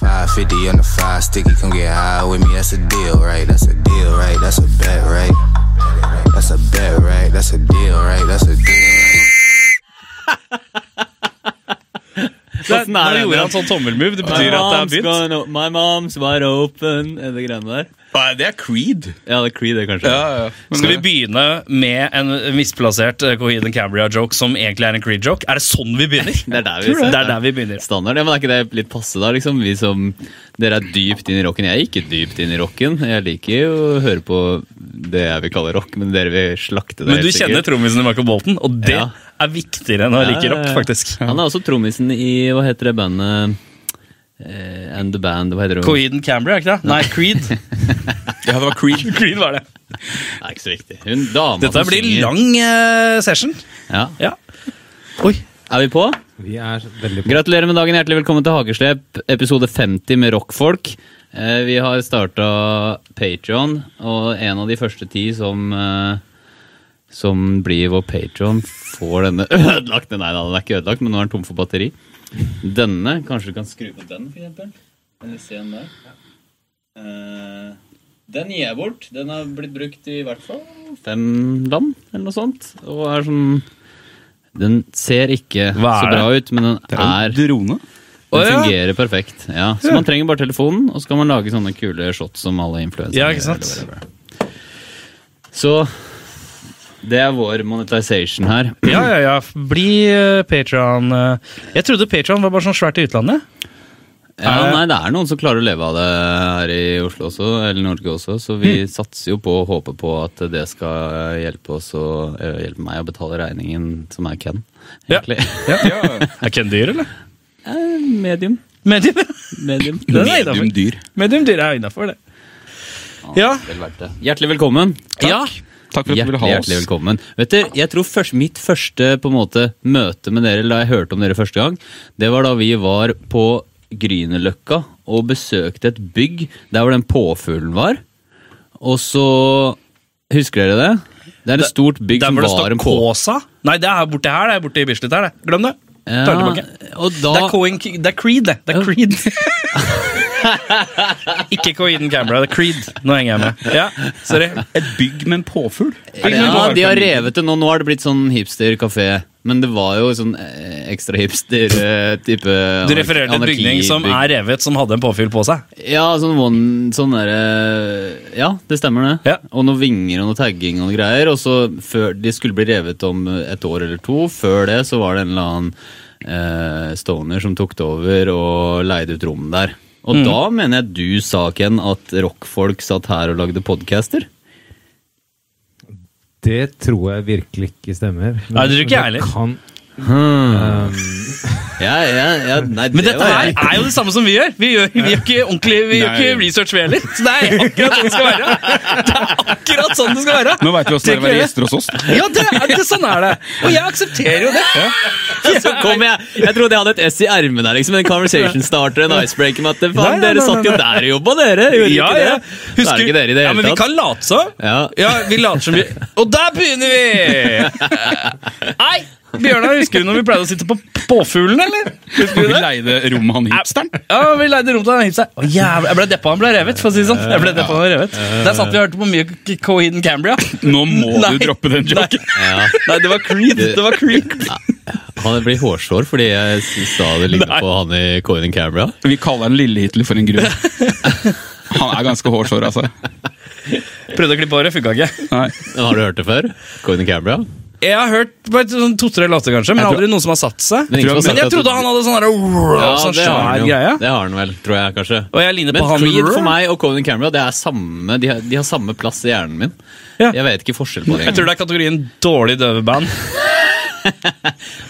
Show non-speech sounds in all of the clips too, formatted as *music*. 50 on the five sticky, come get high with me. That's a deal, right? That's a deal, right? That's a bet, right? That's a bet, right? That's a deal, right? That's a deal, right? Sånn Nå er det, gjorde ja. han sånn tommelmove. Det My betyr at mom's, det er begynt. gone, my mom's wide open Er det greiene der? Nei, det er Creed. Ja, det er Creed, det, kanskje. Skal Skal vi vi begynne med en misplassert eh, Coheed and Cambria-joke som egentlig er en Creed-joke? Er det sånn vi begynner? *laughs* Det er der vi, Tror det. Det er der vi begynner. Standard, ja, men Er ikke det litt passe, da? liksom? Vi som, Dere er dypt inn i rocken. Jeg er ikke dypt inn i rocken. Jeg liker jo å høre på det jeg vil kalle rock, men dere vil slakte det. Men du helt kjenner sikkert. trommisen i Michael Bolton, og det Ja. er viktigere enn å like rock, faktisk. *laughs* Han er også trommisen i hva heter det bandet Eh, And The Band, hva heter det? Coheed and Cambria, er ikke det? Nei, *laughs* Creed. Ja, det var Creed. *laughs* Creed var det. Nei, ikke så riktig. Hun dama Dette som blir synger. lang eh, session. Ja. Ja. Oi, er vi på? Vi er veldig på. Gratulerer med dagen, hjertelig velkommen til Hageslepp, episode 50 med rockfolk. Eh, vi har starta Patreon, og en av de første ti som eh, som blir vår Patreon, får denne *laughs* ødelagt. Nei da, den er ikke ødelagt, men nå er den tom for batteri. Denne, kanskje du kan skru på den, for eksempel? Kan du se den der? Eh, den gir jeg bort. Den har blitt brukt i hvert fall fem land, eller noe sånt. Og er sånn Den ser ikke Hva så er det? bra ut, men den er drone? Den Å, ja. fungerer perfekt. Ja. Så man trenger bare telefonen, og så kan man lage sånne kule shots som alle influensere Ja, ikke sant? gjør, eller whatever. Så det er vår monetization her. Ja, ja, ja. Bli uh, Patron. Jeg trodde Patron var bare sånn svært i utlandet. Ja, nei, det er noen som klarer å leve av det her i Oslo også, eller Norge også, så vi Mm. satser jo på og håper på at det skal hjelpe oss og eh, hjelpe meg å betale regningen som er Ken, Ja. egentlig. *laughs* *laughs* Er ikke en dyr, eller? Eh, Medium. Medium, Medium. *laughs* Den er Medium innenfor. dyr. Medium dyr er innafor, det. Ja. Vel verdt det. Hjertelig velkommen. ja. Takk for at du Hjertelig, ville ha oss. hjertelig velkommen. Vet dere, jeg tror først, mitt første på en måte møte med dere, eller da jeg hørte om dere første gang, det var da vi var på Grünerløkka og besøkte et bygg der hvor den påfuglen var. Og så Husker dere det? Det er et stort bygg Der som hvor det var står en på... Kåsa. Nei, det er borte her. Det er borte i Bislett her, det. Glem det. Ta det tilbake. og da, Det er, Cohen, det er Creed, det. Det er Creed. *laughs* Ikke Cohen Camera, det er Creed. Nå henger jeg med. Ja, sorry. Et bygg med en påfugl? Er det- ja, de har revet det nå. Nå har det blitt sånn hipster-kafé. Men det var jo sånn eh, ekstra eh, hipster-type Du refererer til en bygning som er revet, som hadde en påfyll på seg. Ja, sånn, one, sånn derre Ja, det stemmer det. Ja. Og noen vinger og noe tagging og noe greier. Og så før De skulle bli revet om et år eller to. Før det så var det en eller annen eh, stoner som tok det over og leide ut rom der. Mm. Og da mener jeg du sa, Ken, at rockfolk satt her og lagde podcaster. Det tror jeg virkelig ikke stemmer. Men- Nei, det tror ikke jeg men heller. Kan, Ja, ja, ja, nei, Men dette var her jeg. er jo det samme som vi gjør. Vi gjør, vi gjør ikke ordentlig Vi gjør ikke Nei. research, vi heller. Så det er akkurat sånn det skal være. Det er akkurat sånn det skal være. Nå veit vi åssen det er å være Tenker gjester hos oss. Ja, det er det, sånn er det. Og jeg aksepterer jo det. Så Altså, kom jeg, jeg trodde jeg hadde et S i ermet der, liksom. En conversation starter, en icebreaker. med at faen, Nei, nei, dere nei, satt jo nei. der og jobba, dere! Gjorde Ja, ikke ja. det? Da er det ikke dere i det ja, hele men vi tatt. kan late som. Ja. vi later som vi Og der begynner vi! Nei, Bjørnar, husker du når vi pleide å sitte på påfuglen, eller? Og vi leide rommet han hipsteren. Ja, vi leide rom til han hipster. Å, jævla, jeg ble deppa han ble revet, for å si det sånn. Jeg ble deppa han ble revet. Der satt vi og hørte på mye K- Coheed and Cambria. Nå må Nei. du droppe den joken. Ja. Nei, det var Creed. Det var Creed. Han blir hårsår fordi jeg sa det ligner på han i Coin in Camera. Vi kaller han Lille Hitler for en grunn. Han er ganske hårsår, altså. Prøvde å klippe håret, funka ikke. Nei. Men har du hørt det før? Coin in Camera? Jeg har hørt på et sånn to-tre låter, kanskje, men Jeg tror- aldri noen som har satt seg. Men ingen som har sagt Men jeg at du- trodde han hadde sånn der- sånn det har svær han jo. greie. Det har han vel, tror jeg kanskje. Og jeg ligner Men på han Creed for meg og Coin in Camera det er samme, de, har, de har samme plass i hjernen min. Ja. Jeg vet ikke forskjell på det. Jeg tror det er kategorien dårlig døveband.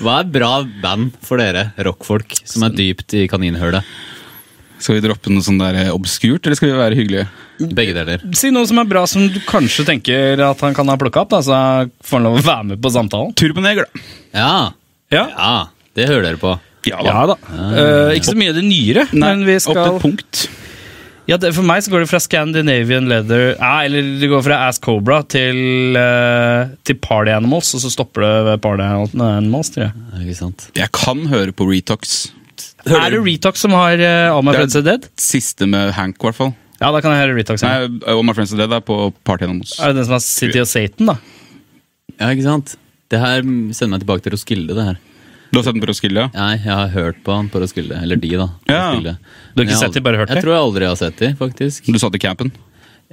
Hva er bra band for dere rockfolk som er dypt i kaninhølet? Skal vi droppe noe sånn der eh, obskurt, eller skal vi være hyggelige? Begge deler. *laughs* Si noe som er bra som du kanskje tenker at han kan ha plukka opp, da, så får han lov å være med på samtalen. Turboneger, da. Ja, Ja, ja det hører dere på. Ja ja da. Eh, ikke så mye det nyere, Nei, men vi skal Opp til et punkt. ja, det, For meg så går det fra Scandinavian Leather Nei, eller det går fra Ass Cobra til, eh, til Party Animals, og så stopper det ved Party Animals, tror jeg. Ikke sant? Jeg kan høre på Retox. Shit! Er det Retox som har eh, All My Det er- Friends Are Dead? Siste med Hank, i hvert fall. Ja, da kan jeg høre Retox. Nei, eh, ja. All My Friends Are Dead er på Party Animals. Er det den som har City of Satan, da? Ja, ikke sant? Det her sender meg tilbake til Roskilde. det her. Du har sett den på Roskilde? ja? Nei, jeg har hørt på han på Roskilde. Eller de, da. på Ja. Roskilde. Du har ikke Men jeg sett de, aldri- bare hørt de? Jeg tror jeg aldri har sett de, faktisk. Du satt i campen?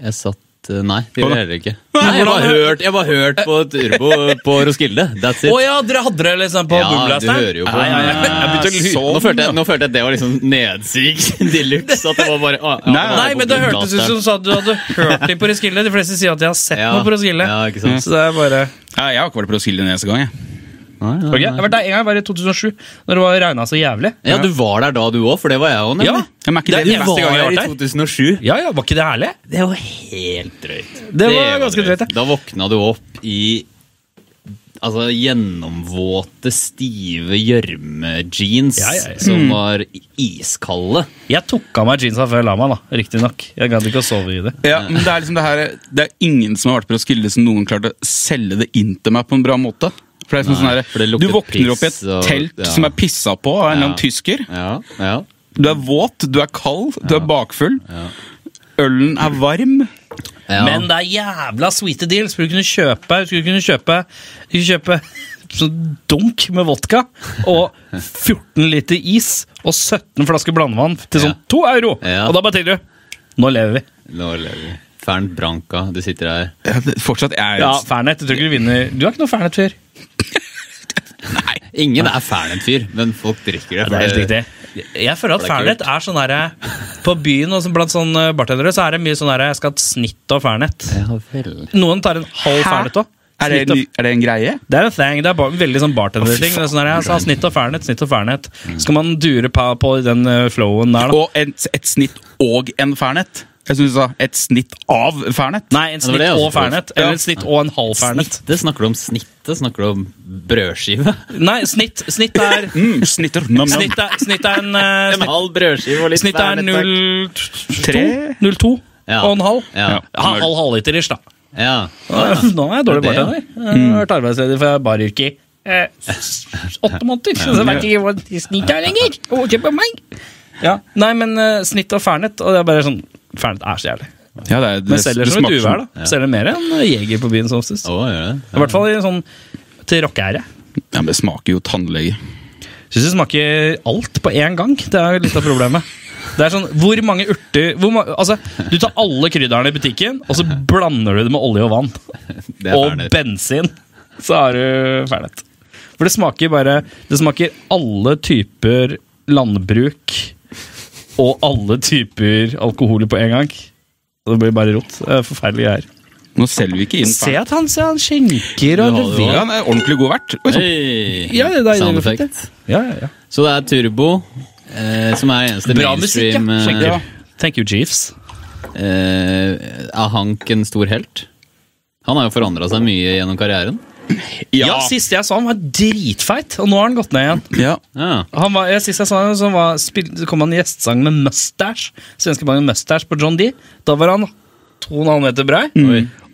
Jeg satt eh, Nei, det Hva da? gjorde jeg heller *laughs* ikke. Nei, jeg bare hørt, jeg bare hørt på Turbo på Roskilde. That's Å it. ja, dere hadde det liksom på Ja, du boomblasteren? hører jo på. eh, Ja, ja, ja. Jeg begynte å lure. Sånn, nå, følte jeg, ja. nå følte jeg at det var liksom nedsik *laughs* de luxe. At det var bare ah, ja, det Nei, var Nei, på men det hørtes ut Blasteren. som du sa at du hadde hørt dem på Roskilde. De fleste sier at de har sett Ja. noe på Roskilde. Ja, ikke sant? Så det er bare Nei, jeg har ikke vært på Roskilde en eneste gang. jeg. Nei, nei, Mm. Ok, Jeg nei. har vært der en gang, jeg var i 2007, når det var regna så jævlig. Ja, du var der da du òg, for det var jeg òg, Ja, nemlig. Men er ikke Det det, er den jeg eneste var gang jeg har jo vært i der? 2007. Ja, ja, var ikke det herlig? Det var helt drøyt. Det var ganske drøyt, Da våkna du opp i altså, gjennomvåte, stive gjørmejeans Ja, ja, ja. som var iskalde. Jeg tok av meg jeansa før jeg la meg, da. Riktignok. Jeg gadd ikke å sove i det. Ja, men det er liksom det her Det er ingen som har vært på Roskilde som noen klarte å selge det inn til meg på en bra måte. For det er liksom Nei, for sånn det her, lukter Du våkner opp i et piss og- telt ja. som er pissa på av en eller annen Ja. tysker. Ja, ja. Du er våt, du er kald, du er bakfull. Ølen er varm. ja. Men det er jævla sweete deal. Skulle du kunne kjøpe Skulle du kunne kjøpe, du kunne kjøpe *laughs* sånn dunk med vodka og 14 liter is og 17 flasker blandevann til sånn Ja. 2 euro. Ja. Og da bare tenker du Nå lever vi. Nå lever vi. Fern Branca, du sitter her. Ja, det- Fortsatt er Ja, Fernet. Jeg tror ikke du vinner. Du har ikke noe Fernet før. Ingen er Fernet-fyr, men folk drikker det. Det er helt for det- riktig. Jeg føler at For det er Fernet er sånn herre På byen og så blant sånne bartendere så er det mye sånn herre Jeg skal ha et snitt av Fernet. Ja vel. Noen tar en halv Hæ? Fernet òg. Er det, en, er det en greie? Det er en thing, det er bare, veldig sånn bartender-ting. Det er sånn her, jeg sa snitt og fernet, snitt og fernet. Skal man dure på, på den eh, flowen der, da? Og et, et snitt og en fernet? Jeg syns du sa et snitt av fernet. Nei, en Ja, det var snitt det jeg og også trodde. fernet. Eller en snitt og en halv fernet. Snittet, snakker du om snittet? Snakker du om *laughs* brødskive? Nei, snitt, snitt er Mm, snitter. Nam, nam. Snitt er, snitt er en eh, En snitt, halv brødskive og litt snitt er Fernet, takk. 0,2 Tre? 0,2 Ja. og en halv. Ja. Ja. Ha, halv halvliter ish, da. ja. Nå er jeg dårlig Det er det, ja. Mm. bartender. Jeg har vært arbeidsledig fra baryrket i eh, s- s- åtte måneder. Så jeg vet ikke hva snitt er lenger. Og se på meg. Ja. Nei, men eh, snitt og fernet, og det er bare sånn Fernet er så jævlig. Ja, det, er- det, Men selger som et smaker uvær, da. Selger mer enn eh, Jeger på byen, som oftest. sånn, Å, gjør det? I hvert fall i sånn til rockeære. Ja, men det smaker jo tannlege. Syns det smaker alt på én gang. Det er jo litt av problemet. Det er sånn, Hvor mange urter hvor ma altså, Du tar alle krydderne i butikken, og så blander du det med olje og vann. Det er Og Fernet. bensin. Så har du fernet. For det smaker bare Det smaker alle typer landbruk og alle typer alkohol på en gang. Og Det blir bare rot. Det er Forferdelige greier. Nå selger vi ikke inn Se at han, se, han skjenker Du og har det Ja, han er ordentlig god vert. Oi, sånn. Hey. Ja, det er deilig, Sound det er fint, effect. Ja, ja, ja. Så det er Turbo, eh, som er eneste Bra musikk, ja. mainstream eh, Skjenker. Thank you, Jeeves. eh, Er Hank en stor helt? Han har jo forandra seg mye gjennom karrieren. Ja. siste jeg så han var dritfeit, og nå har han gått ned igjen. Ja. Ja. Han var, jeg, sist jeg så han, så, var, spil, så kom han i gjestsang med mustache. Svenskebanken Mustache på John D. Da var han to og en halv meter brei.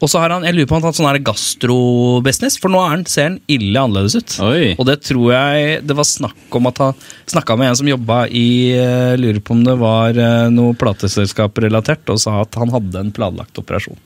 Og så har han, jeg lurer på om han har hatt sånn her gastrobusiness, for nå er han, ser han ille annerledes ut. Oi. Og det tror jeg det var snakk om at han snakka med en som jobba i eh, Lurer på om det var eh, noe plateselskap relatert, og sa at han hadde en planlagt operasjon.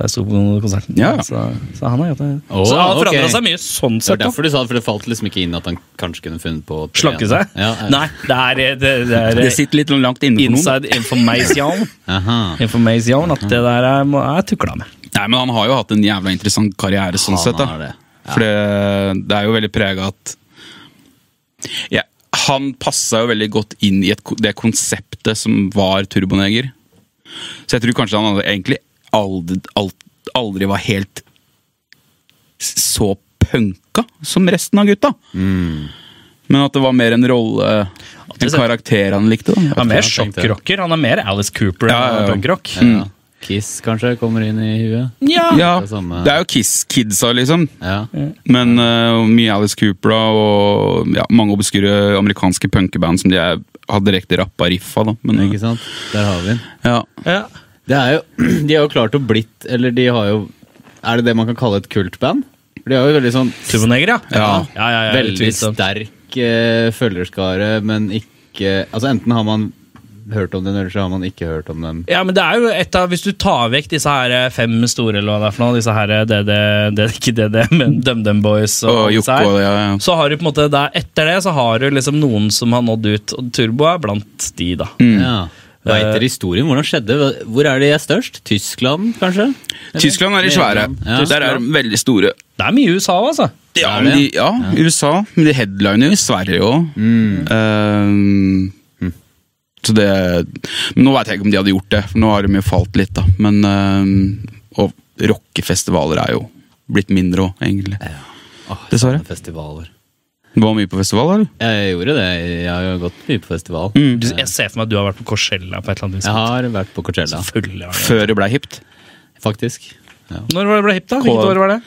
Da jeg sto på konserten. Ja. Så, så han har gjort det. Å, så han har ok. forandra seg mye sånn Det sett. var da. derfor du sa det, for det falt liksom ikke inn at han kanskje kunne funnet på å Slakke trene. seg? Ja, ja. Nei, det er, eh, det, det er Det sitter litt langt inne for noen. inside information. Aha. information at det der er, må- er tukla med. Nei, men han har jo hatt en jævla interessant karriere sånn Han sett. da. har det. For det, det er jo veldig prega at ja, Han passa jo veldig godt inn i et, ko- det konseptet som var Turboneger. Så jeg tror kanskje han hadde egentlig aldri, alt- aldri var helt s- så punka som resten av gutta. Mm. Men at det var mer en rolle, en karakter han likte. da. Han er mer jeg tenkte. sjokkrocker. Han er mer Alice Cooper enn Ja, ja, han er ja. punkrock. Ja. Mm. Kiss kanskje kommer inn i huet. Ja, Det er samme- det er jo Kiss-kidsa, liksom. Ja. Men eh, mye Alice Cooper da, og ja, mange obskure amerikanske punkeband som de er, har direkte rappa riffa. Da. Men, eh, Ikke sant? Der har vi den. Ja. Ja. Det er jo, *clears throat* de har jo klart å blitt Eller de har jo Er det det man kan kalle et kultband? For De har jo veldig sånn Turboneger, ja. Ja. ja, ja, ja veldig utvilsomt. sterk sterk eh, følgerskare, men ikke Altså Enten har man hørt om dem, eller så har man ikke hørt om dem. Ja, men det er jo et av, Hvis du tar vekk disse her eh, fem store, eller hva det er for noe, disse her eh, DD, det, ikke DD, men DumDum Boys og, Og alle disse Jokke her, og det, ja, ja. Så har du på en måte der, Etter det så har du liksom noen som har nådd ut, og Turbo er blant de, da. Ja. Veit Eh, dere Mm. historien? Hvordan skjedde det? Hvor er de er størst? Tyskland, kanskje? Eller? Tyskland er de svære. Nederland. Ja. Der er de veldig store. Det er mye USA, altså. Ja, Er det? men de, ja, USA. Men de headliner jo i Sverige òg. Mm. så det men Nå veit jeg ikke om de hadde gjort det, for nå har de jo falt litt, da. Men eh, Og rockefestivaler er jo blitt mindre òg, egentlig. Åh, sånne Dessverre. Festivaler. Du var mye på festival, eller? Jeg gjorde det. Jeg har jo gått mye på festival. Mm. Du- Jeg ser for meg at du har vært på Corsella på et eller annet vis. Mm. Jeg har vært på Coachella, Selvfølgelig har du det. Før det blei hipt. faktisk. Ja. Når var det ble hipp, da? Hvilket Kål. år var det?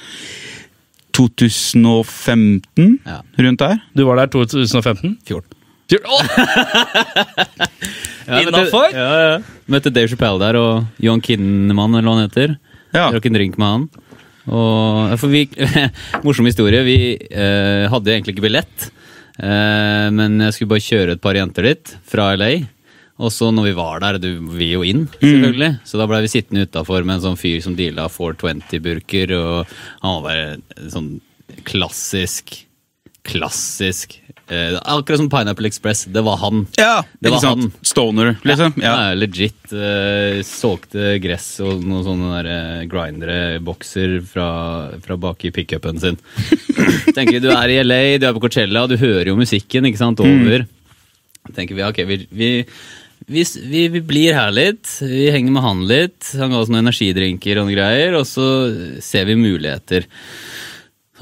2015, Ja. rundt der. Du var der 2015? 14. Fjor- Åh! Innenfor? Ja, ja. Møtte Dave Chappelle der og Johan Kinnaman, eller hva han heter. Ja. Drakk en drink med han. Og, ja, for vi, *laughs* morsom historie. Vi eh, hadde jo egentlig ikke billett, eh, men jeg skulle bare kjøre et par jenter dit fra LA. Og så når vi var der, du vil jo inn, selvfølgelig. Så da blei vi sittende utafor med en sånn fyr som deala 420-burker, og han var bare sånn klassisk Klassisk. Eh, akkurat som Pineapple Express. Det var han. Det var ikke sant? han. Stoner, liksom. Ja. Ja, legit. eh, såkte gress og noen sånne der, eh, grindere, bokser fra, fra bak i pickupen *laughs* sin. Tenker Du er i LA, du er på Coachella, du hører jo musikken ikke sant, Mm. over. Tenker vi, ok, vi, vi, vi, s- vi, vi blir her litt, vi henger med han litt. Han ga oss noen energidrinker og noen greier, og så ser vi muligheter.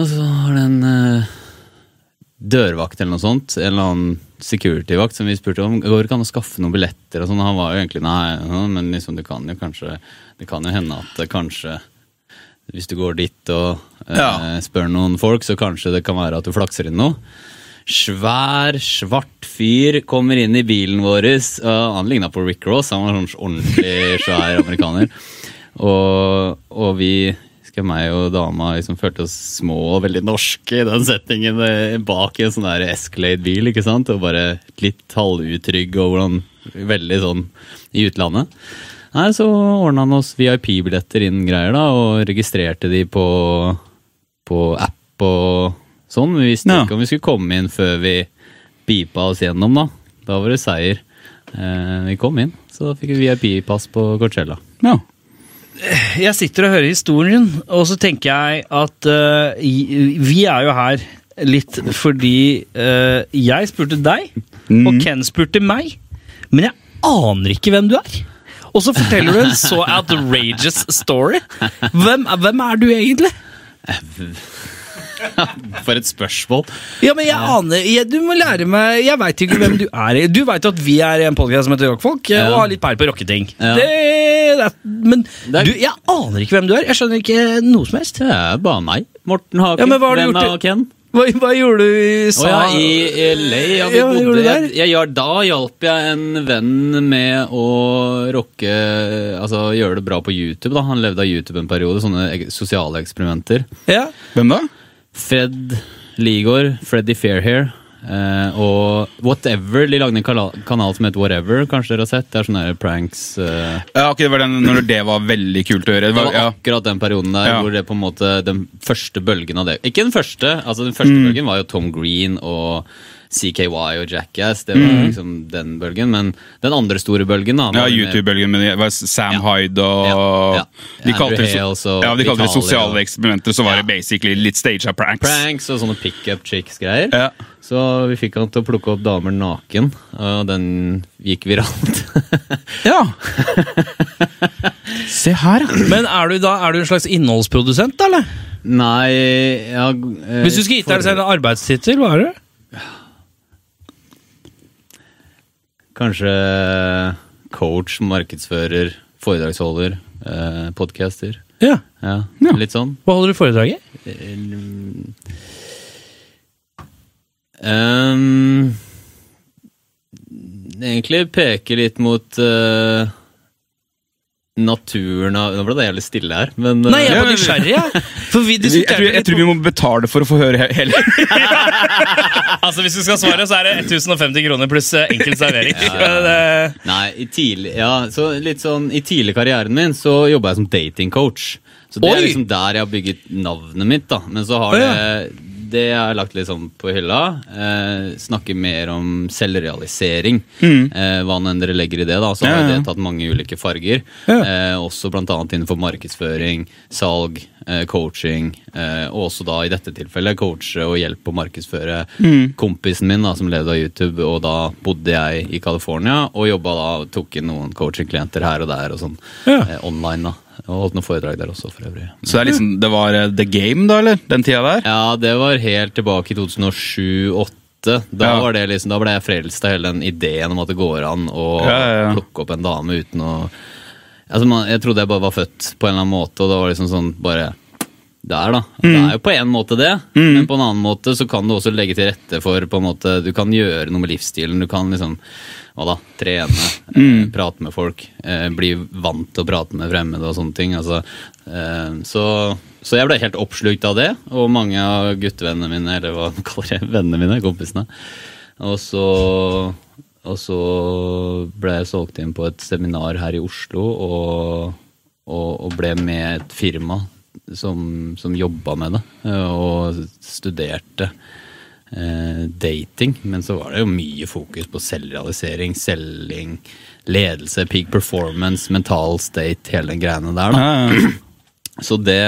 Og så har den eh, dørvakt eller noe sånt, en eller annen security-vakt som vi spurte om, går det ikke an å skaffe noen billetter og sånn, og han var jo egentlig nei, ja, men liksom det kan jo kanskje, det kan jo hende at det kanskje, hvis du går dit og eh, Ja. spør noen folk, så kanskje det kan være at du flakser inn noe. Svær, svart fyr kommer inn i bilen vår, og han lignet på Rick Ross, han var sånn ordentlig svær amerikaner, og, og vi husker meg og dama liksom følte oss små og veldig norske i den settingen eh, bak i en sånn der Escalade-bil, ikke sant? Og bare litt halvutrygg og hvordan Veldig sånn i utlandet. Nei, så ordna han oss VIP-billetter inn greier, da, og registrerte de på, på app og sånn. Vi visste Ja. ikke om vi skulle komme inn før vi beepa oss gjennom, da. Da var det seier. Eh, vi kom inn, så da fikk vi VIP-pass på Coachella. Ja. Jeg sitter og hører historien, og så tenker jeg at eh, i- vi er jo her litt fordi eh, jeg spurte deg, og Mm. Ken spurte meg, men jeg aner ikke hvem du er. Og så forteller du en så *laughs* outrageous story. Hvem, er- hvem er du egentlig? For et spørsmål! Ja, men jeg aner jeg, Du må lære meg Jeg veit ikke hvem du er. Du veit at vi er en podkast som heter Rockfolk, eh, Ja. og har litt peil på rocketing. Ja. Det, det, er- men er- du, jeg aner ikke hvem du er. Jeg skjønner ikke noe som helst. Det er bare meg. Morten Haken. Ja, men hva har du Hvem gjort i- er Haken? Hva, hva gjorde du i Å sa? ja, i LA. Ja, vi Ja, hva gjorde bodde, du der? jeg, jeg, gjør- da hjalp jeg en venn med å rocke Altså gjøre det bra på YouTube. da Han levde av YouTube en periode. Sånne ek- sosiale eksperimenter. ja. Hvem da? Fred Ligård, Freddy Fairhair eh, og Whatever. De lagde en kala- kanal som het Whatever, kanskje dere har sett. Det er sånne der pranks. Eh, Ja, ok, det var den, når det var veldig kult å gjøre. Det Det var, var ja. akkurat den perioden der Ja. hvor det på en måte den første bølgen av det Ikke den første, altså den Mm. første bølgen var jo Tom Green og CKY og Jackass. Det var liksom den bølgen, men den andre store bølgen, da. Mm. Ja, var det mer- YouTube-bølgen med de- var Sam Hyde og Ja, ja. De kalte det, Andrew Hales so- og ja, de kalte det Vitali sosiale og- eksperimenter, så var det basically litt staged pranks. Pranks og sånne pickup chicks-greier. Ja. Så vi fikk han til å plukke opp damer naken, og den gikk viralt. *laughs* Ja. *laughs* Se her, ja. Men er du da er du en slags innholdsprodusent, da, eller? Nei ja, eh, Hvis du skulle gitt deg selv en arbeidstittel, hva er du? Kanskje coach, markedsfører, foredragsholder, eh, podcaster. Ja. Ja, Ja. litt sånn. Hva holder du foredrag i? Ehm, egentlig peker litt mot eh, naturen av Nå ble det jævlig stille her, men Nei, jeg eh, er bare men- nysgjerrig, jeg. For vi Jeg tror, diskuterte jeg litt tror vi må betale for å få høre he- hele Altså, Hvis du skal svare, så er det 1050 kroner pluss eh, enkel servering. *laughs* Men, eh, nei i, tidlig, ja, så litt sånn, I tidlig karrieren min så jobba jeg som datingcoach. Så det er Oi! liksom der jeg har bygget navnet mitt. da Men så har Å, ja. det Det jeg har lagt litt sånn på hylla. Eh, snakke mer om selvrealisering. Mm. Eh, hva nå enn dere legger i det. da Så har Ja, jo ja. det tatt mange ulike farger. Ja. Eh, også bl.a. innenfor markedsføring, salg, eh, coaching. Eh, og også da i dette tilfellet coache og hjelpe å markedsføre Mm. kompisen min da som levde av YouTube. Og da bodde jeg i California og jobba da, og tok inn noen coachingklienter her og der og sånn Ja. eh, online. da Og holdt noen foredrag der også, for øvrig. Så det, er liksom, det var eh, The Game, da, eller? Den tida der? Ja, det var helt tilbake i 2007-2008. Da, Ja. var det liksom, da ble jeg frelst av hele den ideen om at det går an å Ja, ja, ja. plukke opp en dame uten å altså man, Jeg trodde jeg bare var født på en eller annen måte, og det var liksom sånn bare der, da. Det er jo på en måte det, men på en annen måte så kan du også legge til rette for på en måte, Du kan gjøre noe med livsstilen. Du kan liksom hva da, trene, eh, prate med folk, eh, bli vant til å prate med fremmede og sånne ting. Altså, eh, så, så jeg ble helt oppslukt av det, og mange av guttevennene mine, eller hva man *laughs* kaller det, vennene mine, kompisene. Og så, og så ble jeg solgt inn på et seminar her i Oslo, og, og, og ble med et firma som, som jobba med det, eh, og studerte eh, dating, men så var det jo mye fokus på selvrealisering, selging, ledelse, peak performance, mental state, hele den greiene der, da. Ja, ja. Så det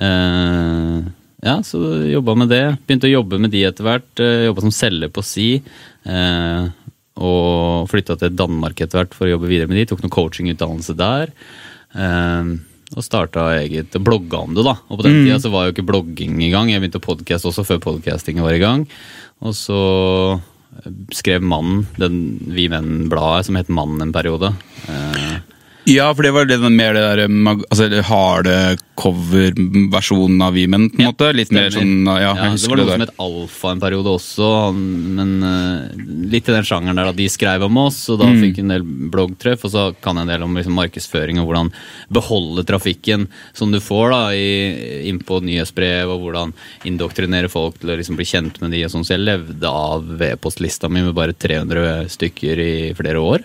eh, Ja, så jobba med det. Begynte å jobbe med de etter hvert. Eh, jobba som selger på Si. Eh, og flytta til Danmark etter hvert for å jobbe videre med de. Tok noe coachingutdannelse der. Eh, og starta eget og blogga om det, da. Og på den tida så var jo ikke blogging i gang. Jeg begynte å podcaste også før podcastingen var i gang. Og så skrev Mannen, den Vi Menn-bladet som het Mannen en periode. Eh, ja, for det var det, den- mer det der eh, mag, altså, det harde cover-versjonen av Vi Menn, på en Ja, måte. Litt mer sånn stemmer. Ja, jeg det husker var det noe som der. het Alfa en periode også, han- men eh, litt i den sjangeren der at de skrev om oss, og da Mm. fikk vi en del bloggtreff, og så kan jeg en del om liksom, markedsføring og hvordan beholde trafikken som du får da, i, inn på nyhetsbrev, og hvordan indoktrinere folk til å liksom, bli kjent med de og sånn, så jeg levde av V-postlista mi med bare 300 stykker i flere år,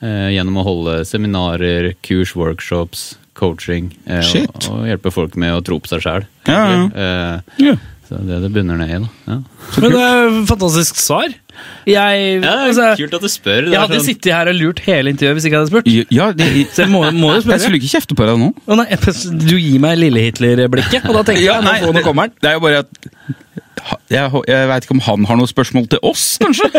eh, gjennom å holde seminarer, kurs, workshops, coaching, eh, Shit. og, og hjelpe folk med å tro på seg selv. Ja, ja. Eh, Ja. så det er det bunner ned i, da. Ja. Men det er et fantastisk svar. Jeg, altså, kult at du spør. sånn- jeg hadde sittet her og lurt hele intervjuet hvis ikke jeg hadde spurt. Ja, det, Så jeg må, må jo jeg spørre. skulle ikke kjefte på deg nå. Å nei, du gir meg Lille-Hitler-blikket, og da tenker jeg nå, får- nå kommer han. *laughs* det er jo bare at jeg, hå- jeg veit ikke om han har noe spørsmål til oss, kanskje?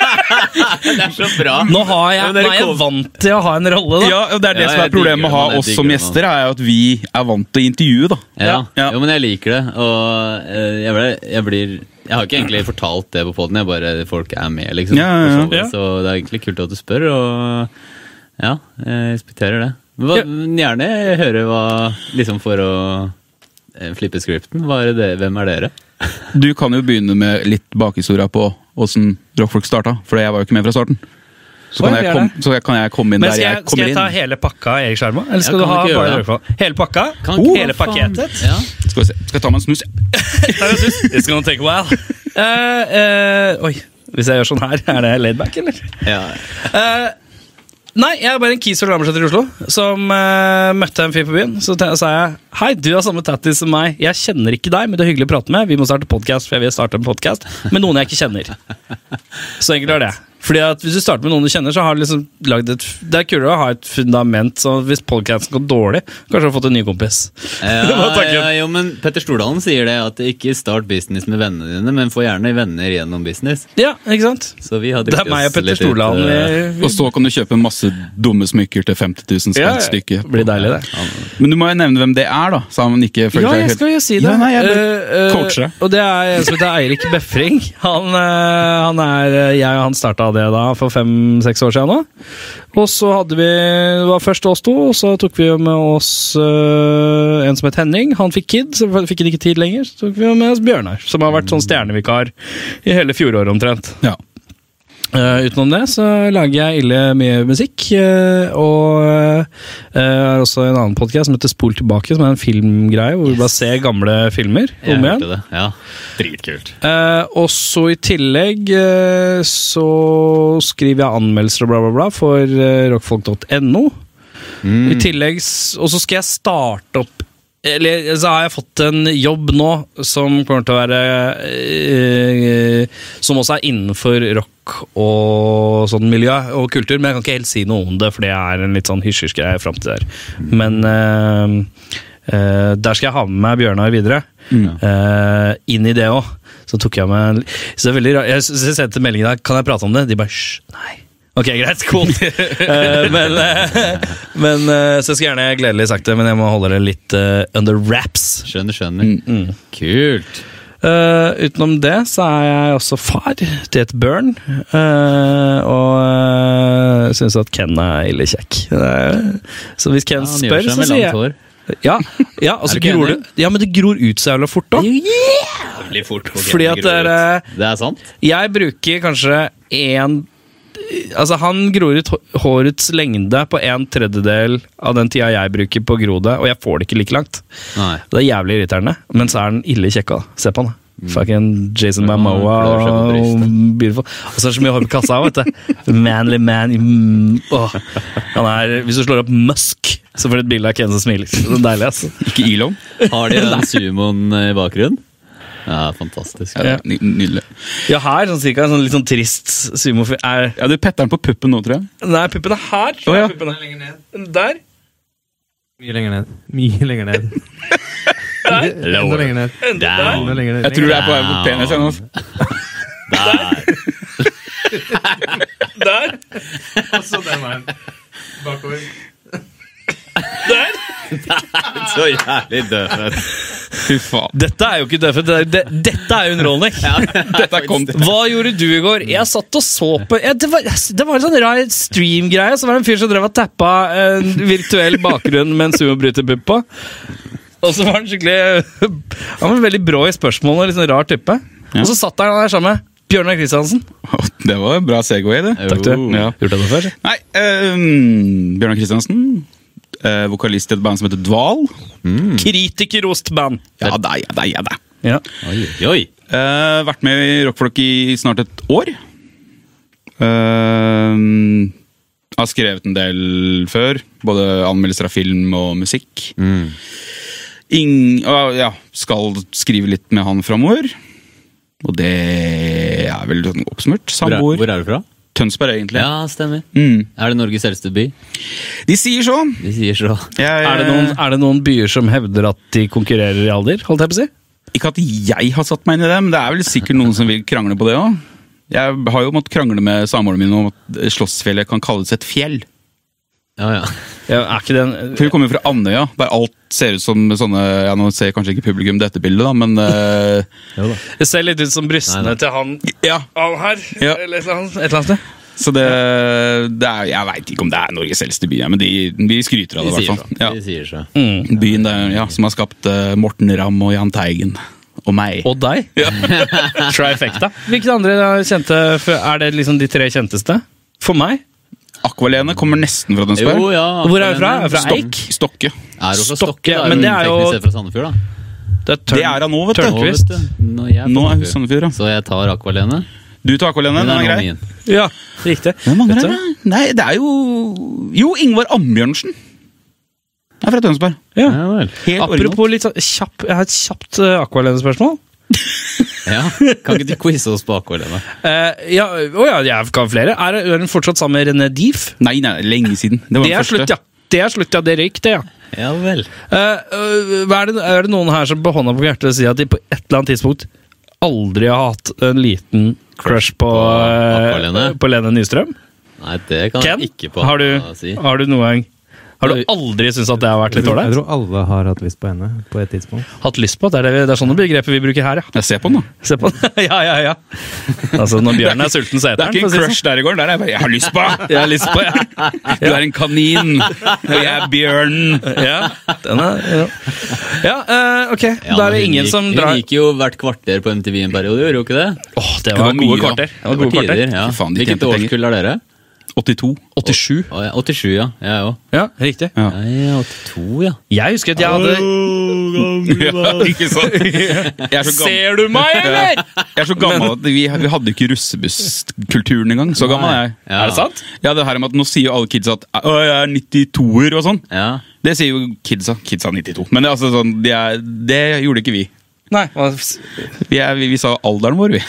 det er så bra! Nå har jeg, Men dere nå er jeg kom- vant til å ha en rolle, da. Ja, og Det er det Ja, som er jeg digger problemet med å ha den, jeg oss digger som den, gjester, er jo at vi er vant til å intervjue, da. Ja, Ja. Jo, men jeg liker det. Og eh, jeg, ble, jeg blir Jeg har ikke egentlig fortalt det på poden, jeg bare folk er med, liksom. Ja, ja, ja. for så vidt. Så det er egentlig kult at du spør, og ja, jeg respekterer det. Men hva, Ja. men gjerne høre hva Liksom for å eh, flippe scripten. Hva er det, hvem er dere? Du kan jo begynne med litt bakhistoria på åssen Rockfolk starta, for jeg var jo ikke med fra starten. Så Oi, kan, det jeg er kom, det. så jeg- kan jeg komme inn Men der skal jeg jeg, skal kommer jeg ta inn. hele pakka i Erik Skjerma? Eller skal Ja, du kan ha du ikke bare gjøre det? Rødflå? Hele pakka? Oh, Kan Oh, ikke- hele Hva faen? paketet? Ja. Skal, vi se. skal jeg ta meg en snus? jeg? It's gonna take a while. *laughs* Eh, eh, oi, hvis jeg gjør sånn her, er det laidback, eller? Ja. Eh, nei, jeg er bare en kis fra Lambertseter i Oslo som eh, møtte en fyr på byen. Så te- sa jeg hei, du har samme tattis som meg. Jeg kjenner ikke deg, men det er hyggelig å prate med. Vi må starte podkast, for jeg vil starte en podkast med noen jeg ikke kjenner. *laughs* Så enkelt er det. Fordi at Hvis du starter med noen du kjenner, så har du liksom lagd et Det er kulere å ha et fundament. Så hvis podkasten går dårlig, kanskje du har fått en ny kompis. Det var Ja, tanken. ja, jo, men Petter Stordalen sier det at ikke start business med vennene dine, men få gjerne venner gjennom business. Ja, ikke sant? Så vi har Det drukket er meg og oss Petter litt ut, Stordalen. eh, vi- vi- Og så kan du kjøpe masse dumme smykker til 50 000 Ja, spenn stykket. blir deilig, det. Men du må jo nevne hvem det er, da. Så han ikke føler Ja, seg jeg helt- skal jo si det. Ja, nei, jeg bare- Eh, eh, coacher deg. og det er en som heter Eirik Befring. Han, eh, han er eh, Jeg og han starta det da for fem-seks år siden nå. Og så hadde vi Det var først oss to, og så tok vi jo med oss eh, en som het Henning. Han fikk kid, så fikk han ikke tid lenger. Så tok vi jo med oss Bjørnar, som har vært sånn stjernevikar i hele fjoråret omtrent. ja. Eh, utenom det så lager jeg ille mye musikk. eh, og eh, har også en annen podkast som heter Spol tilbake, som er en filmgreie hvor vi bare ser gamle filmer Jeg om igjen. hørte det. Ja. Dritkult. Eh, og så i tillegg eh, så skriver jeg anmeldelser og bla, bla, bla for eh, rockfolk.no. I tillegg, s- Og så skal jeg starte opp Eller så har jeg fått en jobb nå som kommer til å være eh, Som også er innenfor rock og sånn miljø og kultur, men jeg kan ikke helt si noe om det, for det er en litt sånn hysjersk greie fram til der. Men eh, eh, der skal jeg ha med meg Bjørnar videre. Eh, inn i det òg. Så tok jeg med en Så det er veldig rart. Jeg, s- jeg sendte meldingen her, kan jeg prate om det? De bare hysj, nei. Ok, greit. *laughs* Cool. Eh, men eh, men eh, Så jeg skal gjerne gledelig sagt det, men jeg må holde det litt eh, under wraps. Skjønner, skjønner. Mm, Kult. Eh, utenom det så er jeg også far til et børn. eh, og uh, syns at Ken er ille kjekk. Det er- så hvis Ken Ja, han spør, gjør seg så med sier langt jeg hår. ja, ja, *laughs* altså, Er du ikke gror enig? det, ja, men det gror ut så jævla fort, *laughs* da. Veldig fort. på Fordi at eh, Kenneth Grorud. dere- Det er sant? Jeg bruker kanskje én Altså, han gror ut hå- hårets lengde på en tredjedel av den tida jeg bruker på å gro det, og jeg får det ikke like langt. Nei. Det er jævlig irriterende, men så er den ille kjekk òg. Se på han. Mm. da. Fucking Jason Ja, han Mamoa klør seg på og beautiful. Og så er det så mye hår på kassa òg, vet du. Manly man. Mm, åh. Han er, hvis du slår opp Musk, så får du et bilde av Ken som smiler. Så deilig, altså. Ikke Elon. *laughs* Har de den sumoen eh, i bakgrunnen? Ja, fantastisk. Ja, ny- Nydelig. Ja, her, sånn cirka, en sånn litt sånn trist sumofil er Ja, Du petter den på puppen nå, tror jeg. Nei, puppen er her. Å, ja. Puppen er lenger ned. Der. Mye lenger ned. Mye lenger ned. Enda lenger ned. Enda lenger ned. Jeg tror det er på vei mot penis. altså. jeg nå. Der. Også den veien. Bakover. Så jævlig død. Fy faen. Dette er jo ikke dødfødt. det er- det- Dette er jo underholdning. Dette kom til Hva gjorde du i går? Jeg satt og så på ja, Det var, det var en sånn rar stream-greie. Så var det en fyr som drev og tappa en virtuell bakgrunn med en sumobryterpupp på. Og så var han skikkelig Han var veldig brå i spørsmålene. Litt sånn rar type. Og så satt han der sammen med Bjørnar Kristiansen. Det var en bra Segway, det. Takk til deg. Ja. Gjort det før? Nei, ehm, Bjørnar Kristiansen. eh, vokalist i et band som heter Dval. Hmm. Kritikerrost band. Ja, det er, det er, det er. Ja. Oi, oi. Eh, vært med i Rockfolk i snart et år. Eh, har skrevet en del før. Både anmeldelser av film og musikk. Mm. Ing, og, ja, skal skrive litt med han framover. Og det er vel sånn oppsummert. Hvor, er, Samboer. hvor er du fra? Tønsberg, egentlig. Ja, stemmer. Mm. Er det Norges eldste by? De sier så. De sier så. Jeg, Er Eh. det, noen, er det noen byer som hevder at de konkurrerer i alder? Holdt jeg på å si? eh, Ikke at jeg har satt meg inn i det, men det er vel sikkert noen som vil krangle på det òg. Jeg har jo måttet krangle med samboeren min om at Slottsfjellet kan kalles et fjell. Ja, ja. Ja, er ikke det en For vi kommer jo fra Andøya, der alt ser ut som sånne ja, Nå ser kanskje ikke publikum dette bildet, da, men eh, Det ser litt ut som brystene Nei, nei. til han, Ja. han her. Ja. Eller et eller annet- et eller annet sted. Så det, det er Jeg veit ikke om det er Norges eldste by, ja, men de, de skryter av De det, i sier så. hvert fall. Ja. De sier så. Byen der, ja, som har skapt eh, Morten Ramm og Jahn Teigen. Og meg. Og deg. *laughs* Trifecta. Hvilke andre er kjente Er det liksom de tre kjenteste? For meg? Akvalene kommer nesten fra Jo, Tønsberg. ja. Hvor er du fra? Er du fra Eik? Stok, Stokke. Er du fra Stokke, Stokke? Da er men du det er jo- teknisk sett fra Sandefjord, da. Det er, Det er han nå, vet du. Tørnquist. Nå, vet du, Nå, jeg Nå på er hun Sandefjord, ja. Så jeg tar Akvalene. Du tar Akvalene, den er grei. Ja, riktig. Hvem Vet du? andre er det? Nei, det er jo Jo, Ingvar Ambjørnsen. Det er fra Tønsberg. Ja. Ja vel. Helt originalt. Apropos litt sånn kjapp Jeg har et kjapt uh, Aqualene-spørsmål. Ja. Kan ikke du quize oss på Akvalene? Eh, ja, Å ja, jeg kan flere. Er, er hun fortsatt sammen med René Dief? Nei, nei, lenge siden. Det Det var den er første. slutt, ja. Det er slutt, ja. Det røyk, det, ja. Ja vel. Eh, øh, hva er, det, er det noen her som på hånda på hjertet sier at de på et eller annet tidspunkt aldri har hatt en liten crush på, eh, Aqualene? på Lene Nystrøm? Nei, det kan Ken, jeg ikke på å har, du, si. har du noen gang Har du aldri syntes at det har vært litt Jeg ålreit? tror alle har hatt lyst på henne på et tidspunkt. Hatt lyst på? Det er, det, vi- det er sånne begreper vi bruker her, ja. *laughs* Jeg ser på den, da. Se på den. *laughs* ja, ja, ja. Altså, når bjørnen er sulten, så Det eter er den. ikke for å en si sånn. det crush der i går. Der er jeg bare 'jeg har lyst på'. *laughs* Jeg har lyst på, Du er en kanin, og jeg er bjørnen. sånn. Ja, den er, ja. ja eh, ok. Ja, da er men det hun ingen gikk- som Hun drar gikk jo hvert kvarter på MTV en periode, gjorde hun ikke det? Åh, det var var gode mye, ja. kvarter. Det var Det gode var tider, kvarter. ja. Fy faen, de Hvilket tjente penger. årskull er dere? 82. 87. Å, ja, 87, ja. Jeg òg. Ja, riktig. Ja. Nei, 82, ja. Jeg husker at jeg hadde *laughs* Ja, ikke sant? Jeg er så gammel, du meg, eller?! jeg er så gammel at vi, vi hadde jo ikke russebusskulturen engang. Så gammel er jeg. Ja. Er det sant? Ja, det her med at Nå sier jo alle kidsa at «Å, jeg er 92-er og sånn. ja. Det sier jo kidsa. Kidsa er 92. Men det, er altså sånn, det, er, det gjorde ikke vi. Nei. altså, hva- Vi, er, vi, vi sa alderen vår, vi.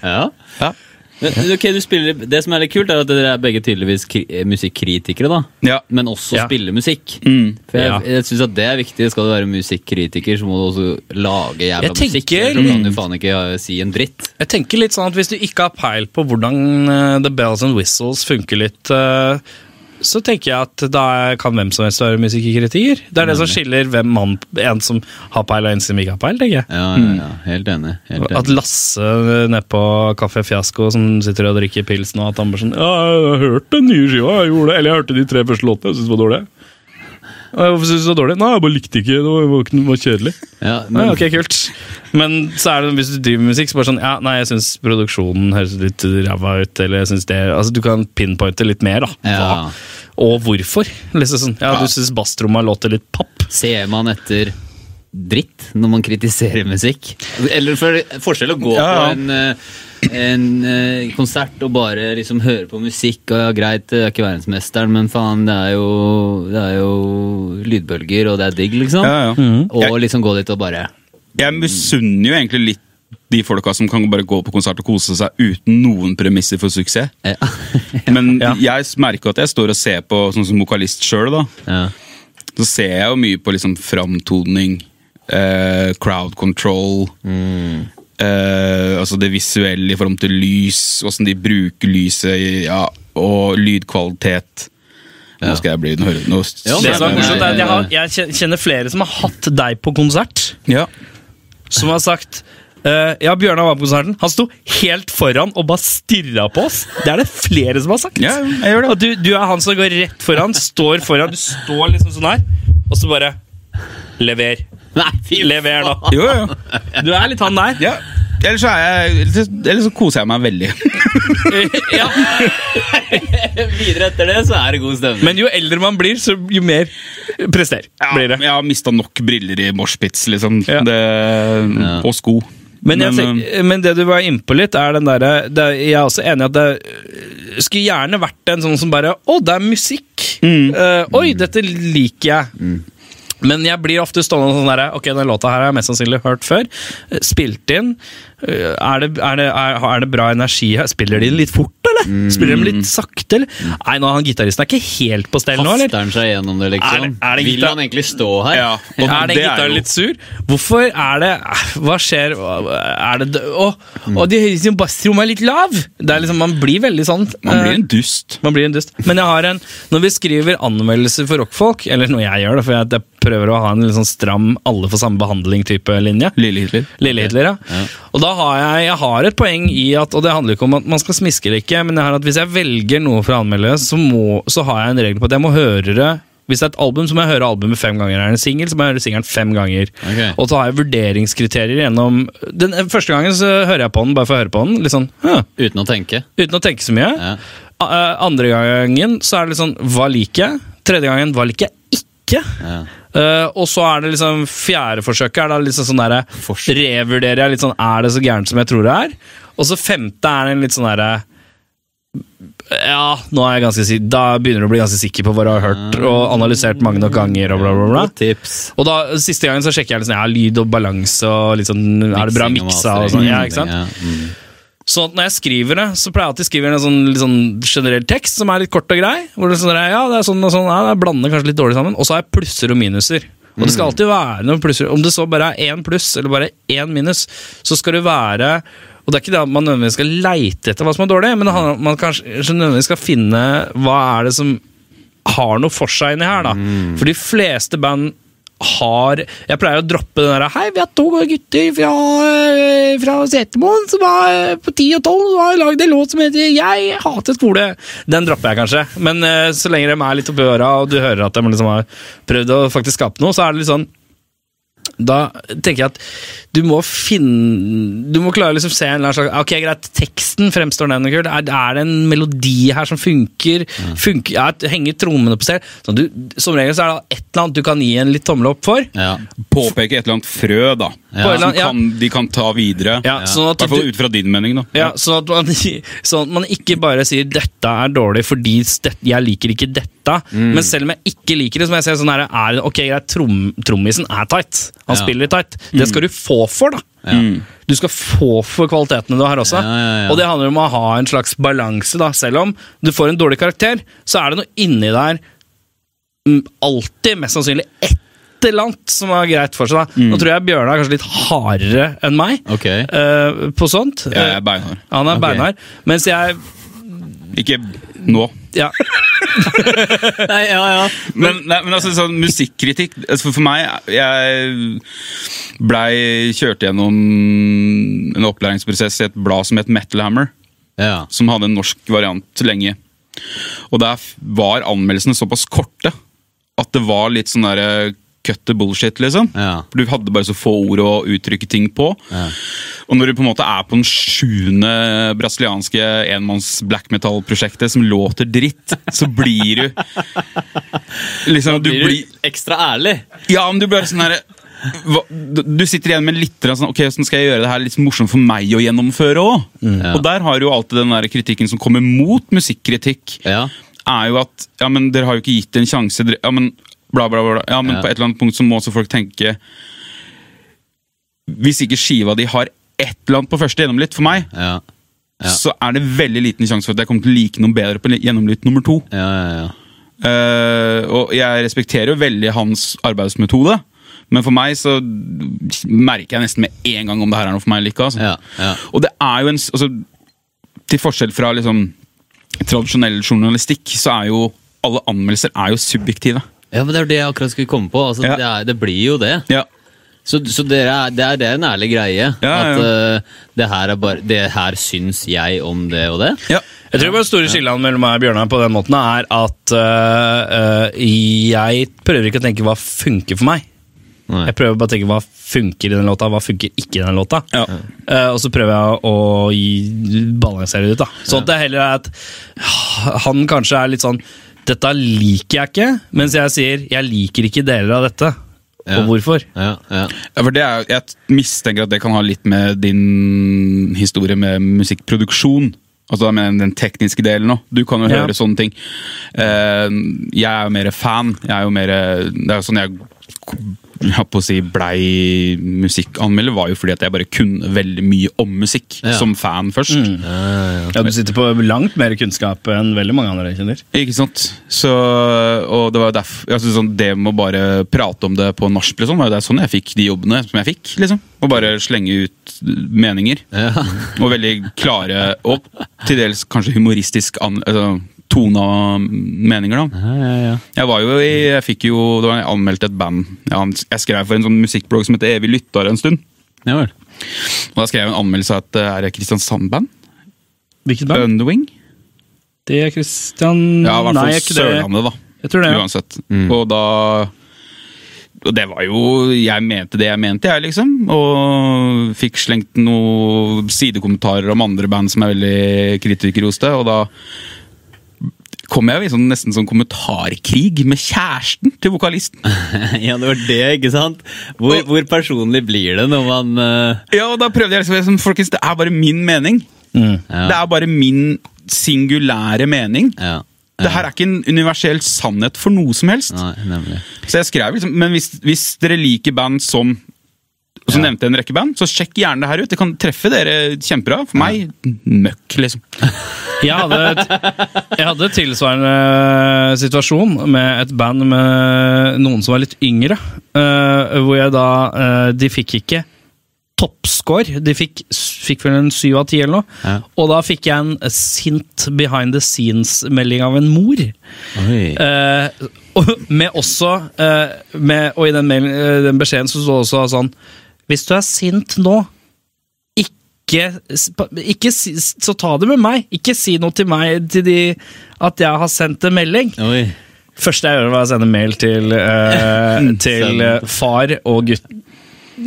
ja. Ja. Men, ok, du spiller, det som er litt kult, er at dere er begge tydeligvis kri eh, musikkritikere, da. Ja. Men også Ja. spiller musikk. Mm. For jeg, Ja. jeg synes at det er viktig. Skal du være musikkritiker, så må du også lage jævla Jeg musikk. tenker- Mm. Ellers kan du faen ikke eh, si en dritt. Jeg tenker litt sånn at Hvis du ikke har peil på hvordan eh, The Bells and Whistles funker litt, eh, så tenker jeg at da er- kan hvem som helst være musikkerkritiker. Det er det som skiller hvem mann, en som har peil og en som ikke har peil. tenker jeg. Ja, ja, ja. Helt enig. Helt Mm. At enig. Lasse nede på Kafé Fiasko som sitter og drikker pils nå, at han bare sånn Ja, jeg hørte den nye skiva, jeg gjorde det. Eller jeg hørte de tre første låtene, jeg syntes det var dårlig. «Ja, Hvorfor syntes du det var dårlig? Nei, jeg bare likte ikke det. var- Det var, ikke- det var kjedelig. Ja, Nei, men, ok, kult. Men så er det, hvis du driver med musikk, så bare sånn ja, Nei, jeg syns produksjonen høres litt ræva ut, eller jeg synes det Altså, du kan pinpointe litt mer, da. Ja. Hva, og hvorfor. Liksom sånn, ja, Ja. du syns basstromma låter litt papp. Ser man etter dritt når man kritiserer musikk? Eller for forskjell å gå Ja, på ja. en, eh, en eh, konsert og bare liksom høre på musikk. Og ja, greit, jeg er ikke verdensmesteren, men faen, det er jo, det er jo lydbølger, og det er digg, liksom. Ja, ja. Og liksom gå dit og bare Jeg misunner jo egentlig litt de folka som kan bare gå på konsert og kose seg uten noen premisser for suksess. eh, *laughs* Men Ja. jeg merker at jeg står og ser på sånn som vokalist sjøl, da. ja. Så ser jeg jo mye på liksom framtoning, eh, crowd control Mm. eh, Altså det visuelle i form til lys, åssen de bruker lyset, i- ja, og lydkvalitet. Nå skal jeg bli nå hører- nå, Ja, Det som er nei, morsomt, er nei, at jeg, har, nei. jeg kjen- kjenner flere som har hatt deg på konsert, Ja. som har sagt eh, ja, Bjørnar var på konserten. Han sto helt foran og bare stirra på oss. Det er det flere som har sagt. ja, jeg gjør det. Og du, du er han som går rett foran, står foran, du står liksom sånn her, og så bare Lever. Nei, fy Lever nå. Jo, jo. Du er litt han der. Ja. Ellers så, er jeg, ellers ellers så koser jeg meg veldig. ja. Videre etter det, så er det god stemning. Men jo eldre man blir, så jo mer prester blir det. Jeg har mista nok briller i moshpits, liksom. Ja. Det, Ja. Og sko. Men, jeg Men, tenker, men det du var inne på litt, er den derre det er- Jeg er også enig i at det øh, skulle gjerne vært en sånn som bare Å, det er musikk! Eh, oi, dette liker jeg! Men jeg blir ofte stående sånn derre Ok, den låta her har jeg mest sannsynlig hørt før. Eh, Spilt inn. Eh, Er det, er, det, er, er det bra energi her? Spiller de den litt fort, eller? Spiller de den litt sakte, eller? Nei, nå, han gitaristen er ikke helt på stell nå, eller? Haster han seg gjennom det, liksom? Er det- er det Vil gitar- han egentlig stå her? eh, Ja, og Er den det er gitaren jo- litt sur? Hvorfor er det Hva skjer? Er det dø- Å, å de høres jo bassrommet er litt lav! Det er liksom, Man blir veldig sånn Man blir eh, en dust. man blir en dust. Men jeg har en Når vi skriver anmeldelser for rockfolk, eller når jeg gjør det, for jeg, jeg prøver å ha en litt sånn stram alle får samme behandling-type linje Lille Hitler. Lille Hitler, ja. Og da har jeg, jeg har et poeng i at Og det handler ikke om at man skal smiske eller ikke, men jeg har at hvis jeg velger noe fra anmeldelse, så, må- så har jeg en regel på at jeg må høre det hvis det er et album, så må jeg høre albumet fem ganger. Er det en singel, så må jeg høre singelen fem ganger. Ok. Og så har jeg vurderingskriterier gjennom Den eh, første gangen så hører jeg på den bare for å høre på den. Litt sånn, «Hm», Uten å tenke. uten å tenke så mye. Ja. A- eh, Andre gangen så er det litt sånn Hva liker jeg? Tredje gangen Hva liker jeg ikke? Ja. Eh, og så er det liksom fjerde forsøket er da liksom sånn derre Forsøk. Revurderer jeg litt sånn Er det så gærent som jeg tror det er? Og så femte er en litt sånn derre Ja, nå er jeg ganske si- da begynner du å bli ganske sikker på hva du har hørt Ah. og analysert mange nok ganger. og bla bla bla Godt tips. og da, Siste gangen så sjekker jeg liksom, ja, lyd og balanse og litt sånn, er det bra Miksing og miksa. og sånn, mastering. ja, ikke sant? Ja, mm. Sånn at når jeg skriver det, så pleier jeg alltid å skrive en sånn, litt sånn generell tekst som er litt kort og grei. Hvor det er sånn, der, ja, det er sånn og sånn, ja, det blander kanskje litt dårlig sammen. Og så har jeg plusser og minuser. Og det skal alltid være noen plusser. Om det så bare er én pluss eller bare én minus, så skal det være og det er ikke det at man nødvendigvis skal leite etter hva som er dårlig, men det handler om at man kanskje så nødvendigvis skal finne hva er det som har noe for seg inni her, da. For de fleste band har Jeg pleier å droppe den derre Hei, vi har to gutter fra, eh, fra Setermoen som var eh, på 10 og 12 og har lagd en låt som heter 'Jeg hater skole'. Den dropper jeg kanskje, men eh, så lenge de er litt oppi øra, og du hører at de liksom har prøvd å faktisk skape noe, så er det litt sånn da tenker jeg at du må finne Du må klare å liksom se en eller annen slags Ok, greit, teksten fremstår den og kul. Er, er det en melodi her som funker? funker ja, henger trommene på sted? Sånn, du, som regel så er det et eller annet du kan gi en litt tommel opp for. Ja. Mm. Påpeke et eller annet frø, da. Ja. Som kan, de kan ta videre. Ja, sånn I at hvert fall du- ut fra din mening, da. Ja, sånn, at man, sånn at man ikke bare sier 'dette er dårlig fordi det- jeg liker ikke dette', Mm. men selv om jeg ikke liker det, så må jeg si sånn her er, det- Ok, greit, trom, trommisen er tight. Ja. Han Mm. spiller tight. Det skal du få for, da. Du skal få for kvalitetene du har også. Ja, ja, ja. Og det handler om å ha en slags balanse, da. Selv om du får en dårlig karakter, så er det noe inni der mm, alltid, mest sannsynlig, et eller annet som er greit for seg. da. Nå tror jeg Bjørnar er kanskje litt hardere enn meg Mm. Ok. eh, på sånt. Jeg Eh, er beinhard. han er Ok. beinhard. Mens jeg Ikke nå. ja, *laughs* Nei, ja, ja. Men, nei, men altså, sånn musikkritikk altså, For for meg, jeg blei kjørt gjennom en opplæringsprosess i et blad som het Metal Hammer. ja. som hadde en norsk variant lenge. Og der f- var anmeldelsene såpass korte at det var litt sånn derre cut the bullshit, liksom. Ja. For du hadde bare så få ord å uttrykke ting på. Og når du på en måte er på den sjuende brasilianske enmanns black metal-prosjektet som låter dritt, så blir du *laughs* liksom, du Blir blir, du ekstra ærlig? ja, men du blir sånn her hva, du- Du sitter igjen med litt grann sånn Ok, hvordan skal jeg gjøre det her litt morsomt for meg å gjennomføre òg? Mm. Ja. Og der har du jo alltid den der kritikken som kommer mot musikkritikk, Ja. er jo at Ja, men dere har jo ikke gitt det en sjanse. Dere, ja, men bla, bla, bla. Ja, men Ja. på et eller annet punkt så må også folk tenke Hvis ikke skiva di har et eller annet på første gjennomlytt for meg, Ja. Ja. så er det veldig liten sjanse for at jeg kommer til å like noe bedre på gjennomlytt nummer to. Ja, ja, ja. Eh, og jeg respekterer jo veldig hans arbeidsmetode, men for meg så merker jeg nesten med en gang om det her er noe for meg eller ikke. Altså. Ja, ja. Og det er jo en s- altså, Til forskjell fra liksom, tradisjonell journalistikk, så er jo alle anmeldelser er jo subjektive. ja, men det er jo det jeg akkurat skulle komme på. Altså, Ja. det, er, det blir jo det. Ja. Så, så dere er, det, er, det er en ærlig greie. ja. At eh, det, her er bare, det her syns jeg om det og det. ja. Jeg tror bare store skillene mellom meg og Bjørnar på den måten er at øh, øh, jeg prøver ikke å tenke hva funker for meg. Nei. Jeg prøver bare å tenke hva funker i den låta, hva funker ikke i den låta. Ja. Eh, og så prøver jeg å gi, balansere det ut. da. Så at det heller er at ah, han kanskje er litt sånn Dette liker jeg ikke, mens jeg sier jeg liker ikke deler av dette. Ja. Og hvorfor? Ja, ja. Ja, for det er, jo- jeg mistenker at det kan ha litt med din historie med musikkproduksjon. Altså da mener jeg den tekniske delen òg. Du kan jo Ja. høre sånne ting. Eh, jeg er jo mer fan. Jeg er jo mer, det er jo sånn jeg jeg holdt på å si blei musikkanmelder, var jo fordi at jeg bare kunne veldig mye om musikk Ja. som fan først. Ja, Du sitter på langt mer kunnskap enn veldig mange andre jeg kjenner. Ikke sant? Så, og det var jo derfor altså sånn, Det med å bare prate om det på nachspiel liksom, var jo det er sånn jeg fikk de jobbene som jeg fikk. liksom. Og bare slenge ut meninger. Ja. Og veldig klare og til dels kanskje humoristisk an, altså, tona meninger. da. Ja, ja, ja. Jeg var jo i, jeg fikk jo, det var jeg anmeldte et band. Jeg an- Jeg skrev for en sånn musikkblogg som heter Evig lytter en stund. Ja vel. Og Da skrev jeg en anmeldelse av et eh, er det Kristiansand-band. Hvilket band? Underwing. Det er Kristian Ja, i hvert Mm, Nei, fall ikke det. Sørlandet, da. Jeg tror det. Ja. Uansett. Mm. Og da Og det var jo Jeg mente det jeg mente, jeg, liksom. Og fikk slengt noen sidekommentarer om andre band som er veldig kritikerroste, og da kom jeg jo i sånn, nesten sånn kommentarkrig med kjæresten til vokalisten. *laughs* ja, det var det, ikke sant? Hvor, hvor personlig blir det når man eh, Ja, og da prøvde jeg liksom, liksom Folkens, det er bare min mening. Mm. ja. Det er bare min singulære mening. ja. Det her er ikke en universell sannhet for noe som helst. Nei, nemlig. Så jeg skrev liksom, Men hvis, hvis dere liker band som som nevnte en rekke band, så sjekk gjerne det her ut. Det kan treffe dere kjempebra. For meg møkk, liksom. Jeg, hadde, jeg hadde tilsvarende eh, situasjon med et band med noen som var litt yngre, eh, hvor jeg da eh, De fikk ikke toppscore. De fikk, fikk vel en syv av ti eller noe. Ja. Og da fikk jeg en sint behind the scenes-melding av en mor. Oi. Eh, og, med også eh, med, Og i den, mailen, eh, den beskjeden så står det også sånn Hvis du er sint nå, ikke, s- pa- ikke si, s- Så ta det med meg. Ikke si noe til meg til de, at jeg har sendt en melding. Oi. Første jeg gjør, var å sende mail til, eh, *laughs* til eh, far og gutt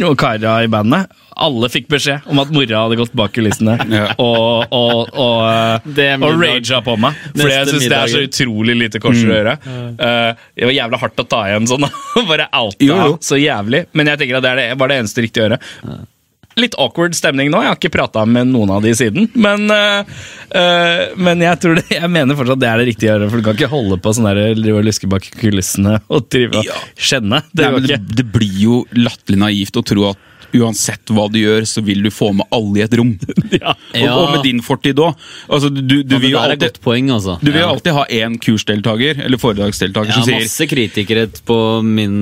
og kara i bandet. Alle fikk beskjed om at mora hadde gått bak kulissene *laughs* Ja. og, og, og, eh, Det er og middag. raga på meg. Fordi jeg Neste syns det er så middag. utrolig lite korsord å gjøre. Eh, det var jævla hardt å ta igjen sånn. *laughs* Bare outa Mm. Jo, jo. så jævlig. Men jeg tenker at det er det, var det eneste riktige å gjøre. Litt awkward stemning nå. Jeg har ikke prata med noen av de siden. Men, øh, øh, men jeg tror det, jeg mener fortsatt det er det riktige å gjøre. For du kan ikke holde på sånn der, drive og luske bak kulissene og drive og Ja. skjenne. Det Nei, men går det, ikke. det blir jo latterlig naivt å tro at uansett hva du gjør, så vil du få med alle i et *laughs* rom. Ja. Og, og med din fortid òg. Altså, du, du, Ja, det vil der jo er et alltid, godt poeng, altså. du vil jo Ja. alltid ha én kursdeltaker eller foredragsdeltaker Jeg som har sier masse kritikere på min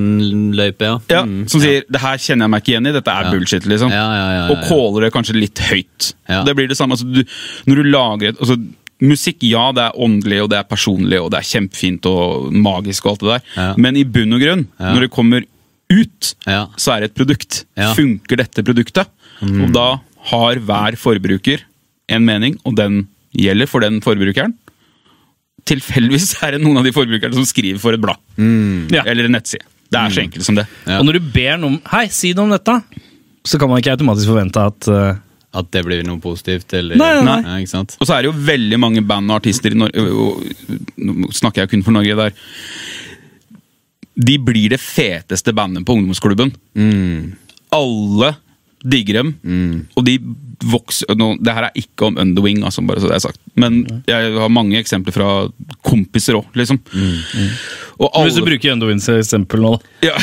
løype, ja. ja, Mm. som sier 'det her kjenner jeg meg ikke igjen i, dette er Ja. bullshit'. liksom. Ja, ja, ja, ja, Og ja. caller det kanskje litt høyt. Ja. Det blir det samme. Altså, du, når du lager et, altså, Musikk, ja, det er åndelig og det er personlig og det er kjempefint og magisk, og alt det der. Ja. men i bunn og grunn, Ja. når det kommer ut, Ja. så er det et produkt. Ja. Mm. Funker dette produktet? Og da har hver forbruker en mening, og den gjelder for den forbrukeren. Tilfeldigvis er det noen av de forbrukerne som skriver for et blad Mm. Ja. eller en nettside. Det er så enkelt som det. Ja. Og når du ber noen Hei, si noe om dette! Så kan man ikke automatisk forvente at øh, At det blir noe positivt, eller Nei, nei, nei. Ja, ikke sant? Og så er det jo veldig mange band og artister i Norge Nå snakker jeg kun for Norge der. De blir det feteste bandet på ungdomsklubben. Mm. Alle digger dem, Mm. og de vokser nå, Det her er ikke om Underwing, altså, bare så det er sagt. men jeg har mange eksempler fra kompiser òg, liksom. Og alle, Mm. Hvis du bruker Underwinds eksempel nå, da. *laughs* ja,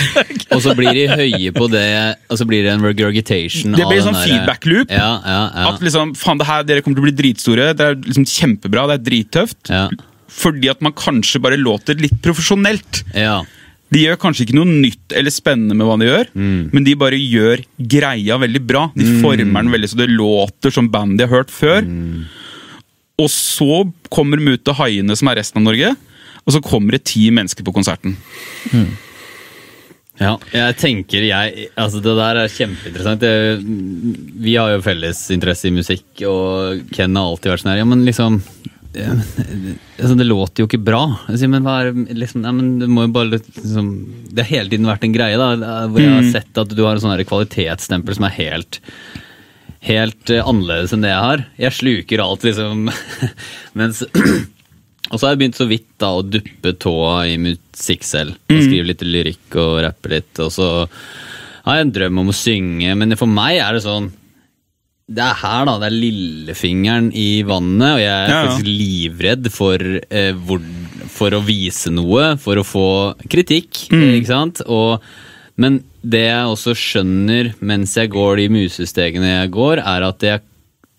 Og så blir de høye på det, og så blir det en regurgitation. Det blir av den sånn derre- feedback loop. Ja, ja, ja. At liksom, faen, det her, dere kommer til å bli dritstore, det er liksom kjempebra, det er drittøft. Ja. Fordi at man kanskje bare låter litt profesjonelt. ja. De gjør kanskje ikke noe nytt eller spennende med hva de gjør, men de bare gjør greia veldig bra. De former den veldig så det låter som band de har hørt før. Og så kommer de ut til haiene som er resten av Norge, og så kommer det ti mennesker på konserten. Ja, jeg tenker jeg Altså, det der er kjempeinteressant. Det, vi har jo felles interesse i musikk, og Ken har alltid vært sånn her Ja, men liksom det, altså, det låter jo ikke bra. Jeg sier, men hva er liksom, nei, men det må jo bare liksom Det har hele tiden vært en greie, da, hvor jeg har sett at du har en sånn her kvalitetsstempel som er helt Helt eh, annerledes enn det jeg har. Jeg sluker alt, liksom. *laughs* Mens Og så har jeg begynt så vidt da å duppe tåa i musikk selv. Og skrive litt lyrikk og rappe litt. Og så har jeg en drøm om å synge, men for meg er det sånn det er her, da. Det er lillefingeren i vannet, og jeg er Ja, ja. faktisk livredd for, eh, hvor, for å vise noe, for å få kritikk, eh, ikke sant? Og, men det jeg også skjønner mens jeg går de musestegene jeg går, er at jeg,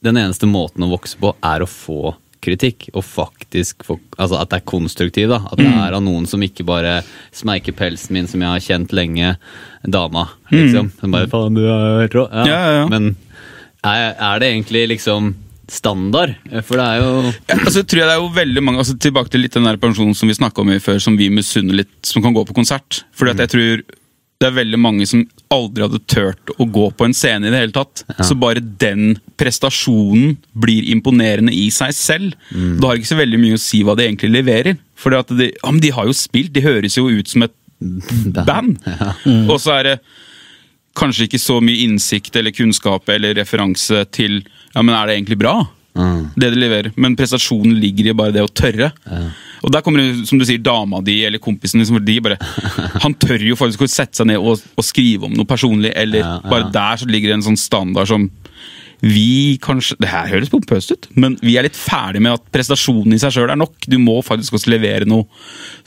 den eneste måten å vokse på er å få kritikk, og faktisk få, altså at det er konstruktiv, da. At det er av noen som ikke bare smerker pelsen min, som jeg har kjent lenge, dama, liksom. Som bare, faen, du er jo helt rå. Ja, ja, ja. Men er, er det egentlig liksom standard? For det er jo Ja, altså, tror jeg det er jo veldig mange, altså, Tilbake til litt den der pensjonen som vi snakka om i før, som vi misunner litt, som kan gå på konsert. Fordi at jeg tror det er veldig mange som aldri hadde turt å gå på en scene i det hele tatt. Så bare den prestasjonen blir imponerende i seg selv. Da har det ikke så veldig mye å si hva de egentlig leverer. Fordi at de, ja, men de har jo spilt, de høres jo ut som et band. Og så er det kanskje ikke så mye innsikt eller kunnskap eller referanse til ja, men er det egentlig bra, Mm. det de leverer. Men prestasjonen ligger i bare det å tørre. Og der kommer det, som du sier, dama di eller kompisen din. som De *laughs* bare, han tør jo faktisk å sette seg ned og, og skrive om noe personlig, eller Ja, ja. bare der så ligger det en sånn standard som vi kanskje, Det her høres pompøst ut, men vi er litt ferdig med at prestasjonen i seg sjøl er nok. Du må faktisk også levere noe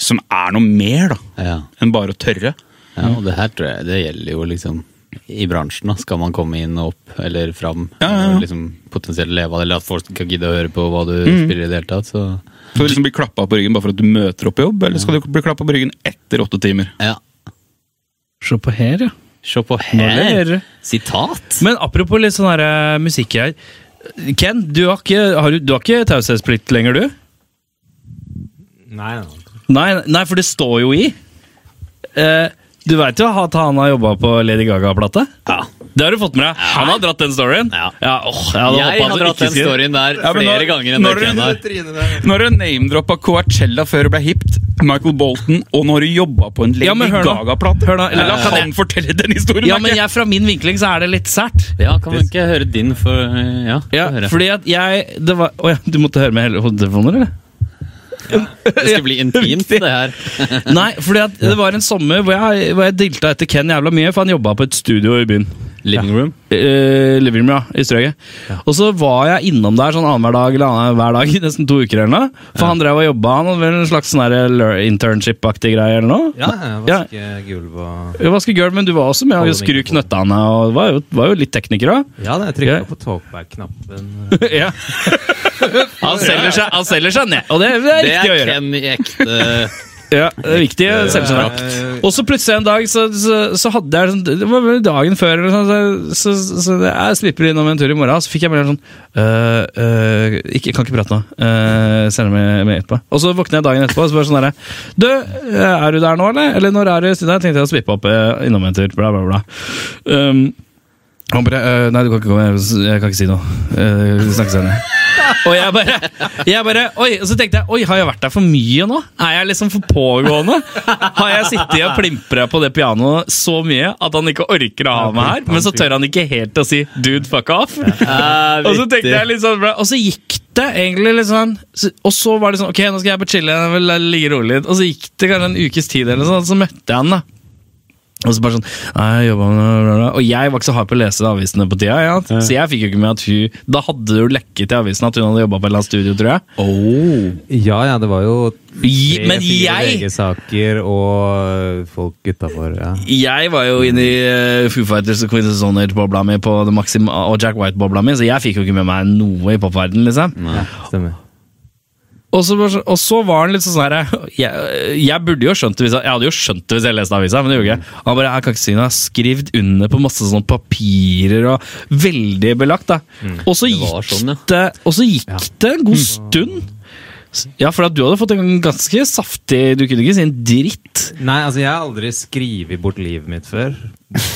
som er noe mer da, Ja, enn bare å tørre. ja og det her tror jeg Det gjelder jo liksom i bransjen. da Skal man komme inn og opp eller fram ja, ja. og liksom potensielt leve av det, eller at folk kan gidde å høre på hva du Mm. spiller i det hele tatt, så Skal du liksom bli klappa på ryggen bare for at du møter opp på jobb, eller skal du bli klappa på ryggen etter åtte timer? ja. Se på her, ja. Se på Nå her! ler. Sitat! Men apropos litt sånn her eh, musikkgreier. Ken, du har ikke, har du- du har ikke taushetsplikt lenger, du? Nei, nei, nei. Nei, nei, for det står jo i. Eh, du veit jo at han har jobba på Lady Gaga-plate? Ja. Det har du fått med deg. Han har dratt den storyen. Ja. åh, jeg hadde Jeg håpet har at du dratt ikke den skulle- storyen der Ja, men flere når- ganger enn når det du- Ken har. Når du name-droppa Coachella før det ble hipt, Michael Bolton, og når du jobba på en Lady Ja, men hør nå. Gaga-plate Hør nå, eller- La kan han fortelle den historien! Ja, da, men ikke? jeg, fra min vinkling så er det litt sært. Ja, kan man ikke høre din for Ja, få Ja, høre. fordi at jeg det var, Å ja, du måtte høre med hele hodetelefoner, eller? Det skal bli *laughs* intimt, det her. *laughs* Nei, fordi at det var en sommer hvor jeg, hvor jeg dilta etter Ken jævla mye, for han jobba på et studio i byen. Living room. Eh, living room, ja, i Strøget. Og så var jeg innom der sånn annenhver dag eller annen hver dag i nesten to uker. eller noe For han drev og jobba, han hadde vel en slags sånn her lur- internship-aktig greie eller noe. Ja, jeg Ja. vasker gulv og Jeg vasker gulv, men du var også med å Holde skru mikrofonen. knøttene og var jo, var jo litt tekniker *laughs* òg. Ja, da, jeg Ja. trykka på talkback-knappen. *laughs* ja. Han selger seg, han selger seg ned, og det, det er Det riktig å er gjøre. Ken i ekte Ja, det er viktig å selge seg ned. Og så plutselig en dag, så, så, så hadde jeg sånn Det var vel dagen før, eller sånn, så, så, så jeg slipper innom en tur i morgen. Så fikk jeg melding sånn øh, øh, ikke, Kan ikke prate nå. Øh, Sender meg med etterpå. Og så våkner jeg dagen etterpå og så bare sånn derre Du, øh, er du der nå, eller? Eller når er du i studio? Jeg tenkte jeg å svippe opp øh, innom en tur, bla, bla, bla. Um, han bare øh, Nei, du kan ikke komme. Jeg jeg kan ikke si noe. Eh, Vi snakkes senere. *laughs* Og jeg bare, jeg bare oi, og så tenkte jeg Oi, har jeg vært der for mye nå? Er jeg liksom for pågående? Har jeg sittet og plimpra på det pianoet så mye at han ikke orker å ha meg her? Men så tør han ikke helt å si 'dude, fuck off'. *laughs* Og så tenkte jeg litt sånn bra, Og så gikk det egentlig litt sånn så- Og så var det sånn Ok, nå skal jeg på chille, jeg vil ligge rolig litt. Og så gikk det kanskje en ukes tid, eller sånn, og så møtte jeg han, da. Og så bare sånn Nei, jeg jobbet med det, bla, bla. Og jeg var ikke så hard på å lese avisene på tida. Ja. Så jeg fikk jo ikke med at hun Da hadde det jo lekket i avisen at hun hadde jobba på et eller annet studio, tror jeg. Ja, ja, det var jo Gi- tre, men fire jeg- VG-saker og folk utafor. Ja. Jeg var jo inne i eh, Foo Fighters og Queens of Stone Age-bobla mi på det maxim og Jack White-bobla mi, så jeg fikk jo ikke med meg noe i popverdenen, liksom. ja, stemmer. Og så, bare så- og så var han litt sånn her jeg, jeg burde jo skjønt det hvis jeg, jeg hadde jo skjønt det hvis jeg leste avisa, men det gjorde jeg ikke. Han bare jeg kan ikke si noe. Jeg har skrevet under på masse sånne papirer og Veldig belagt, da. Og så det var gikk, sånn, ja. det, og så gikk det en god stund. S- Ja, for at du hadde fått en ganske saftig Du kunne ikke si en dritt. Nei, altså, jeg har aldri skrevet bort livet mitt før.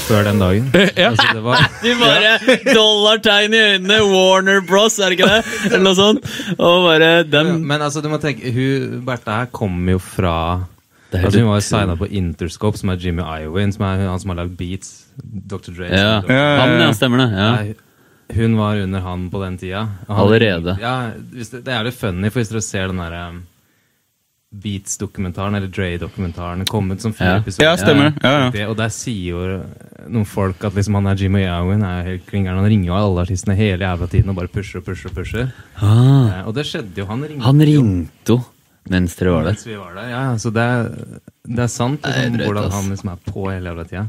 Før den dagen. *laughs* Ja. Altså, det var De bare *laughs* dollartegn i øynene, Warner Bros, er det ikke det? Eller noe sånt. Og bare dem Men altså, du må tenke Hun Bertha her kommer jo fra er altså, Hun litt- var jo signa på Interscope, som er Jimmy Iowin, som er han som har lagd beats. Dr. Dre. Ja. Dr. Han, ja, stemmer det. Ja. Nei, hun var under han på den tida. Og Han, Allerede. Ja, hvis det, det er jævlig funny, for hvis dere ser den derre um, Beats-dokumentaren, eller Dre-dokumentaren, kommet som fire Ja. episoder. Ja, stemmer det. Ja, ja. Det, og der sier jo noen folk at liksom han er Jimmy Owen, er jo helt klingeren. Han ringer jo alle artistene hele jævla tiden og bare pusher og pusher og pusher. Ah, Eh, Og det skjedde jo. Han ringte han jo ringte jo mens dere var der. mens vi var der. Ja, ja, så det er, det er sant liksom, Nei, drøyt, hvordan ass. han liksom er på hele jævla tida.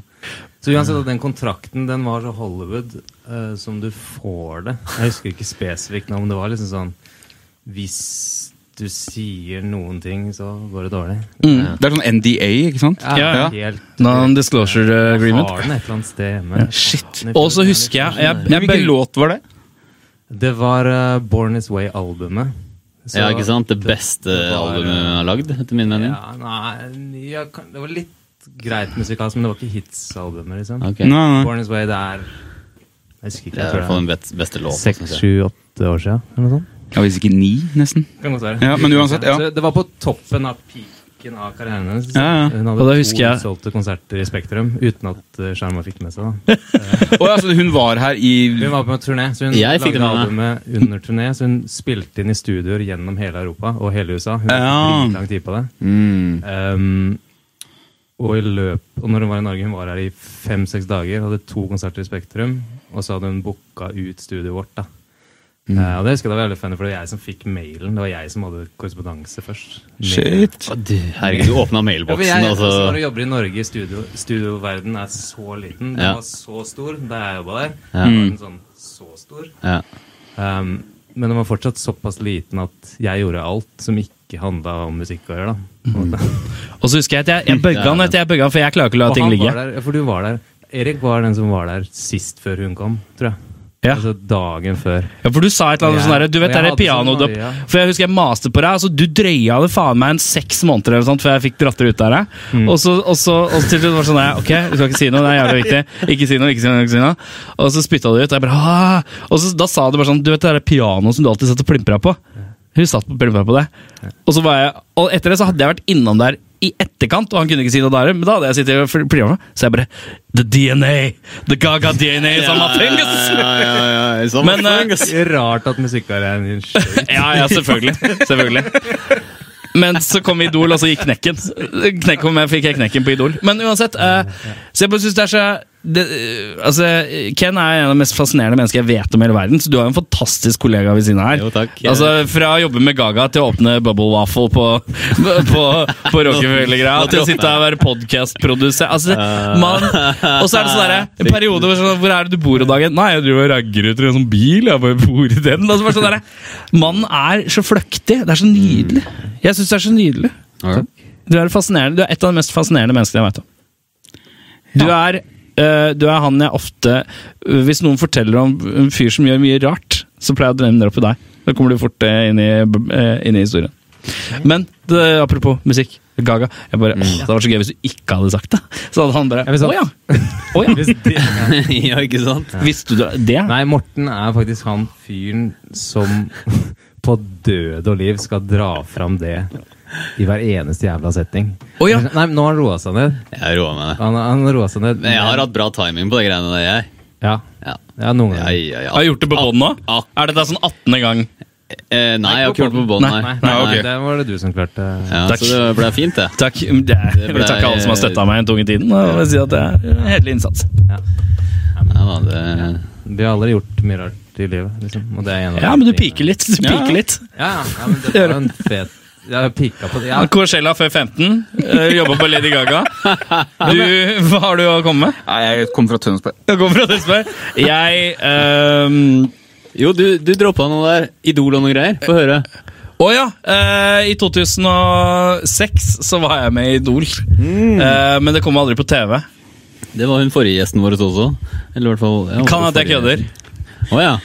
Så uansett at den kontrakten den var så Hollywood eh, som du får det. Jeg husker ikke spesifikt nå, men det var liksom sånn Hvis du sier noen ting, så går det dårlig. Det er sånn NDA, ikke sant? Ja. Helt Non-disclosure agreement. Har den et eller annet sted hjemme. Shit. Og så husker jeg, jeg, jeg, Men Hvilken bøy- låt var det? Det var eh, Born This Way-albumet. Så- Ja, ikke sant? Det beste det var- albumet jeg har lagd, etter min mening. Ja, nei, ja, kan- det var litt greit musikalsk, men det var ikke hits-albumet, liksom. Ok. Nei, Mm. nei. Born His Way, det er Jeg husker Det ikke. er i hvert fall den bet- beste låten. Seks, synes jeg. sju, åtte år siden. Eller noe sånt. Ja, Hvis ikke ni, nesten. Kan godt være. Ja, Men uansett, ja. Så det var på toppen av peaken av karrieren hennes. Ja, ja. Hun Og hadde da to husker jeg- utsolgte konserter i Spektrum uten at eh, Sjarma fikk det med seg. da. Å, ja, så hun var her i Hun var på turné, så hun Jeg fikk det lagde med meg. albumet under turné. Så hun spilte inn i studioer gjennom hele Europa og hele USA. Hun Ja. brukte lang tid på det. Mm. Ehm, og i løp Og når hun var i Norge, hun var her i fem-seks dager, hadde to konserter i Spektrum, og så hadde hun booka ut studioet vårt, da. Mm. Eh, og det husker jeg det var veldig funny, for det var jeg som fikk mailen. Det var jeg som hadde korrespondanse først. Shit. Å, du, herregud, du åpna Ja, for jeg, mailboksen, og altså, når du så jobber i Norge, studio, studioverden er så liten. Den Ja. var så stor da jeg jobba der. Ja. Den var den sånn så stor. ja. Ehm, men den var fortsatt såpass liten at jeg gjorde alt som ikke handla om musikk å gjøre, da. *laughs* Og så husker jeg Mm. at jeg, jeg bøgga han, vet du, jeg bøgga han, for jeg klarer ikke å la Og ting han ligge. Var der, ja, for du var der. Erik var den som var der sist før hun kom, tror jeg. Ja. Altså dagen før. Ja, for du sa et eller annet Ja, sånn derre Du vet og jeg det er hadde sånn pianodøpp. noia. For jeg husker jeg maste på deg. Altså, du drøya det faen meg en seks måneder eller noe sånt før jeg fikk dratt det ut der. Mm. Og så, og så, og så til slutt var det sånn der, Ok, du skal ikke si noe, det er jævlig viktig. Ikke si noe, ikke si noe. ikke si noe. Og så spytta du ut. og Jeg bare, ah. Og så, da sa du bare sånn Du vet det der pianoet som du alltid satt og plimpra på? Hun satt og plimpra på det. Og så var jeg, og etter det så hadde jeg vært innom der i etterkant, og han kunne ikke si noe der, men da hadde jeg sittet og plia meg. Så jeg bare The DNA! The Gaga DNA! is on my fingers! Men, eh, Rart at musikkarrieren din skjøt. Ja, ja, selvfølgelig. selvfølgelig. Men så kom Idol, og så gikk knekken. Knekk om jeg fikk jeg knekken på Idol. Men uansett, eh, så jeg bare synes det er så det, eh, altså, Ken er en av de mest fascinerende menneskene jeg vet om i hele verden. Så du har jo en fantastisk kollega ved siden av her. *laughs* Jo, takk. *laughs* Altså, Fra å jobbe med Gaga til å åpne Bubble Waffle på, *laughs* på, på Rockefeller-greia, til å sitte her og være podkastprodusent altså, man- Og så er det sånn derre en periode hvor, sånn, hvor er det du bor om dagen? Nei, jeg driver og ragger ut i en sånn bil. Jeg bare bor i den. Altså, bare sånn derre, Mannen er så fløktig. Det er så nydelig. Jeg syns det er så nydelig. Du er, fascinerende. du er et av de mest fascinerende menneskene jeg vet om. Du er, eh, du er han jeg ofte Hvis noen forteller om en fyr som gjør mye rart, så pleier jeg å drømme det opp i deg. Da kommer du fort eh, inn i, eh, inn i historien. Men det, apropos musikk. Gaga. Jeg bare, åh, Det hadde vært så gøy hvis du ikke hadde sagt det. Så hadde han bare Ja, men sant. Å Mm. ja! Å ja. Hvis det- *laughs* ja, ikke sant? Visste du det? Nei, Morten er faktisk han fyren som *laughs* på død og liv skal dra fram det i hver eneste jævla setning. Å ja. Nei, men Nå har han roa seg ned. Jeg roer meg. Han, han roa seg ned. Men jeg har hatt bra timing på de greiene der, jeg. Ja, Ja. ja noen Ja, ganger. ja, ja. Har jeg gjort det på bånd nå? Ah, Er dette sånn 18. gang? eh, nei, jeg har ikke gjort det på bånd, Nei, nei. Nei, Nei, ok. det var det du som klarte. Ja, Takk. så det ble fint, det. Takk. Det er, jeg vil ble- takke alle som har støtta meg i den tunge tiden. Og jeg vil si at det er en hederlig innsats. Ja, da, det Vi har alle gjort mye rart i livet, liksom. Og det er en av Ja, men du piker litt. Du Ja. piker litt. Ja, ja, men det var en fet Jeg har pika på det. Ja, Ja, Coachella før 15. øh, Jobba på Lady *laughs* Gaga. Du, hva har du å komme med? Nei, jeg kommer fra Tønsberg. Jeg kommer fra Tønsberg. Jeg ehm, øhm, Jo, du, du droppa noe der. Idol og noe greier. Få høre. Å ja! øh, I 2006 så var jeg med i Idol. Mm. Øh, men det kom aldri på TV. Det var hun forrige gjesten vår også. Eller i hvert fall ja, Kan at jeg kødder. Å ja.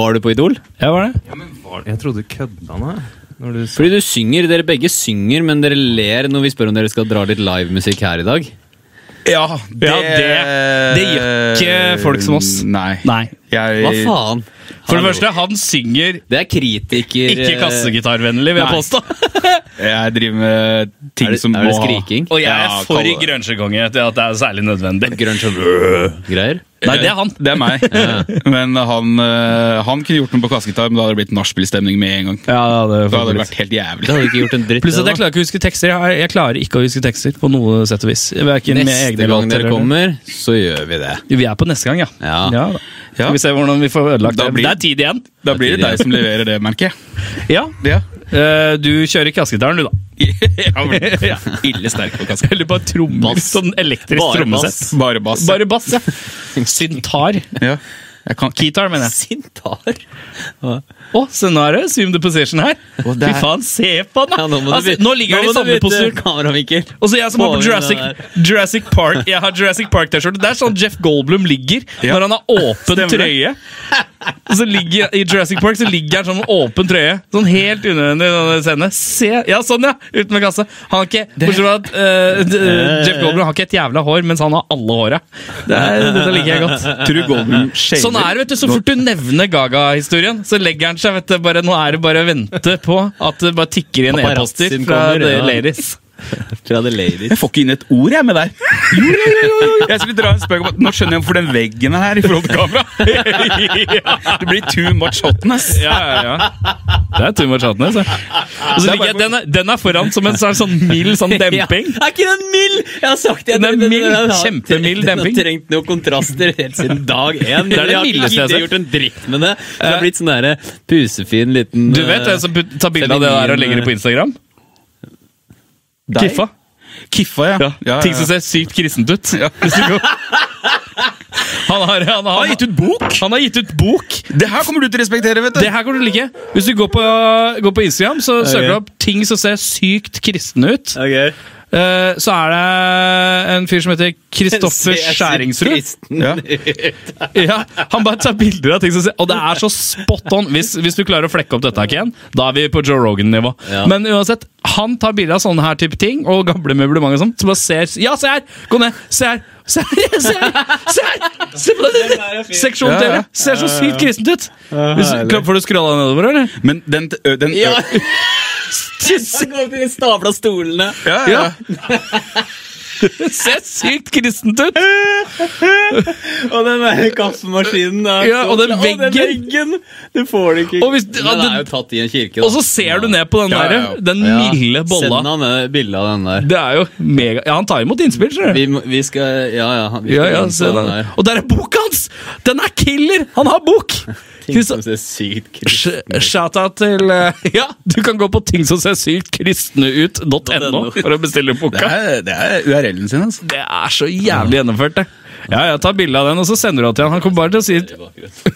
Var du på Idol? Ja, var det? jeg trodde du kødda nå. jeg, Når du sa Fordi du synger, dere begge synger, men dere ler når vi spør om dere skal dra litt livemusikk her i dag. Ja, det Ja, det- det gjør ikke folk som oss. Nei. Nei. Jeg, Hva faen? For det Hallo. første, han synger Det er Eh, kritiker... eh, ikke kassegitarvennlig, vil jeg Nei. påstå. *laughs* jeg driver med ting Er det, som er det må ha- skriking? Og jeg Ja, er kall for det det. grønsjekonge til at det er særlig nødvendig. Grønn sånn greier? Nei, det er han. Det er meg. Men han, eh, han kunne gjort noe på kassegitar, men da hadde det blitt nachspielstemning med en gang. Ja, det Da hadde det vært helt Det jævlig. hadde ikke gjort en dritt. Pluss at det, jeg klarer ikke å huske tekster. Jeg, jeg klarer ikke å huske tekster på noe sett og vis. da. Hverken med egne Neste gang låter dere eller- kommer, så gjør vi det. Vi er på neste gang, ja. Ja. da. Skal vi se hvordan vi får ødelagt Da det. blir- Det er tid igjen. Da blir det deg som leverer det, merker jeg. Ja. Ja. Eh, du kjører *laughs* kassegitaren, du, da. *laughs* *laughs* Ja, men- Ille sterk på kassegitar. Eller bare trommer. Sånn elektrisk Bare trommesett. Bare bass. Bare bass, ja. Syntar. Ja. Jeg kan Keytar, mener jeg. Sintar. Å, se nå er det assume the position her. Å, det er- Fy faen, se på den! da. Ja, nå, må du altså, bytte- nå ligger den i må du samme bytte postur. Kameravinkel. Og så jeg som har Få på over Jurassic, den der. Jurassic Park Jeg har Jurassic Park-T-skjorte. Det er sånn Jeff Goldblum ligger Ja. når han har åpen trøye. Og så ligger I Jurassic Park så ligger han sånn med åpen trøye. Sånn helt unødvendig i denne scenen. Se! Ja, sånn, ja! Ut med kassa. Han har ikke Bortsett fra at eh, d- eh, Jeff Goldblum har ikke et jævla hår, mens han har alle håra. Det er- Dette liker jeg godt. True Golden shaver. Sånn er det, vet du. Så fort du nevner Gaga-historien, så legger han seg. vet du, bare, Nå er det bare å vente på at det bare tikker inn e-poster Paparazzoen fra kommer, The ja. Ladies. Fra The Ladies. Jeg får ikke inn et ord jeg med deg. Jo, jo, jo, jo, jo. Jeg skulle dra en spøk om at Nå skjønner jeg hvorfor den veggen er her i forhold til *laughs* kamera. Det blir too much hotness. Ja, ja, ja. Det er too much hotness. ja. Og så ligger jeg, den, er, den er foran *laughs* som en sånn, sånn mild sånn demping. Ja. Er ikke den mild?! Jeg har sagt det. Den er mild, har kjempemild trengt- demping. Den har trengt noen kontraster helt siden dag én. men *laughs* Det er det jeg har ikke mildeste jeg har giddet sett. gjort en dritt med det. Det har blitt sånn derre pusefin liten Du vet eh, hvem som put- tar bilde av det der og legger det på Instagram? Deg? Kiffa. Kiffa, ja. Ja. Ting som ser sykt kristent ut. Hvis du går- *laughs* Han har, han, har, Han har gitt ut bok! han har gitt ut bok. Det her kommer du til å respektere, vet du. Det her kommer du til å like. Hvis du går på, går på Instagram, så søker du opp ting som ser sykt kristne ut. Ok. Eh, så er det en fyr som *laughs* heter Kristoffer Skjæringsrud. Ja. Ja, han bare tar bilder av ting som ser Og det er så spot on! Hvis, hvis du klarer å flekke opp dette, Ken, da er vi på Joe Rogan-nivå. Ja. Men uansett, han tar bilder av sånne her type ting og gamle møblement og sånn, som bare ser Ja, se her! Gå ned! Se her! Se her! *laughs* Se her! Se, her! se på det! Ja, ja. Seksjon-TV! Ser så sykt kristent ut! Hvis, får du skrolla nedover, *laughs* eller? Men den, ø, den ø- De stabla stolene. ja, ja. Ja. Ser sykt kristent ut! Og den der kaffemaskinen. er Ja, så og den klar. veggen. veggen. Du får det ikke. Og, hvis, ja, den er jo det, tatt i en kirke. da. og så ser du ned på den Ja, ja, ja. der, den Ja. milde bolla. Send han det bildet av den der. Det er jo mega Ja, han tar imot innspill, skjønner du. Vi, må- vi skal Ja, ja. han- Vi Ja, skal ja, inn på se den der. Og der er boka hans! Den er killer! Han har bok! Ting som ser sykt krist Shout-out til eh, *laughs* Ja, du kan gå på ting som ser sykt kristne ut.no for å bestille Det boka. er, det er URL-en sin, altså. Det er så jævlig gjennomført, det. Ja, ja, Ta bilde av den, og så sender du den til han. Han kommer bare til å si i bakgrunnen.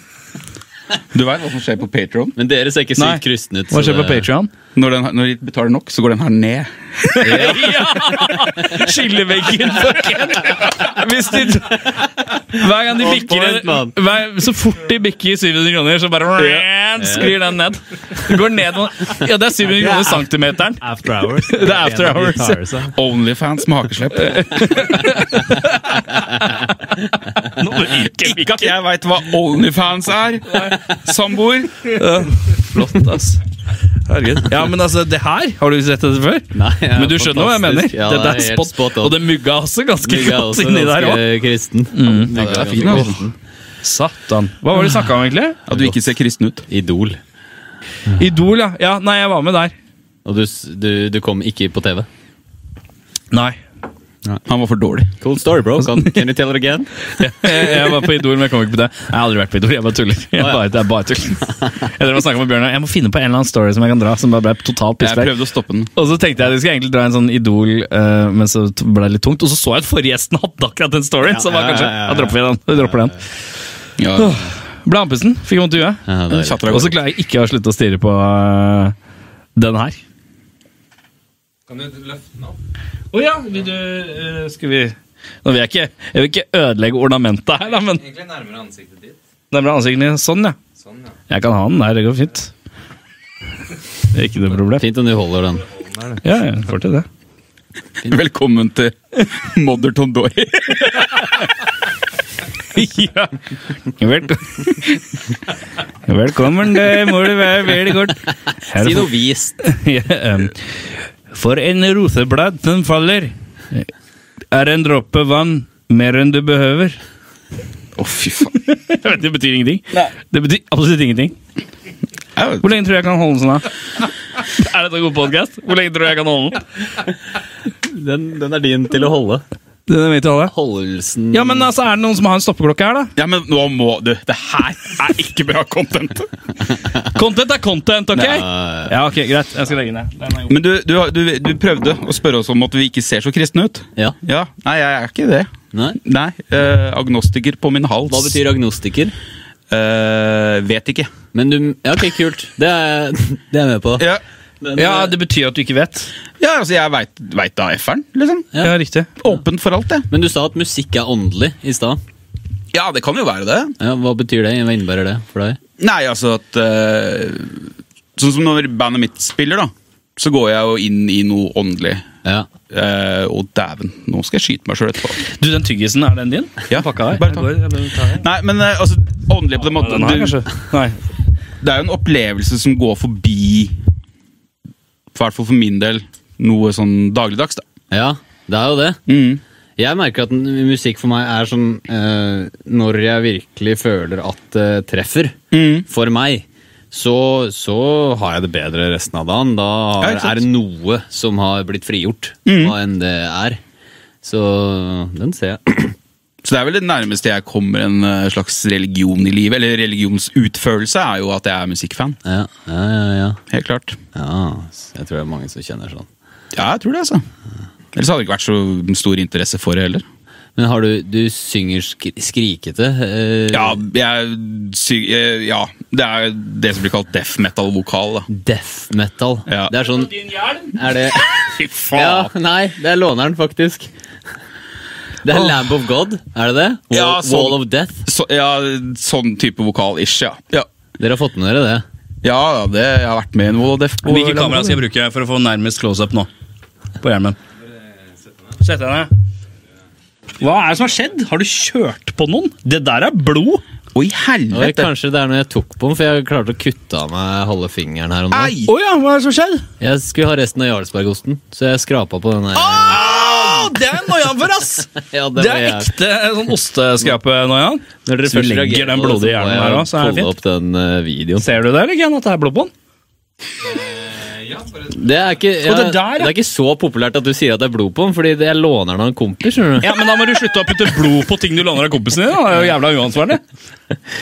Du veit hva som skjer på Patron? Men dere ser ikke Nei. sykt kristne ut. Hva så skjer på det- Patrion? Når, den, har- når de betaler nok, så går den her ned. Ja! Skilleveggen for Ken. Hvis de Hver gang de On bikker point, mann. hver, Så fort de bikker 700 kroner, så bare sklir den ned. Det går ned noen- Ja, det er 700 kroner centimeteren. After *laughs* hours. Det er after hours. Onlyfans med hakeslepp. Ikke at jeg veit hva Onlyfans er! Samboer. Flott, *laughs* ass. Herregud. Ja, men altså, det her Har du sett dette før? Nei, ja, men du skjønner hva jeg mener? fantastisk. Ja, Dette det er er helt spot, spot on. Og det mugga også ganske *laughs* Mygge er godt også inni der Mm. òg. ganske kristen. Ja, det er fin, altså. Satan. Hva var det de snakka om, egentlig? Ah. At du ikke ser kristen ut. Idol. Idol, ja. ja. Nei, jeg var med der. Og du, s- du, du kom ikke på TV. Nei. Han var for dårlig. Cool story, bro. Can, *laughs* can you tell it again? jeg, jeg var på Idol, men jeg kom ikke på det. Jeg har aldri vært på Idol, jeg bare tuller. Jeg bare, det er bare tull. Jeg drev og snakket med Bjørnar Jeg må finne på en eller annen story som jeg kan dra. Som bare ble totalt Jeg pisspreik. prøvde å stoppe den. Og så tenkte jeg at jeg skulle egentlig dra en sånn Idol, eh, men så t- ble det litt tungt. Og så så jeg at forrige gjesten hadde akkurat den storyen, så var ja, kanskje ja, ja, Da dropper vi den. Vi dropper den. Ja, Ble andpusten, fikk vondt i huet. Ja, det er- Chatter av Og så gårde. klarer jeg ikke å slutte å stirre på eh, den her. Kan du løfte den opp? Å ja, vil du eh, Skal vi Nå vil jeg ikke Jeg vil ikke ødelegge ornamentet her, da, men Egentlig nærmere ansiktet ditt. nærmere ansiktene dine. Sånn, ja. Sånn, ja. Jeg kan ha den der, det går fint. Det er ikke noe problem. Fint om du holder den. Ja, jeg får til det. *laughs* Velkommen til Modder Tondori. *laughs* ja. Velk Velkommen, det må du være veldig kort. Her Si noe for, vist. *laughs* ja, um, for en roseblad som faller, er en dråpe vann mer enn du behøver. *laughs* Å, fy faen. Jeg vet, Det betyr ingenting. Det betyr absolutt ingenting. Au. Hvor lenge tror du jeg kan holde den sånn? da? *laughs* Er dette en god podkast? Hvor lenge tror du jeg kan holde den? Den, er din til å holde. Den er min til alle. Holdelsen Ja, men altså, Er det noen som har en stoppeklokke her, da? Ja, men nå må du. Det her er ikke bra content. Content er content, ok? Nei. Ja, ok, greit. Jeg skal legge den ned. Den er god. Men du, du, har- du, du prøvde å spørre oss om at vi ikke ser så kristne ut. Ja. Ja, Nei, jeg er ikke det. Nei. Nei, eh, Agnostiker på min hals. Hva betyr agnostiker? Eh, vet ikke. Men du ja, Ok, kult. Det er, *laughs* det er jeg med på. Ja, Men, Ja, eh, det betyr at du ikke vet. ja altså jeg veit veit da F-eren, liksom. Ja. riktig. Åpen for alt, jeg. eh, men du sa at musikk er åndelig i stad. Ja, det kan jo være det. Ja, hva betyr det? Hva innebærer det for deg? Nei, altså at eh, Sånn som når bandet mitt spiller, da. Så går jeg jo inn i noe åndelig. Ja. Eh, og dæven, nå skal jeg skyte meg sjøl etterpå. Du, den tyggisen, er den din? Ja, Pakka der? bare ta den. Nei, men eh, altså, åndelig på den måten Den her, du, kanskje? Nei. Det er jo en opplevelse som går forbi I hvert fall for min del noe sånn dagligdags, da. ja, det er jo det. Mm. Jeg merker at n- musikk for meg er sånn eh, Når jeg virkelig føler at det treffer Mm. for meg, så, så har jeg det bedre resten av dagen. Da Ja, har, ikke sant? Mm. er det noe som har blitt frigjort, hva enn det er. Så den ser jeg. *clears throat* Så det er vel det nærmeste jeg kommer en eh, slags religion i livet. Eller religionsutførelse er jo at jeg er musikkfan. Ja, ja, ja. ja. Helt klart. ja s- jeg tror det er mange som kjenner sånn. Ja, jeg tror det, altså. Ellers hadde det ikke vært så stor interesse for det heller. Men har du, du synger sk skrikete? eh, Ja, jeg, sy- eh, ja, det er det som blir kalt death metal-vokal. da. Death metal. Ja. Det er sånn Er det *laughs* Fy Ja, faen! nei, det er låneren, faktisk. Det er Lamb of God, er det det? Wall, Ja, sånn. Wall of Death. Så, ja, sånn type vokal-ish, ja. ja. Dere har fått med dere det? Ja, ja, det, jeg har vært med i en Wall of Death. på Hvilke kamera Lamborghini. skal jeg bruke for å få nærmest close-up nå? På hjelmen. Sett deg ned. Hva er det som har skjedd? Har du kjørt på noen? Det der er blod! Oi, Oi, helvete! kanskje det er når jeg tok på den, for jeg klarte å kutte av meg halve fingeren her om dagen. Ei! Å ja, hva er det som har skjedd? Jeg skulle ha resten av Jarlsbergosten, så jeg skrapa på den her. Ah, det er noiaen for, ass! Ja, *laughs* Det er jeg. ekte sånn osteskrape-noiaen. Når dere Så du først legger reagerer den på det, så blodige må hjernen jeg her også, så er det pulle fint. opp den eh, videoen. Ser du det, eller, Ken, at det er blod på den? Det er, ikke, ja, det der, det, ja. er ikke så populært at du sier at det er blod på den, fordi det- jeg låner den av en kompis. skjønner du? Ja, men da må du slutte å putte blod på ting du låner av kompisen din. da. Det er jo jævla uansvarlig.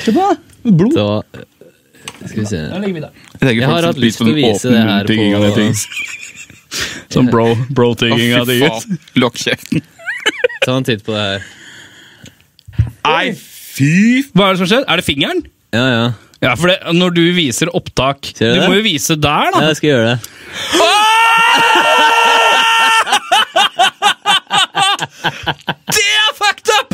Se på det. Blod. Så, eh, skal vi se. Der legger vi det. Jeg, tenker Jeg har faktisk hatt litt lyst til å sånn vise det her åpenmunntygging av på- det ting. Sånn bro, Å, bro-tigging av fy digget. faen. Lokk kjeften. Ta en titt på det her. Nei, fy Hva er det som skjer? Er det fingeren? Ja, ja. Ja, for det, når du viser opptak Du Ser du det? må jo vise der, da. ja jeg skal gjøre det. Det er fucked up!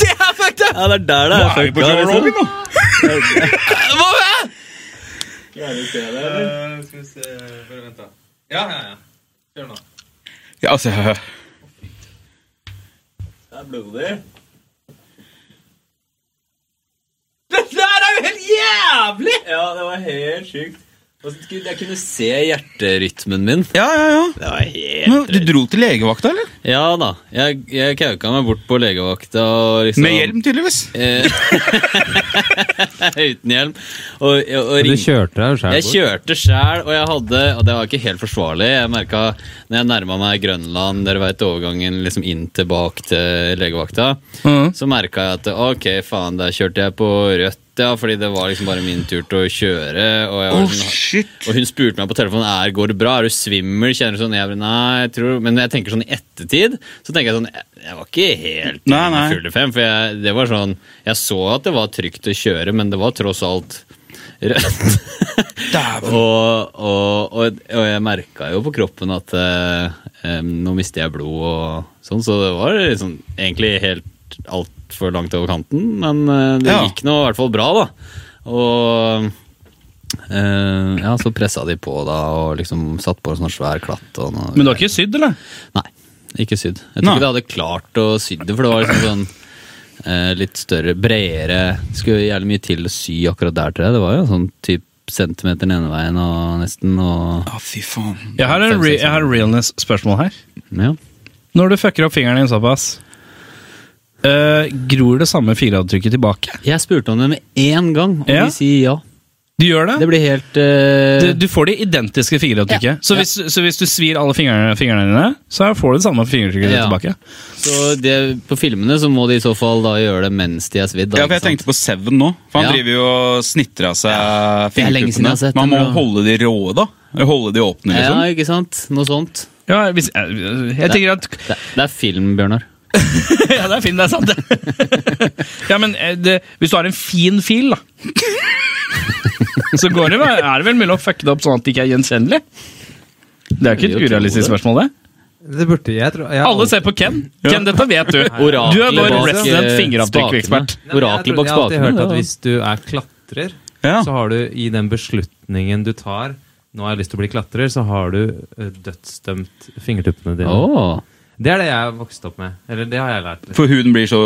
Det er fucked up! Ja, det er der det er fucka. Liksom. Hva er det? Skal vi se Bare vent, da. Ja, ja, ja. Kjør nå. Ja, altså jeg- Ja, det var helt sjukt. Jeg kunne se hjerterytmen min. Ja, ja, ja. Det var helt Men, du dro til legevakta, eller? Ja da. Jeg, jeg kauka meg bort på legevakta. Og liksom, Med hjelm, tydeligvis. Eh, *laughs* uten hjelm. Og, og, og Du ring- kjørte deg sjæl Jeg kjørte sjæl, og jeg hadde Og det var ikke helt forsvarlig. Jeg merka når jeg nærma meg Grønland, dere veit overgangen liksom inn tilbake til legevakta, Mhm. så merka jeg at ok, faen, der kjørte jeg på rødt, ja, fordi det var liksom bare min tur til å kjøre. Og, jeg var sånn, shit! og hun spurte meg på telefonen er, går det bra, er du svimmel, kjenner du sånn jeg, bare, Nei, jeg tror Men jeg tenker sånn i ettertid, så tenker jeg sånn Jeg, jeg var ikke helt Nei, nei. full i fem, for jeg, det var sånn Jeg så at det var trygt å kjøre, men det var tross alt rødt. Dæven. og, og, og, og jeg merka jo på kroppen at eh, em, nå mister jeg blod og sånn, så det var liksom egentlig helt altfor langt over kanten, men eh, det Ja. gikk nå i hvert fall bra, da. Og Eh, ja, så pressa de på da, og liksom satt på en sånn svær klatt. Og noe. Men du har ikke sydd, eller? Nei, ikke sydd. Jeg tror Nei. ikke de hadde klart å sy det, for det var liksom sånn eh, litt større, bredere Det skulle jævlig mye til å sy akkurat der, tror jeg. Det var jo sånn typ centimeter den ene veien og nesten, og Å, fy faen. Jeg har, en re jeg har en realness-spørsmål her. ja. Når du fucker opp fingeren din såpass, eh, gror det samme fingeravtrykket tilbake? Jeg spurte om det med én gang, og Ja? de sier ja. Du gjør det? Det blir helt eh, Du, du får det identiske fingeravtrykket. Så, hvis, så hvis du svir alle fingrene, fingrene dine, så får du det samme fingeravtrykket Ja. tilbake. Så det, på filmene så må de i så fall da gjøre det mens de er svidd. da, Ja, for ikke jeg sant? tenkte på Seven nå. For han Ja. driver jo og snitrer av seg Det er lenge siden jeg har sett fingertuppene. Man må den, da. holde de råe, da. Eller Holde de åpne, liksom. Ja, ikke sant? Noe sånt. Ja, hvis, jeg, jeg tenker at Det, det er film, Bjørnar. *laughs* Ja, det er fin, det er sant. det. ja, men eh, det, hvis du har en fin fil, da Så går det, vel- er det vel mulig å fucke det opp sånn at det ikke er gjenkjennelig? Det Jeg er jo ikke et vil jo tro urealistisk det. spørsmål, det. Det burde jeg, tror jeg. Alle ser på Ken. Ken, dette vet du. Oraklet Du er vår bak, resident eh, fingeravtrykkekspert. spakene. Oraklet bak Jeg har alltid spakene. hørt at da. hvis du er klatrer, Ja. så har du i den beslutningen du tar Nå har jeg lyst til å bli klatrer, så har du eh, dødsdømt fingertuppene dine. Åh. Det er det jeg har vokst opp med. Eller det har jeg lært. For huden blir så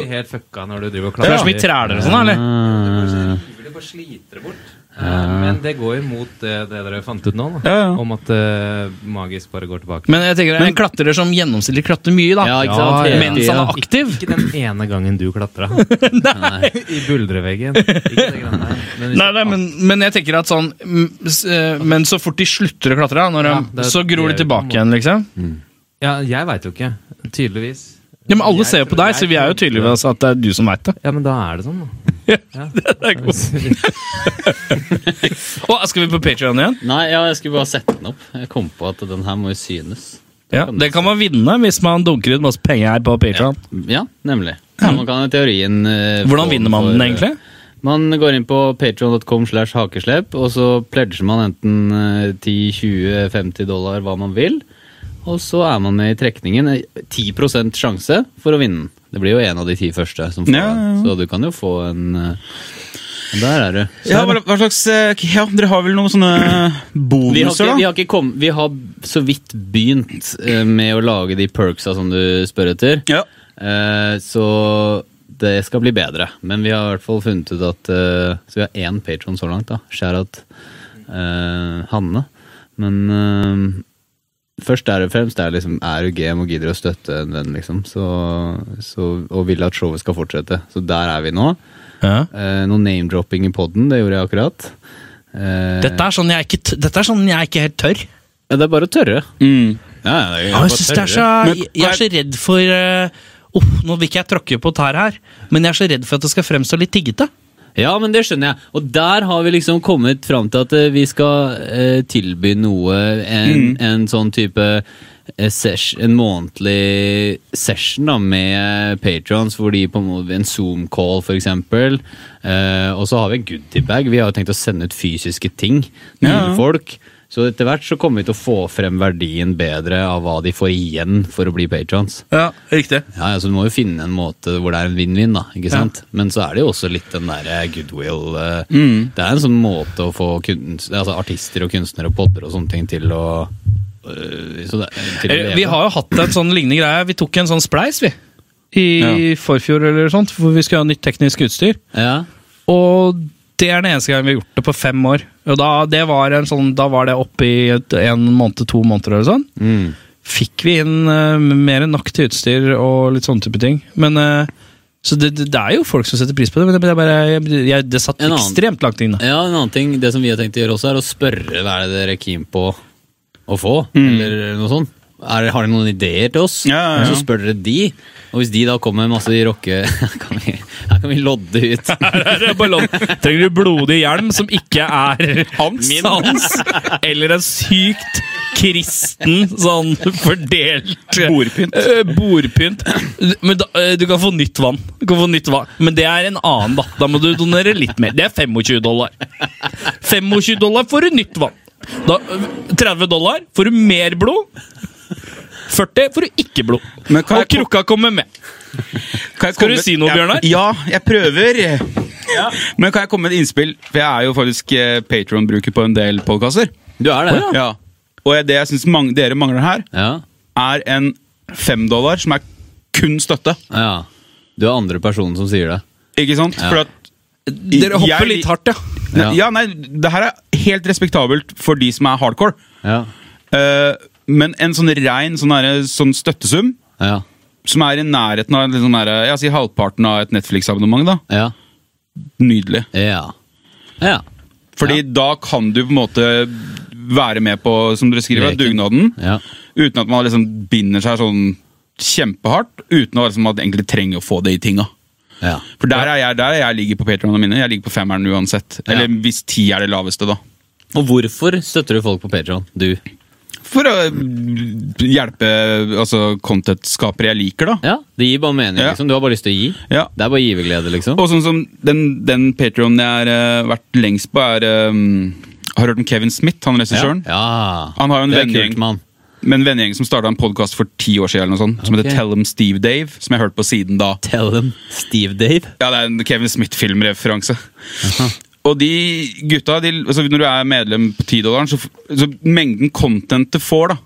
Du blir helt fucka når du driver og Det klatrer. er så mye træler og sånn, eller? Ah. Du bare sliter det bort. Eh, Men det går imot det, det dere fant ut nå, da. Ja, ja. om at eh, magisk bare går tilbake. Men jeg tenker det er en klatrer som gjennomsnittlig klatrer mye, da. Ja, ikke sant? sånn Ja, ja. Mens han er aktiv. Ikke den ene gangen du klatra. *laughs* I buldreveggen. Ikke det grann der. Men hvis Nei, du nei, men, men jeg tenker at sånn mm, s- eh, Men så fort de slutter å klatre, da, når Ja, de- det- så gror de det er jo tilbake ikke igjen, liksom. Ja, jeg veit jo ikke. Tydeligvis. Ja, Men alle Jeg ser jo på tror- deg, jeg så vi er jo tror- tydeligvis at det er du som veit det. Ja, men da er det sånn, da. *laughs* Det er godt. *laughs* Å, skal vi på Patreon igjen? Nei, ja, jeg skulle bare sette den opp. Jeg kom på at den her må jo synes. Ja, det kan man vinne hvis man dunker ut masse penger her på Patreon. Ja, nemlig. Man kan i teorien eh, Hvordan få vinner man den for- egentlig? Man går inn på patreon.com slash hakeslepp, og så pledger man enten eh, 10, 20, 50 dollar, hva man vil. Og så er man med i trekningen. Eh, 10 sjanse for å vinne den. Det blir jo en av de ti første som får Ja, ja, ja. den, så du kan jo få en eh, Der er du. Ja, hva, hva slags eh, Ja, dere har vel noen sånne Vi har, bonuser, ikke, vi, da? har ikke kom, vi har så vidt begynt eh, med å lage de perksa som du spør etter. Ja. Eh, så det skal bli bedre. Men vi har i hvert fall funnet ut at eh, Så vi har én patron så langt, da. Sherat uh, Hanne. Men eh, først er det fremst det er liksom er du game og gidder å støtte en venn, liksom. Så, så, og vil at showet skal fortsette. Så der er vi nå. Ja. Uh, noe name-dropping i poden, det gjorde jeg akkurat. Eh, Dette er sånn jeg ikke, t- dette er sånn jeg ikke helt tør. ja, Det er bare å tørre. Mm. Ja, ja, det er Ja, bare jeg, synes det er så, tørre. Men jeg, jeg er så redd for eh, oh, Nå vil ikke jeg tråkke på tær her, men jeg er så redd for at det skal fremstå litt tiggete. Ja, men det skjønner jeg. Og der har vi liksom kommet fram til at eh, vi skal eh, tilby noe, en, en sånn type eh, sesh, en månedlig session da, med eh, patrons, hvor de på en måte en Zoom-call f.eks. Eh, og så har vi en goodiebag. Vi har jo tenkt å sende ut fysiske ting til Ja. folk. Så etter hvert så kommer vi til å få frem verdien bedre av hva de får igjen for å bli patrons. Ja, riktig. Ja, altså Du må jo finne en måte hvor det er en vinn-vinn, da. ikke sant? Men så er det jo også litt den derre goodwill eh, Mm. Det er en sånn måte å få kunst, altså artister og kunstnere og potter og sånne ting til å eh, så det, til å leve. Vi har jo hatt en sånn lignende greie. Vi tok en sånn spleis, vi. I forfjor eller sånt, hvor vi skulle ha nytt teknisk utstyr. ja. Og det er den eneste gangen vi har gjort det på fem år. Og da, det var en sånn, da var det oppe i et- en måned, to måneder eller sånn. Mm. Fikk vi inn eh, mer enn nok til utstyr og litt sånne type ting. Men eh, så det, det det er jo folk som setter pris på det, men det, det, er bare, jeg, jeg, det satt En annen. ekstremt langt *laughs* inne. ja, en annen ting Det som vi har tenkt å gjøre også, er å spørre hva er det dere er keen på å få, eller noe sånt. Er, har dere noen ideer til oss? Mm. Ja, ja, ja. Så spør dere de. Og hvis de da kommer med masse rocke... *laughs* Her kan vi, her kan vi lodde ut. Trenger *laughs* du blodig hjelm som ikke er hans, *laughs* eller en sykt kristen sånn fordelt Bordpynt. Eh, bordpynt. Men da, eh, du kan få nytt vann. Du kan få nytt vann. Men det er en annen, da. Da må du donere litt mer. Det er 25 dollar. 25 dollar får du nytt vann. Da, eh, 30 dollar får du mer blod. 40 får du ikke blod. Men kan Og jeg- krukka kommer med. Kan jeg Skal du komme- si noe, Ja, Bjørnar? Ja, jeg prøver. Men kan jeg komme med et innspill? For jeg er jo faktisk patreon bruker på en del podkaster. Du er det? Ja. Og jeg- det jeg syns mang dere mangler her, ja. er en femdollar som er kun støtte. Ja. Du er andre personen som sier det. Ikke sant? Ja. For at Dere hopper Jeg- litt hardt, ja. ne, Ja. ja, nei, det her er helt respektabelt for de som er hardcore. Ja. Eh, men en sånn rein sånn, derre- sånn støttesum, Ja. som er i nærheten av liksom derre- jeg sier halvparten av et Netflix-abonnement, da. Ja. Nydelig. Ja. ja. Fordi Ja. da kan du på en måte være med på som dere skriver, Leken. dugnaden. ja. Uten at man liksom binder seg sånn kjempehardt. Uten å liksom at man egentlig trenger å få det i tinga. ja. For der er jeg der er jeg ligger på Patronene mine. Jeg ligger på femmeren uansett. Eller hvis ti er det laveste, da. Og hvorfor støtter du folk på Patreon? Du. For å mm, hjelpe altså, content-skapere jeg liker, da. Ja, Det gir bare mening. Ja. liksom. Du har bare lyst til å gi. Ja. Det er bare giverglede, liksom. Og sånn som den, den Patron jeg har eh, vært lengst på, er eh, Har du hørt om Kevin Smith, han regissøren? Ja. ja. Han har jo en det er vennegjeng. kult, mann. Med en vennegjeng som starta en podkast for ti år siden, eller noe sånt, som Ok. heter Tell 'em Steve Dave. Som jeg har hørt på siden da. Tell them Steve Dave. Ja, det er en Kevin Smith-filmreferanse. Og de gutta, de, altså når du er medlem på 10-dollaren, så, f- så mengden content du får, da,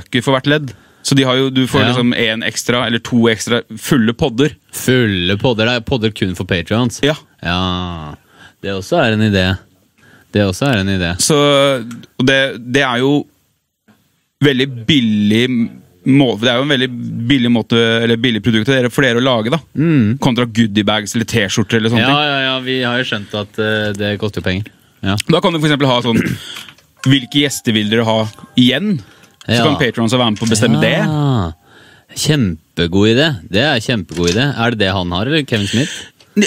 øker for hvert ledd. Så de har jo, du får Ja. liksom én ekstra eller to ekstra fulle podder. Fulle podder. Det er podder kun for Patreons Ja. ja. Det også er en idé. Det også er en idé. Så og det, det er jo veldig billig må, Det er jo en veldig billig måte Eller billig produkt til dere, for dere å lage, da. Mm. Kontra goodiebags eller T-skjorter eller sånne Ja, ja, ja. Vi har jo skjønt at eh, det koster jo penger. Ja. ting. Da kan du for eksempel ha sånn Hvilke gjester vil dere ha igjen? Så Ja. kan Patrons være med på å bestemme det. Ah, Kjempegod idé. Det er kjempegod idé. Er det det han har, eller Kevin Smith?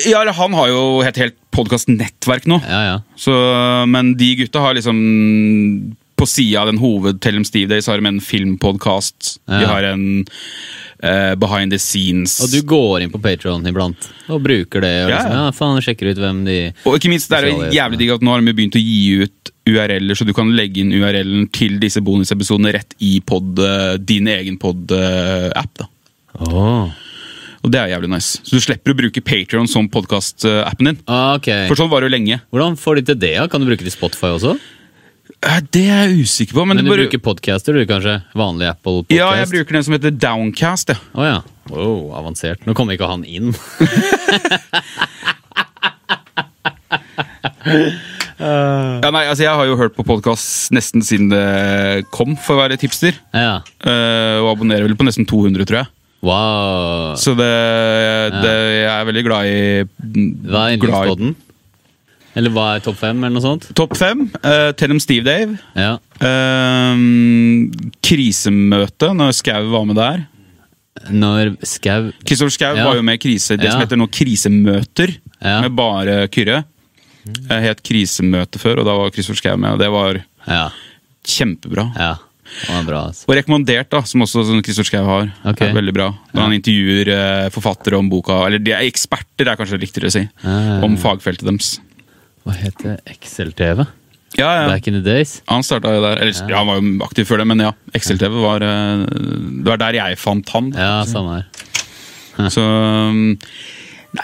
Ja, eller Han har jo et helt podkastnettverk nå, Ja, ja. så, men de gutta har liksom på sida av den hoved Tell 'em Steve Days har de en filmpodkast. Vi Ja. har en eh, behind the scenes. Og du går inn på Patron iblant og bruker det. Og Ja, ja. liksom, ja, faen, jeg sjekker ut hvem de Og ikke minst, det er jo jævlig digg at nå har vi begynt å gi ut URL-er, så du kan legge inn URL-en til disse bonusepisodene rett i pod, eh, din egen pod-app. da. Åh. Og det er jævlig nice. Så du slipper å bruke Patreon som podkast-appen din. Ah, Ok. For sånn var det jo lenge. Hvordan får de til det? da? Kan du bruke det i Spotify også? Eh, Det er jeg usikker på. Men Men, du det bare... bruker podcaster, du, kanskje? Vanlig Apple podcast? Ja, jeg bruker den som heter Downcast. Ja. Å ja. Wow, avansert. Nå kommer ikke han inn. *laughs* Ja, nei, altså, jeg har jo hørt på podkast nesten siden det kom, for å være litt hipster. Ja. Eh, og abonnerer vel på nesten 200, tror jeg. Wow. Så det, det Jeg er veldig glad i Hva er glad i- yndlingsbåten? Eller hva er topp fem, eller noe sånt? Topp fem. eh, Tell 'em Steve Dave. Ja. Ehm, krisemøte, når Skau var med der. Når Skau Kristoffer Skau Ja. var jo med i krise, det Ja. som heter nå Krisemøter, Ja. med bare Kyrre. Jeg het Krisemøte før, og da var Kristoffer Skau med. og Det var Ja. kjempebra. ja. Det var bra, altså. Og rekommendert, da, som også sånn Kristoffer Schau har. Ok. Er veldig bra. Når han intervjuer eh, forfattere om boka, eller de er eksperter, er kanskje riktigere å si, ja, ja. om fagfeltet deres. Hva heter Excel-TV? Ja, ja. Back in the days? Han starta jo der. Eller, ja. han var jo aktiv før det, men ja. XLTV var eh, Det var der jeg fant han. Ja, samme her. Så um,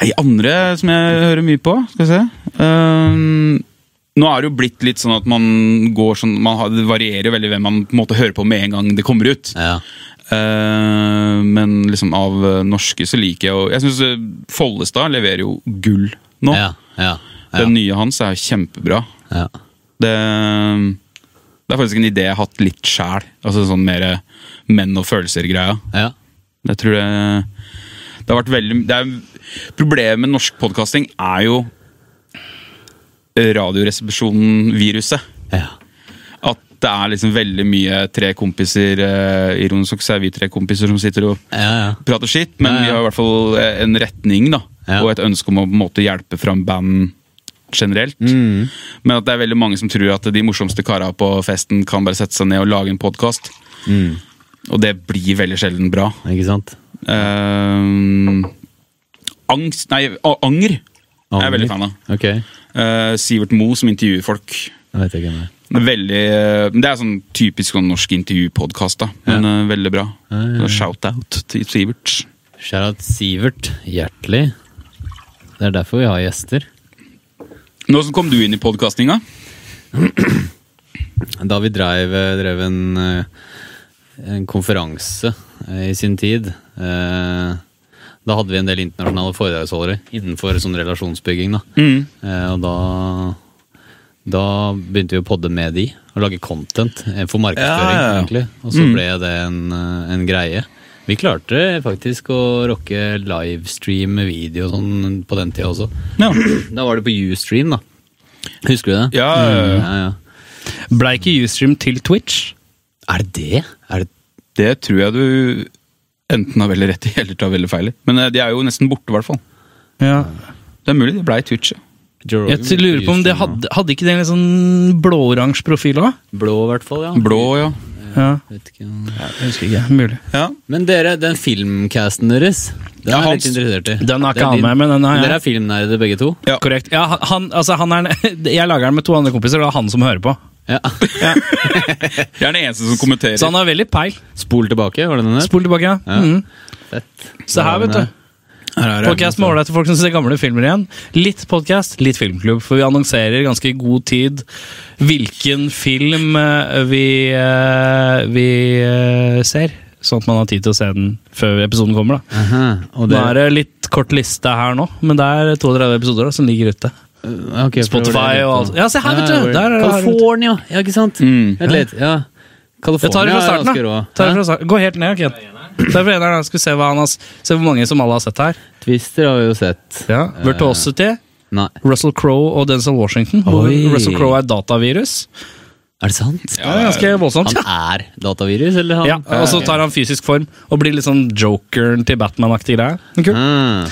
Nei, andre som jeg hører mye på, skal vi se um, Nå er det jo blitt litt sånn at man går sånn man har, Det varierer jo veldig hvem man på en måte hører på med en gang det kommer ut. Ja. Eh, men liksom av eh, norske så liker jeg jo Jeg syns Follestad leverer jo gull nå. Ja, ja, ja, Den nye hans er kjempebra. ja. Det, det er faktisk en idé jeg har hatt litt sjæl. Altså sånn mer eh, menn og følelser-greia. ja. Jeg tror det Det har vært veldig det er, Problemet med norsk podkasting er jo radioresepsjonen-viruset. ja. At det er liksom veldig mye tre kompiser eh, Ironisk nok så er vi tre kompiser som sitter og ja, ja. prater skitt, men Ja, ja. vi har i hvert fall eh, en retning da, Ja. og et ønske om å på en måte hjelpe fram band generelt. Men at det er veldig mange som tror at de morsomste kara på festen kan bare sette seg ned og lage en podkast. Mm. Og det blir veldig sjelden bra. Ikke sant? Eh, angst Nei, a- anger, er jeg veldig fan av. Ok, jeg Eh, Sivert Moe som intervjuer folk. vet ikke hvem det er. Veldig, eh, det er sånn typisk sånn norsk intervjupodkast, da. Men eh, veldig bra. Så Shout-out til Sivert. Shoutout Sivert hjertelig. Det er derfor vi har gjester. Nå så kom du inn i podkastinga. Da vi drev, drev en, eh, en konferanse eh, i sin tid, eh, da hadde vi en del internasjonale foredragsholdere innenfor sånn relasjonsbygging. Da. Mm. Eh, Og da, da begynte vi å podde med de og lage content eh, for markedsføring. Ja, Mm. ja, ja. egentlig. Og så ble det en, eh, en greie. Vi klarte faktisk å rocke livestream med video og sånn på den tida også. Ja. Da var det på Ustream, da. Husker du det? Ja, Mm. ja, ja. Blei ikke Ustream til Twitch? Er det det? Er det det tror jeg du enten har veldig rett i eller tar veldig feil i. Men eh, de er jo nesten borte, i hvert fall. Ja. Det er mulig det blei Twitch. ja. Joe Rogan Jeg t- lurer på om det hadde, hadde ikke det en litt sånn blå-oransje profil òg? Blå, i hvert fall. ja. Blå, ja. Ja. Vet ikke om- Jeg husker ikke. Mulig. ja. Men dere, den filmcasten deres, den Ja, er jeg Hans. litt interessert i. Den har Det er ikke han din. med, men den har jeg. Dere er filmnerder begge to? Ja. Korrekt. Ja, han- han, altså, han er, en- *laughs* jeg lager den med to andre kompiser, og det er han som hører på. Ja. Jeg er den eneste som kommenterer. Så han har veldig peil. Spol tilbake, var det den der? Spol tilbake. Ja. Ja. Mhm. Fett. Se her, vet du. Her er det. Podcast med ålreite folk som ser gamle filmer igjen. Litt podcast, litt filmklubb, for vi annonserer i ganske god tid hvilken film eh, vi, eh, vi eh, ser. Sånn at man har tid til å se den før episoden kommer. da. Aha, og Nå er dere, det litt kort liste her nå, men det er 32 episoder da, som ligger ute. ok, for det var det jeg Spotify og lurte på. alt. Ja, se her, vet du. hvor- Der er det- California, ja, ikke sant? Mm. Vent litt. ja. California Jeg tar det fra er starten, ganske da. rå. Tar det Hæ? fra starten. Gå helt ned, ok. Tar det fra eneren, da. Skal vi se, hva han har, s- se hvor mange som alle har sett her. Twister har vi jo sett. Ja. Virtuosity, Nei, Russell Crowe og Denzel Washington. Hvor Oi. Russell Crowe er datavirus. er det sant? Det er ganske voldsomt. ja. Han er datavirus, eller han? Ja, altså, og så tar han fysisk form og blir litt sånn jokeren til Batman-aktig greie. Men Kult. Ah.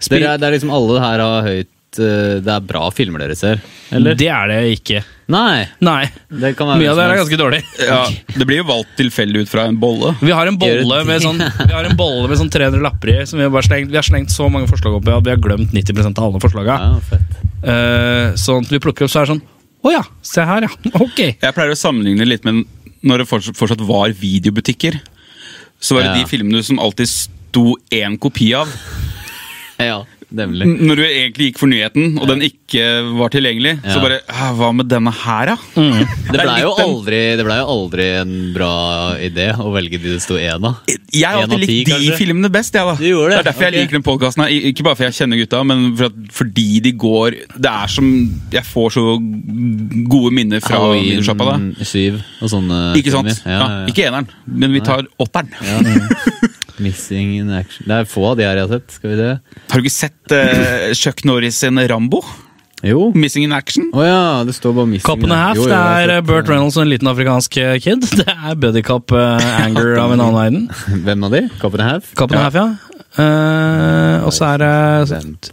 Spil- Dere, er- det er liksom alle her har høyt eh, det er bra filmer dere ser? Eller? Det er det ikke. Nei! Nei. Det kan være Mye av det hvem her er som helst. ganske dårlig. Ja, det blir jo valgt tilfeldig ut fra en bolle. Vi har en bolle med sånn, vi har en bolle med sånn 300 lapper i. Som vi, har bare slengt, vi har slengt så mange forslag oppi at vi har glemt 90 av alle forslaga. Ja, fett. Eh, sånn at vi plukker opp, så er det sånn Å ja, se her, ja. *laughs* Ok. Jeg pleier å sammenligne litt med når det fortsatt, fortsatt var videobutikker. Så var det Ja. de filmene som alltid sto én kopi av. Ja, nemlig. N- Når du egentlig gikk for nyheten, og den ikke var tilgjengelig, så Ja. bare «Ah, Hva med denne her, da? Det blei jo, litt den- aldri- det ble jo aldri en bra idé å velge de det sto E, én av. Jeg har En av alltid ti, likt de kanskje? filmene best. jeg da Du gjorde det, er derfor ok. jeg liker den podkasten. Ikke bare fordi jeg kjenner gutta, men for at, fordi de går Det er som Jeg får så gode minner fra videosjappa. da Halloween syv og sånne Ikke sant? filmer. Ja, ja, ja. Ja, Ikke eneren, men vi tar åtteren. Missing in action. Det er få av de her jeg har sett. Skal vi det? Har du ikke sett eh, Chuck Norris sin Rambo? Jo. Å Missing in action? ja, det står bare missing. Cop and a in- half. Jo, jo, Det jeg har er sett eh, Burt Reynolds og en liten afrikansk eh, kid. *laughs* Det er buddy cop eh, anger av en annen verden. den. *laughs* Hvem av de? Cop and a half? Cop and a half, ja. Eh, og så er det Vent.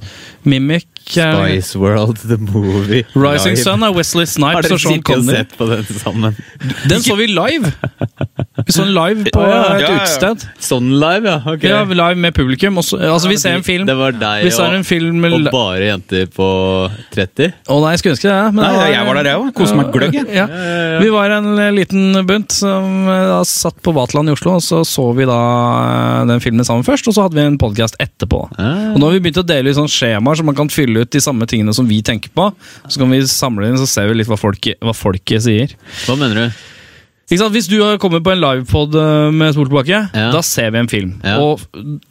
Mimic. eh, Spice World, the movie. Rising Live. Sun er Wesley Har Snipes dere og Sean sittet og Connery. sett på den sammen? Den så vi live! Vi så den live på Å, ja. et Ja, ja. utested. Sånn live, ja? Ok. Ja, live med publikum. og så- altså, vi ser en film. Det var deg Vi ser en og, film med og li- Å bare jenter på 30? nei, jeg skulle ønske det. Men Nei, det var- jeg var der, jeg òg. Koste meg gløgg. jeg. Ja. Vi var en eh, liten bunt som eh, da satt på Vaterland i Oslo, og så så vi da eh, den filmen sammen først, og så hadde vi en podcast etterpå. Ah. Og nå har vi begynt å dele ut sånne skjemaer, så man kan fylle ut de samme tingene som vi tenker på. Så kan vi samle inn, så ser vi litt hva folket, hva folket sier. Hva mener du? Ikke sant? Hvis du kommer på en livepod eh, med Spol tilbake, Ja. da ser vi en film. Ja. Og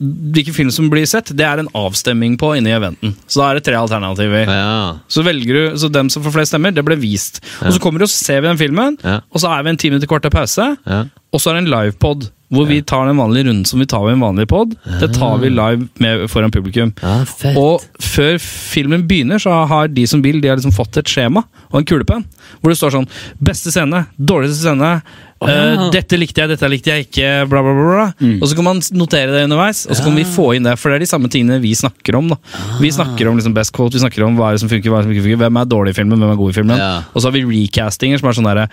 hvilken film som blir sett, det er en avstemming på inne i eventen. Så da er det tre alternativer. Ja. Så velger du, så dem som får flest stemmer, det ble vist. Og så kommer du og ser vi den filmen, Ja. og så er vi en ti minutter kvarter pause, ja. og så er det en livepod. Hvor vi tar den vanlige runden som vi tar ved en vanlig pod. Det tar vi live med, foran publikum. Ah. Ja, fett. Og før filmen begynner, så har de som vil, de har liksom fått et skjema og en kulepenn. Hvor det står sånn Beste scene. Dårligste scene. ja. Mm. eh, dette likte jeg, dette likte jeg ikke. Bla, bla, bla. bla. Og så kan man notere det underveis, og så kan vi få inn det. For det er de samme tingene vi snakker om. da Vi Ah. snakker om liksom best quote, vi snakker om hva er det som funker, hva er det som ikke funker. Hvem er dårlig i filmen, hvem er god i filmen. Ja. Og så har vi recastinger som er sånn derre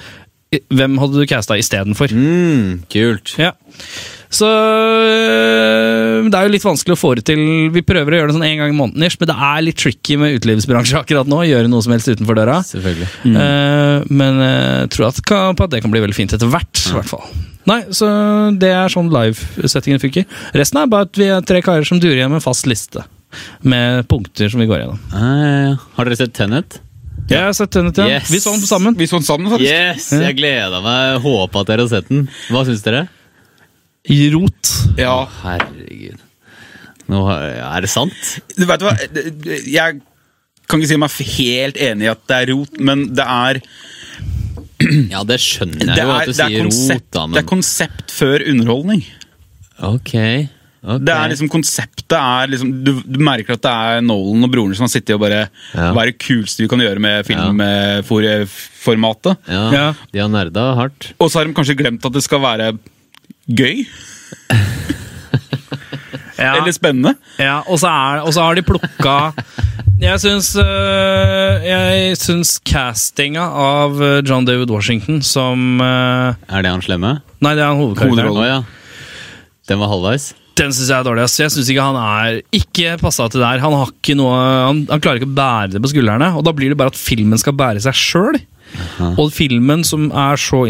Hvem hadde du casta istedenfor? Mm, kult. Ja. Så øh, det er jo litt vanskelig å få det til. Vi prøver å gjøre det sånn en gang i måneden, ish, men det er litt tricky med utelivsbransjen *laughs* akkurat nå. å Gjøre noe som helst utenfor døra. Selvfølgelig. Eh, men jeg tror at, ka- på at det kan bli veldig fint etter hvert. i hvert fall. Nei, så Det er sånn livesettingen funker. Resten er bare at vi er tre karer som durer igjen med fast liste. Med punkter som vi går gjennom. Ah, Ja, ja, ja. Har dere sett Tenet? Jeg har sett denne til. Yes. Vi så den sammen. Vi så den sammen, faktisk. Yes! Jeg gleda meg. Håpa at dere har sett den. Hva syns dere? I rot. Ja. Herregud. Nå har- er det sant? Du vet hva, jeg kan ikke si meg helt enig i at det er rot, men det er Ja, det skjønner Det jeg er, jo at du det er, sier konsept, rot, da, det er men konsept før underholdning. Ok. ok. Det er liksom Konseptet er liksom du, du merker at det er Nolan og broren som har sittet og bare Ja. Hva er det kuleste vi kan gjøre med eh, filmformatet? ja, Ja. De har nerda hardt. Og så har de kanskje glemt at det skal være gøy Ja. eller spennende. Ja, og så, er, og så har de plukka Jeg syns øh, Jeg syns castinga av øh, John David Washington som øh, Er det han slemme? Nei, det er han hovedkarakteren. Hovedrollen. Å ja. Den var halvveis? Den syns jeg er dårlig. ass. Jeg syns ikke han er Ikke passa til der. Han har ikke noe han, han klarer ikke å bære det på skuldrene, og da blir det bare at filmen skal bære seg sjøl. Og filmen som er så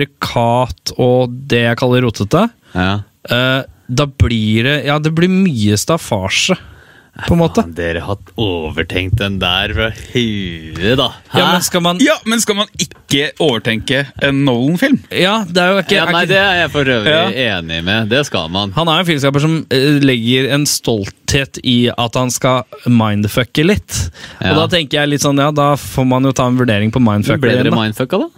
intrikat og det jeg kaller rotete, Ja. øh, da blir det Ja, det blir mye staffasje, på en måte. Faen, dere har overtenkt den der fra huet, da. Hæ? Ja, men skal man Ja, men skal man ikke overtenke en Nolan-film? Ja, det er jo ikke, Ja, er nei, ikke det er jeg for øvrig Ja. enig med. Det skal man. Han er en filmskaper som eh, legger en stolthet i at han skal mindfucke litt. Ja. Og da tenker jeg litt sånn, ja, da får man jo ta en vurdering på mindfuck. Ble dere igjen, da. mindfucka, da?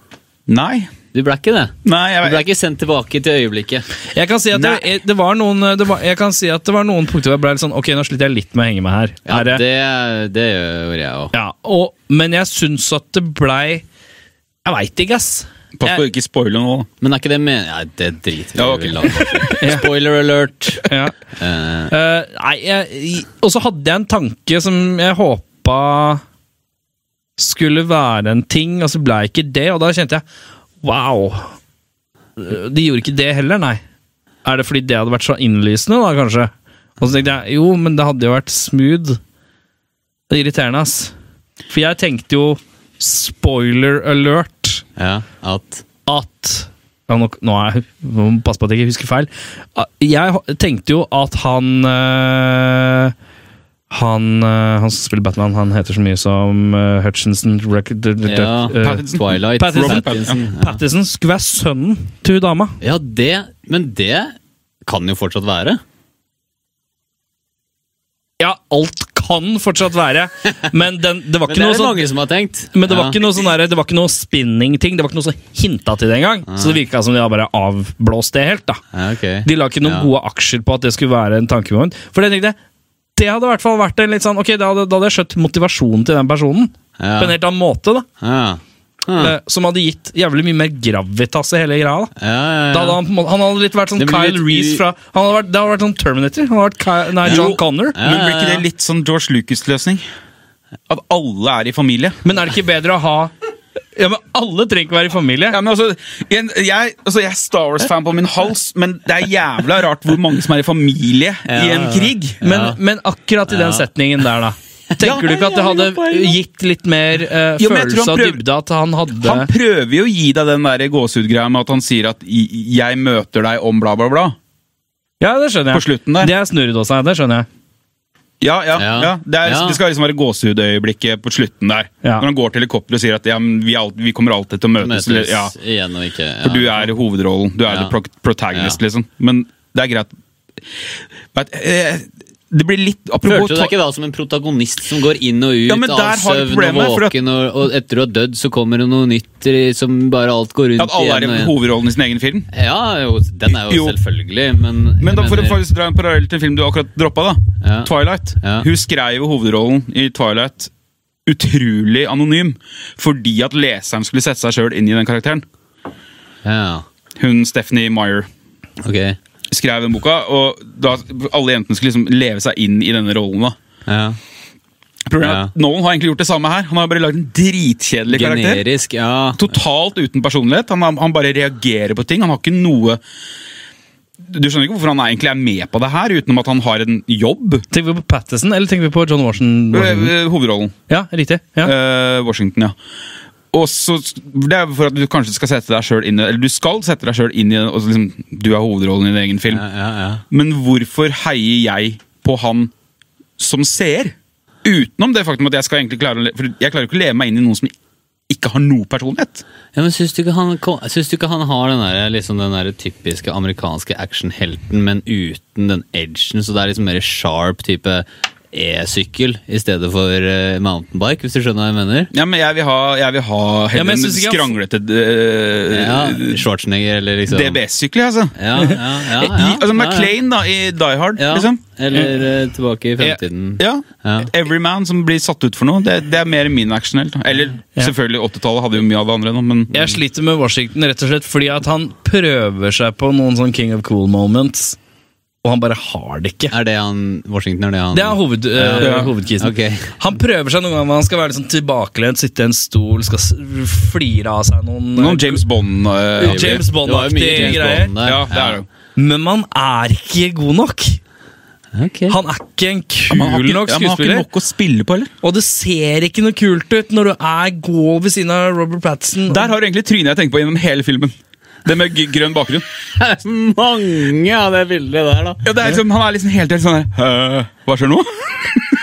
Nei. Du ble ikke det? Nei, jeg Du vet ble ikke sendt tilbake til øyeblikket? Jeg kan si at det, det var noen eh, det var, Jeg kan si at det var noen punkter hvor jeg ble litt sånn Ok, nå sliter jeg litt med å henge med her. Ja, Er det- det, det gjør jeg òg. ja, og, men jeg syns at det blei Jeg veit ikke, ass. Pass på å Jeg- ikke spoile nå. da. Men er ikke det men... Nei, det driter vi Ja, i. ok. vi lar *laughs* det. Spoiler alert! Ja. Eh, Eh, nei, jeg, i- og så hadde jeg en tanke som jeg håpa Pappa skulle være en ting, og så ble ikke det. Og da kjente jeg wow. De gjorde ikke det heller, nei. Er det fordi det hadde vært så innlysende, da, kanskje? Og så tenkte jeg jo, men det hadde jo vært smooth. Det er irriterende, ass. For jeg tenkte jo spoiler alert Ja, at at ja, nå, nå er jeg, nå må jeg passe på at jeg ikke husker feil. Ah, Jeg ho- tenkte jo at han eh, han, eh, han som spiller Batman, han heter så mye som eh, Hutchinson Rec- d- d- d- ja, eh, Twilight Pattinson. Pattinson, ja. Pattinson skulle være sønnen til hun dama. ja, det Men det kan jo fortsatt være. Ja, alt kan fortsatt være, men den, det var Men ikke det noe er det sånn mange som har tenkt. men det ja. var ikke noe sånn der, det var ikke noe spinning-ting. Det var ikke noe som hinta til det engang. Så det virka som de hadde bare avblåst det helt. da. Ja, ok. De la ikke noen Ja. gode aksjer på at det skulle være en tankemoment. For det tenkte jeg, det hadde i hvert fall vært en litt sånn, ok, da hadde, da hadde jeg skjøtt motivasjonen til den personen. På en ja. helt annen måte, da. Ja. Ja. Eh, Som hadde gitt jævlig mye mer gravitas i hele greia. da. Ja, ja, ja. Da hadde han, på en måte, han hadde litt vært sånn Det blir Kyle litt Reese i- fra han hadde vært, Det hadde vært sånn Terminator. Han hadde vært Ky- nei, John Connor. Ja, Men ja, blir ikke ja. det litt sånn George Lucas-løsning? At alle er i familie? Men er det ikke bedre å ha Ja, men Alle trenger ikke være i familie. Ja, men altså, jeg, jeg, altså, jeg er Star Wars-fan på min hals, men det er jævla rart hvor mange som er i familie i en krig. Men, men akkurat i den setningen der, da. Tenker du ikke at det hadde gitt litt mer eh, Jo, men jeg følelse tror han av prøver- dybde? At han hadde Han prøver jo å gi deg den der gåsehudgreia med at han sier at i- 'jeg møter deg om bla, bla, bla'. Ja, det skjønner jeg. På slutten der. Det er snurredåsa, det skjønner jeg. Ja, ja, ja. Ja. Det, er, Ja. det skal liksom være gåsehudøyeblikket på slutten der. Ja. Når han går til helikopteret og sier at ja, men vi, er alt, 'vi kommer alltid til å møtes'. Møtes eller- Ja, igjen og ikke ja. for du er hovedrollen. Du er Ja. the pro- protagonist, Ja. liksom. Men det er greit. Vet, eh, det blir litt Apropos Følte du deg ikke da som en protagonist som går inn og ut Ja, men der av har jeg søvn og problemet, for at- våken, og, og etter du har dødd, så kommer det noe nytt i- som bare alt går rundt at alle er i igjen. eh? og igjen. hovedrollen i sin egen film? Ja, jo, den er jo, Jo. selvfølgelig, men jeg Men da for å mener- faktisk dra en parallell til en film du akkurat droppa, da. Ja. Twilight. Ja. Hun skrev jo hovedrollen i Twilight utrolig anonym fordi at leseren skulle sette seg sjøl inn i den karakteren. Ja, Hun Stephanie Meyer ok. skrev den boka, og da alle jentene skulle liksom leve seg inn i denne rollen. da. Ja. Problemet er at Nolan har egentlig gjort det samme her. Han har bare lagd en dritkjedelig karakter. Generisk, ja. Totalt uten personlighet. Han, han bare reagerer på ting. Han har ikke noe Du skjønner ikke hvorfor han egentlig er med på det her, utenom at han har en jobb. Tenker vi på Pattison, eller tenker vi på John Washington? Washington? Eh, Hovedrollen. Ja, riktig. Ja. Eh, Washington, ja. Og så, Det er for at du kanskje skal sette deg selv inn i Eller du skal sette deg sjøl inn i og så liksom, Du er hovedrollen i din egen film. Ja, ja, ja. Men hvorfor heier jeg på han som seer? Utenom det faktum at jeg skal egentlig klare å le- For jeg klarer jo ikke å leve meg inn i noen som ikke har noe personlighet. Ja, men syns du, ikke han, kom- syns du ikke han har den, der, liksom den der typiske amerikanske actionhelten, men uten den edgen? Så det er liksom mer sharp type e-sykkel i stedet for eh, mountain bike, hvis du skjønner hva jeg mener? Ja, men Jeg vil ha, jeg vil ha Ja, heller men jeg en synes ikke han- skranglete eh, Ja, Schwarzenegger eller liksom DBS-sykkel, altså. Ja, ja, ja, ja, *laughs* I, ja, altså ja. McLean da, i Die Hard, Ja, liksom. Eller eh, tilbake i fremtiden. Ja. Ja. Everyman som blir satt ut for noe, det, det er mer min actionhelt. Eller selvfølgelig, 80-tallet hadde jo mye av det andre nå, men Jeg sliter med Washington rett og slett fordi at han prøver seg på noen sånn King of Cool moments, og han bare har det ikke. Er det han Washington? Er det han Det er hoved, eh, Ja. hovedkisen. Ok. Han prøver seg noen ganger hvor han skal være litt sånn tilbakelent, sitte i en stol, skal s- flire av seg noen, noen James Bond eh, James Det var jo mye Bond-aktige James greier. Bond der. Ja, det er det jo. Men man er ikke god nok. Ok. *laughs* Han er ikke en Men han har kul ikke- nok ja, men han har ikke skuespiller. nok å spille på, eller? Og det ser ikke noe kult ut når du er god ved siden av Robert Pattinson. Der har du egentlig trynet jeg tenker på gjennom hele filmen. Det med g- grønn bakgrunn. Det er mange av det bildet der, da. Ja, det er liksom, han er liksom helt helt sånn her, «Hæ? Hva skjer nå?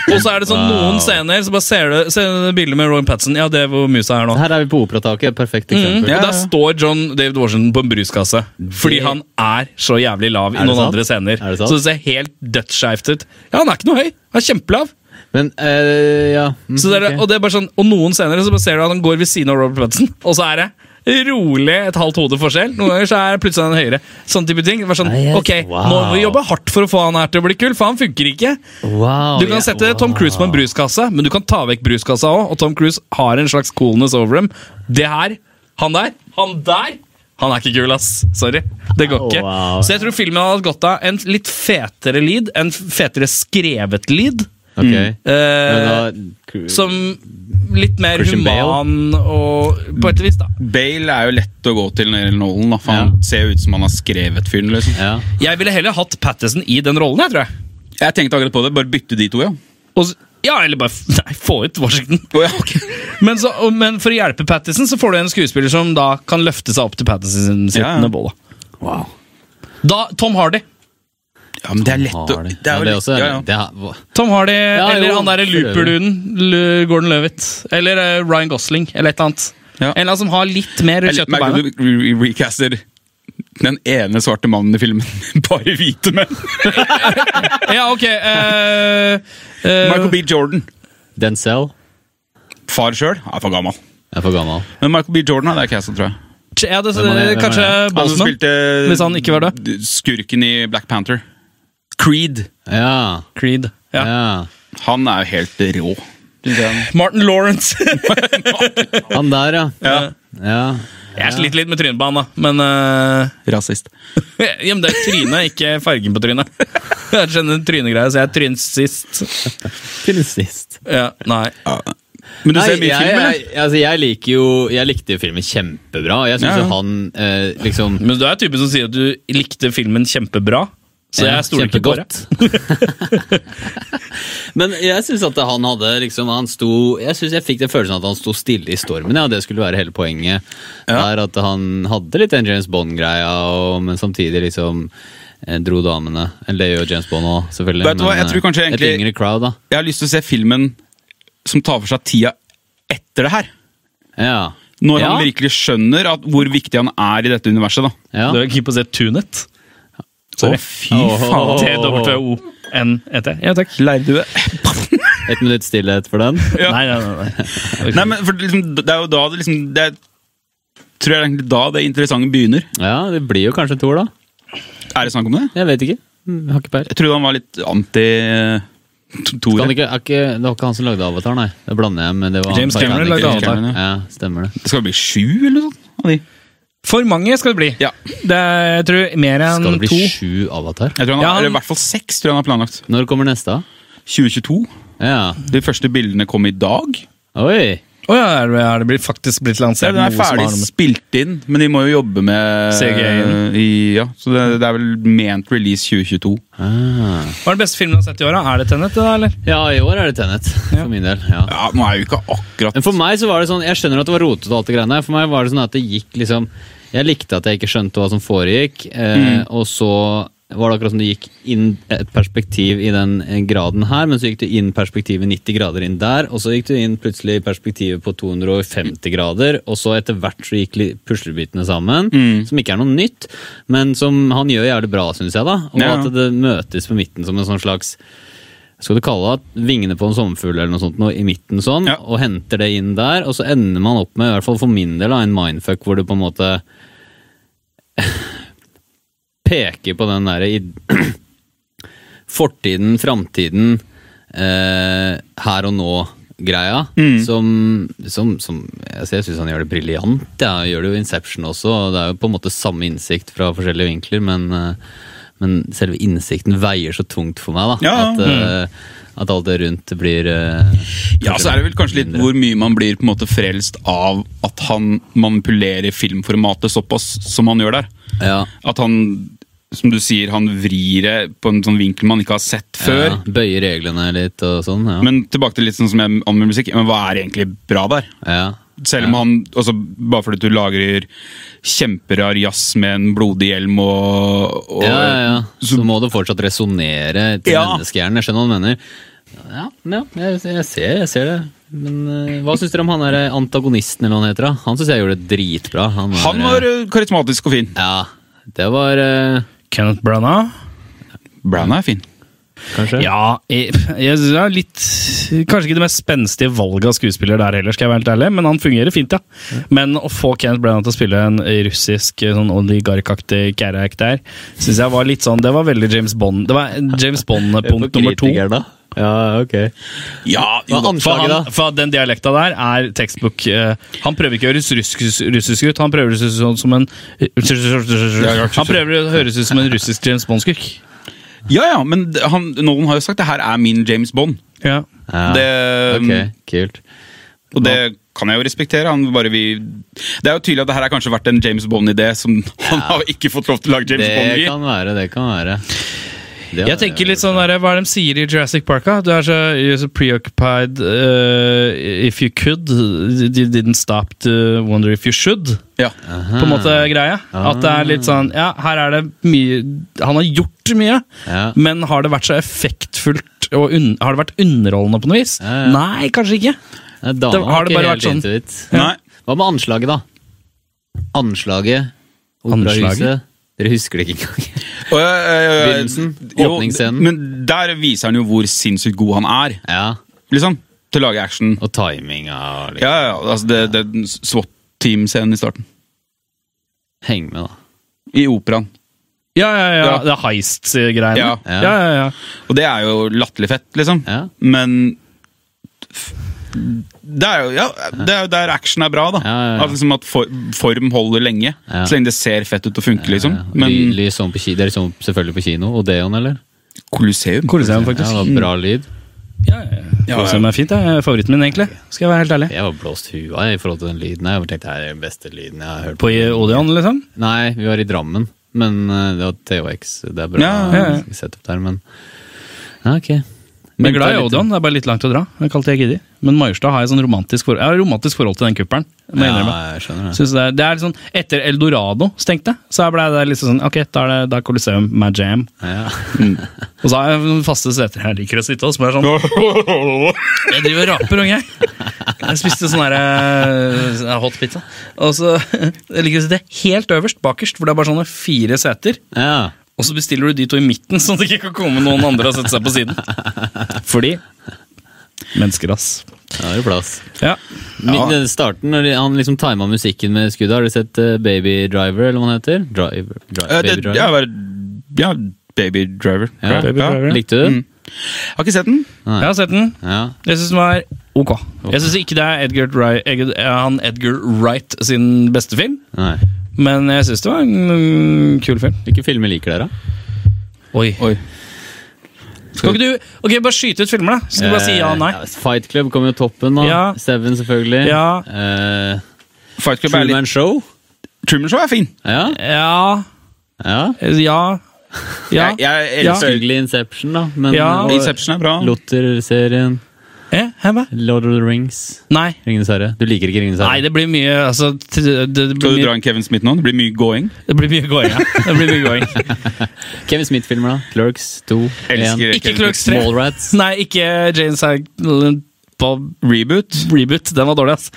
Og så er det sånn Wow. noen scener så bare ser du, ser du det bildet med Robert Pattinson. Ja, det er hvor musa er nå. Her er vi på operataket. et Perfekt eksempel. Mm, Ja, Og ja. der står John David Washington på en bruskasse. Fordi han er så jævlig lav i Er det noen sant? andre scener. Er det sant? Så det ser helt dødsskjevt ut. Ja, han er ikke noe høy. Han er kjempelav. Men eh, ja mm, Så det er, ok. og, det er bare sånn, og noen scener så bare ser du at han går ved siden av Robert Pattinson, og så er det rolig et halvt hode forskjell. Noen ganger så er det plutselig han høyere. Sånn type ting. Det var sånn, Nei, jeg- ok, wow. Nå må vi jobbe hardt for å få han her til å bli kul, for han funker ikke. Wow, Du kan ja, sette wow. Tom Cruise på en bruskasse, men du kan ta vekk bruskassa òg. Og Tom Cruise har en slags coolness over him. Det her, han der, han der han er ikke kul, ass. Sorry. Det går ikke. Wow. Så jeg tror filmen hadde hatt godt av en litt fetere lyd, en fetere skrevet lyd. Ok. Mm. Men Eh, da, som litt mer Christian Bale? human og På et vis, da. Bale er jo lett å gå til når det gjelder Nolan. Da, for Han Ja. ser jo ut som han har skrevet fyren. liksom. ja. Jeg ville heller hatt Pattison i den rollen, jeg, tror jeg. Jeg tenkte akkurat på det. Bare bytte de to, ja. Og, s- ja, eller bare f- *laughs* Nei, få ut Washington. Å, ja, ok. Men, så, og- men for å hjelpe Pattison, så får du en skuespiller som da kan løfte seg opp til Pattison sin Ja, ja. bolle. Da, Tom Hardy. ja, men det er lett å Har de. Det ja, det er er jo lett, også, ja, ja. Det er, Tom Hardy, Eller jo, han derre for øvrig. looper-duden. Lu- Gordon Levitt. Eller eh, Ryan Gosling, eller et eller annet. En Ja. eller annen som har litt mer Jeg kjøtt på merker beina. at du re- re- recaster den ene svarte mannen i filmen. *laughs* Bare hvite menn. Ja, ok. eh, *laughs* eh, Michael B. Jordan. Denzel Far sjøl er for gammel. er for gammel. Men Michael B. Jordan hadde jeg casta, tror jeg. ja, det, Hvem er det? Hvem er kanskje det? Han som Bosman? spilte eh, Hvis han ikke var d- skurken i Black Panther. Creed. Ja. Creed. ja. Ja. Han er jo helt rå. Martin Lawrence. *laughs* *laughs* Han der, ja. Ja. ja. Jeg sliter litt med trynet på han, da. Men, eh, *laughs* Rasist. ja, men det er trynet, ikke fargen på trynet. *laughs* Jeg skjønner trynegreia, så jeg er trynsist. Til sist. Ja, nei. Men du ser Nei, mye jeg, film, eller? jeg, altså, jeg liker jo Jeg likte jo filmen kjempebra. Jeg syns Ja, ja. jo han eh, liksom Men du er typen som sier at du likte filmen kjempebra. Så Ja, jeg stoler ikke på *laughs* det. Men jeg syns at han hadde liksom han sto, Jeg synes jeg fikk den følelsen at han sto stille i stormen. Ja, Det skulle være hele poenget. Der at han hadde litt den James Bond-greia, og- men samtidig liksom eh, dro damene. Leo og James Bond òg, selvfølgelig. Vet du hva, men, jeg tror kanskje eh, egentlig- Et yngre crowd, da. Jeg har lyst til å se filmen som tar for seg tida etter det her. Ja. Når ja. han virkelig skjønner at hvor viktig han er i dette universet. da. ja. Du er keen på å se Tunet? Å, fy faen. T-W-O-N-E-T. Ja, takk. Leirdue. Et minutt stillhet for den. Ja. Nei, nei, nei. *laughs* nei. Nei, men for liksom, Det er jo da det liksom det er, Tror jeg egentlig da det interessante begynner. Ja, det blir jo kanskje en toer, da. Er det snakk om det? Jeg vet ikke. Mm, Har ikke peil. Jeg trodde han var litt anti Skal han Tore. ikke, er ikke, det var ikke han som lagde Avatar, nei. Det blander jeg med det var James han- Cameron lagde James Avatar. Ja, stemmer det. Det skal bli sju, eller noe sånt? av de. For mange skal det bli. Ja. Det er, jeg tror mer Skal enn det bli to. sju Avatar? Jeg tror han, Ja, han- Eller i hvert fall seks, tror jeg han har planlagt. Når kommer neste? da? 2022. Ja. De første bildene kom i dag. Oi! Å ja, er det, er det blitt- faktisk blitt Ja, lansert den er noe som ferdig har noe med- spilt inn, men de må jo jobbe med CGI-en. i, Ja, Så det, det er vel ment release 2022. Ah. Hva er den beste filmen du har sett i år? da? Er det Tenet, da, eller? Ja, i år er det Tenet, for min del. ja. Ja, Nå er jo ikke akkurat Men for meg så var det sånn, jeg skjønner at det var rotet og alt det greiene der, for meg var det sånn at det gikk liksom, jeg likte at jeg ikke skjønte hva som foregikk, eh, og så var det akkurat som det gikk inn et perspektiv i den eh, graden her, men så gikk det inn perspektivet 90 grader inn der, og så gikk det inn plutselig perspektivet på 250 grader, og så etter hvert så gikk li- puslebitene sammen, som ikke er noe nytt, men som han gjør jævlig bra, synes jeg da, og Ja. at det møtes på midten som en sånn slags skal du kalle det vingene på en sommerfugl eller noe sånt nå, i midten sånn, Ja. og henter det inn der, og så ender man opp med, i hvert fall for min del, da, en mindfuck hvor du på en måte peker på den derre i- *clears throat* fortiden, framtiden, eh, her og nå-greia, Mm. som, som, som altså Jeg syns han gjør det briljant. ja, Han gjør det jo i Inception også, og det er jo på en måte samme innsikt fra forskjellige vinkler, men, eh, men selve innsikten veier så tungt for meg, da. Ja, ja. At, eh, at alt det rundt blir eh, Ja, så er det vel kanskje litt hvor mye man blir på en måte frelst av at han manipulerer filmformatet såpass som han gjør der. ja, At han, som du sier, han vrir det på en sånn vinkel man ikke har sett før. ja, Bøyer reglene litt og sånn. Ja. Men tilbake til litt sånn som jeg om med musikk, men hva er egentlig bra der? ja. Selv om han, altså, bare fordi du lager kjemperar jazz med en blodig hjelm og, og Ja, ja, ja. Så må det fortsatt resonnere til Ja. menneskehjernen. Jeg skjønner hva du mener. Ja, ja jeg, jeg, ser, jeg ser det. Men eh, hva syns dere om han der antagonisten, eller hva han heter? da? Han syns jeg gjorde det dritbra. Han var, Han var eh, eh, karismatisk og fin. Ja, det var eh, Kenneth Branagh? Brown er fin. Kanskje? Ja, jeg, jeg synes det er litt Kanskje ikke det mest spenstige valget av skuespiller der heller, skal jeg være helt ærlig, men han fungerer fint, ja. Men å få Kenneth Branagh til å spille en russisk eh, sånn oligarkaktig kærek der, syns jeg var litt sånn Det var veldig James Bond. Det var James Bond Hør på punkt nummer to. kritikeren, da. Ja, ok. Ja, Hva er For, anslaget, han, da? for den dialekta der er tekstbok eh, Han prøver ikke å høres russisk, russisk ut, han prøver å høres ut som en Han prøver å høres ut som en russisk James Bond-skurk. ja, ja men d- han, noen har jo sagt det her er min James Bond. Ja. Ja. Det- mm, ok, kult. Og det kan jeg jo respektere. Han bare vi Det er jo tydelig at det her har kanskje vært en James Bond-idé som *laughs* han har ikke fått lov til å lage James Bond Det i. kan være, det kan være. Det hadde Jeg tenker litt gjort. sånn der, Hva er det de sier i Jurassic Park? da? Du er så, you're so preoccupied uh, if you could. You didn't stop to wonder if you should. Ja. På en måte greie. At det er litt sånn Ja, her er det mye Han har gjort mye, Ja. men har det vært så effektfullt og un, har det vært underholdende på noe vis? Ja, ja. Nei, kanskje ikke. Nei, Dama Da har har det ikke bare helt vært sånn. intuit. Nei. Hva med anslaget, da? Anslaget. Anslaget? Operahuset. Dere husker det ikke engang. *laughs* Og, øh, Begynnelsen, åpningsscenen. Men der viser han jo hvor sinnssykt god han er. Ja, Liksom, Til å lage action. Og timinga og liksom. Ja, ja, ja, altså det, det er den SWAT-team-scenen i starten. Heng med, da. I operaen. Ja, ja, ja. Ja. Det er heist-greiene. Ja. Ja. Ja, ja, Og det er jo latterlig fett, liksom. Ja. Men f- det er jo ja, det er jo der action er bra, da. Ja, ja, ja. At, liksom, at for, form holder lenge. Ja. Så lenge det ser fett ut og funker, liksom. Ja, Men ly- lys sånn på ki- Dere så selvfølgelig på kino. Odeon, eller? Colosseum Kolosseum, faktisk. Ja, det var bra Mm. lyd. Ja, ja, ja. Colosseum er fint. Det er favoritten min, egentlig. Skal jeg være helt ærlig. Jeg var blåst huet av i forhold til den lyden. her. Jeg tenkte her er den beste lyden jeg har hørt. På i Odeon, liksom? Nei, vi var i Drammen. Men eh, det var THX. Det er bra Ja, ja, ja. setup der, men Ja, ok. Jeg er glad i Minta litt- Odeon, det er bare litt langt å dra. Jeg kalte jeg gidder. Men Majorstad har jeg sånn romantisk forhold, jeg har et romantisk forhold til den kuppelen. må jeg sånn- innrømme. Ja, jeg skjønner det. Synes det, er, det er litt sånn, Etter Eldorado stengte, så ble det liksom sånn Ok, da er det da er Colosseum my jam. Mm. Ja. Og så har jeg noen faste seter jeg liker å sitte hos, som *laughs* er sånn Jeg driver og raper, unge. Jeg spiste sånn der, eh, hot pizza. Og så *laughs* Jeg liker å sitte helt øverst, bakerst, hvor det er bare sånne fire seter. ja. Og så bestiller du de to i midten, *laughs* sånn at det ikke kan komme noen andre og sette seg på siden. Fordi Mennesker, ass. Da er det plass. Ja. Min- den Starten, når de- han liksom tima musikken med skuddet, har du sett eh, Baby Driver, eller hva han heter? Driver, dri, Ja, baby det, Driver. ja, bare, ja, Baby Driver. Ja, Baby ja. Driver. Likte du den? Har ikke sett den. Jeg har sett Mm. den. Ja. Jeg syns den var ok. Jeg syns ikke det er Edgar Wright, Edgar, han Edgar Wright sin beste film, Nei. men jeg syns det var en mm, kul film. Hvilke filmer liker dere, da? Oi. Oi. Skal ikke du Ok, bare skyte ut filmer, da. Så Skal du bare si ja og nei? Eh, Fight Club kommer jo toppen, da. Ja. Seven, selvfølgelig. Ja. Eh, Fight Club er Truman litt Show. Truman Show er fin. Ja. Eh, Ja Eh, ja. Ja. Ja. Jeg, jeg Ja. elsker Selvfølgelig Inception, da. Men eh, Ja. og- Inception er bra. Luther-serien. Eh, hæ, hva? Lord of the Rings. Nei. Ringenes herre. Du liker ikke Ringenes Nei, herre? det blir mye altså, t- det, det, Skal blir du dra mye, en Kevin Smith nå? Det blir mye going. det blir mye gåing. Ja. Det blir mye gåing. Kevin Smith-filmer, da? Clerks 2. Elsker Ikke Kevin Clerks Smith. 3. Mallrats. Nei, ikke Jane Silent Bob Reboot. Reboot. Den var dårlig, ass.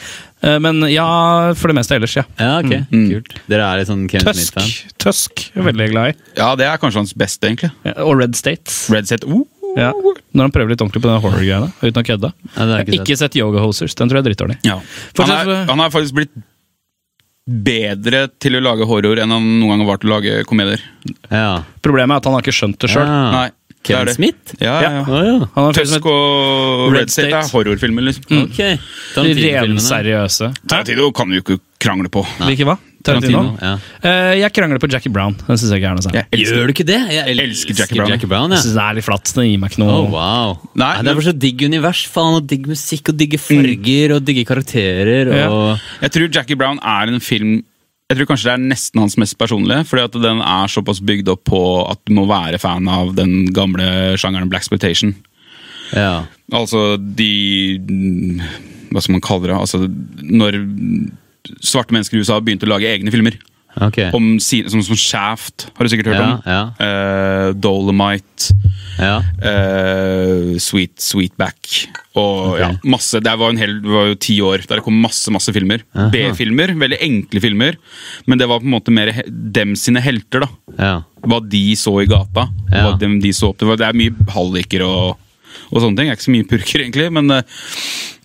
Eh, Men ja, for det meste ellers, ja. Ja, ok. Mm. Kult. Dere er litt sånn Kevin Smith-fan? Tusk. Tusk er jeg veldig glad i. Ja, det er kanskje hans beste, egentlig. Ja, Og Red States. Red Set. Uh, Ja. Når han prøver litt ordentlig på den horror-greiene. Uten å kødde. Ja, det har jeg Jeg ikke har ikke sett Yoga Hosers. Den tror jeg er drittdårlig. ja. han, Fortsett, er, Frode. han er faktisk blitt bedre til å lage horror enn han noen gang var til å lage komedier. sett. Ja. Problemet er at han har ikke skjønt det sjøl. Ja. Nei, det er Ah. Kevin det. Smith? Ja, ja, ja. Å, ja. Han har en film Tusk som og Red Red State er State. horrorfilmer, liksom. Mm. Ok. heter Tarantino-filmene. Renseriøse. Tarantino kan du jo ikke krangle på. Hvilke hva? Tarantino? Tarantino, ja. Eh, jeg krangler på Jackie Brown. Den syns jeg ikke er noe særlig. Jeg elsker Gjør du ikke det? Jeg elsker, Elsker Jackie Brown. Jackie Brown Jeg ja. synes det er litt flatt. Den gir meg ikke noe Oh, wow. Nei, Nei, det er bare så digg univers, faen. Og digg musikk, og digge farger, og digge karakterer, Ja. og Jeg tror Jackie Brown er en film Jeg tror kanskje det er nesten hans mest personlige, fordi at den er såpass bygd opp på at du må være fan av den gamle sjangeren Black Exploitation. Ja. Altså de Hva skal man kalle det? Altså når svarte mennesker i USA begynte å lage egne filmer. Ok. Om sine, som, som Shaft, har du sikkert hørt Ja, om. ja. Eh, Dolomite. Ja. eh, sweet, Sweetback. Og ja, masse, Det var, en hel, det var jo ti år der det kom masse masse filmer. B-filmer, veldig enkle filmer. Men det var på en måte mer he- dem sine helter. da ja. Hva de så i gata. og Ja. Hva dem de så opp til. Det er mye halliker og, og sånne ting. Det er ikke så mye purker, egentlig. Men, eh,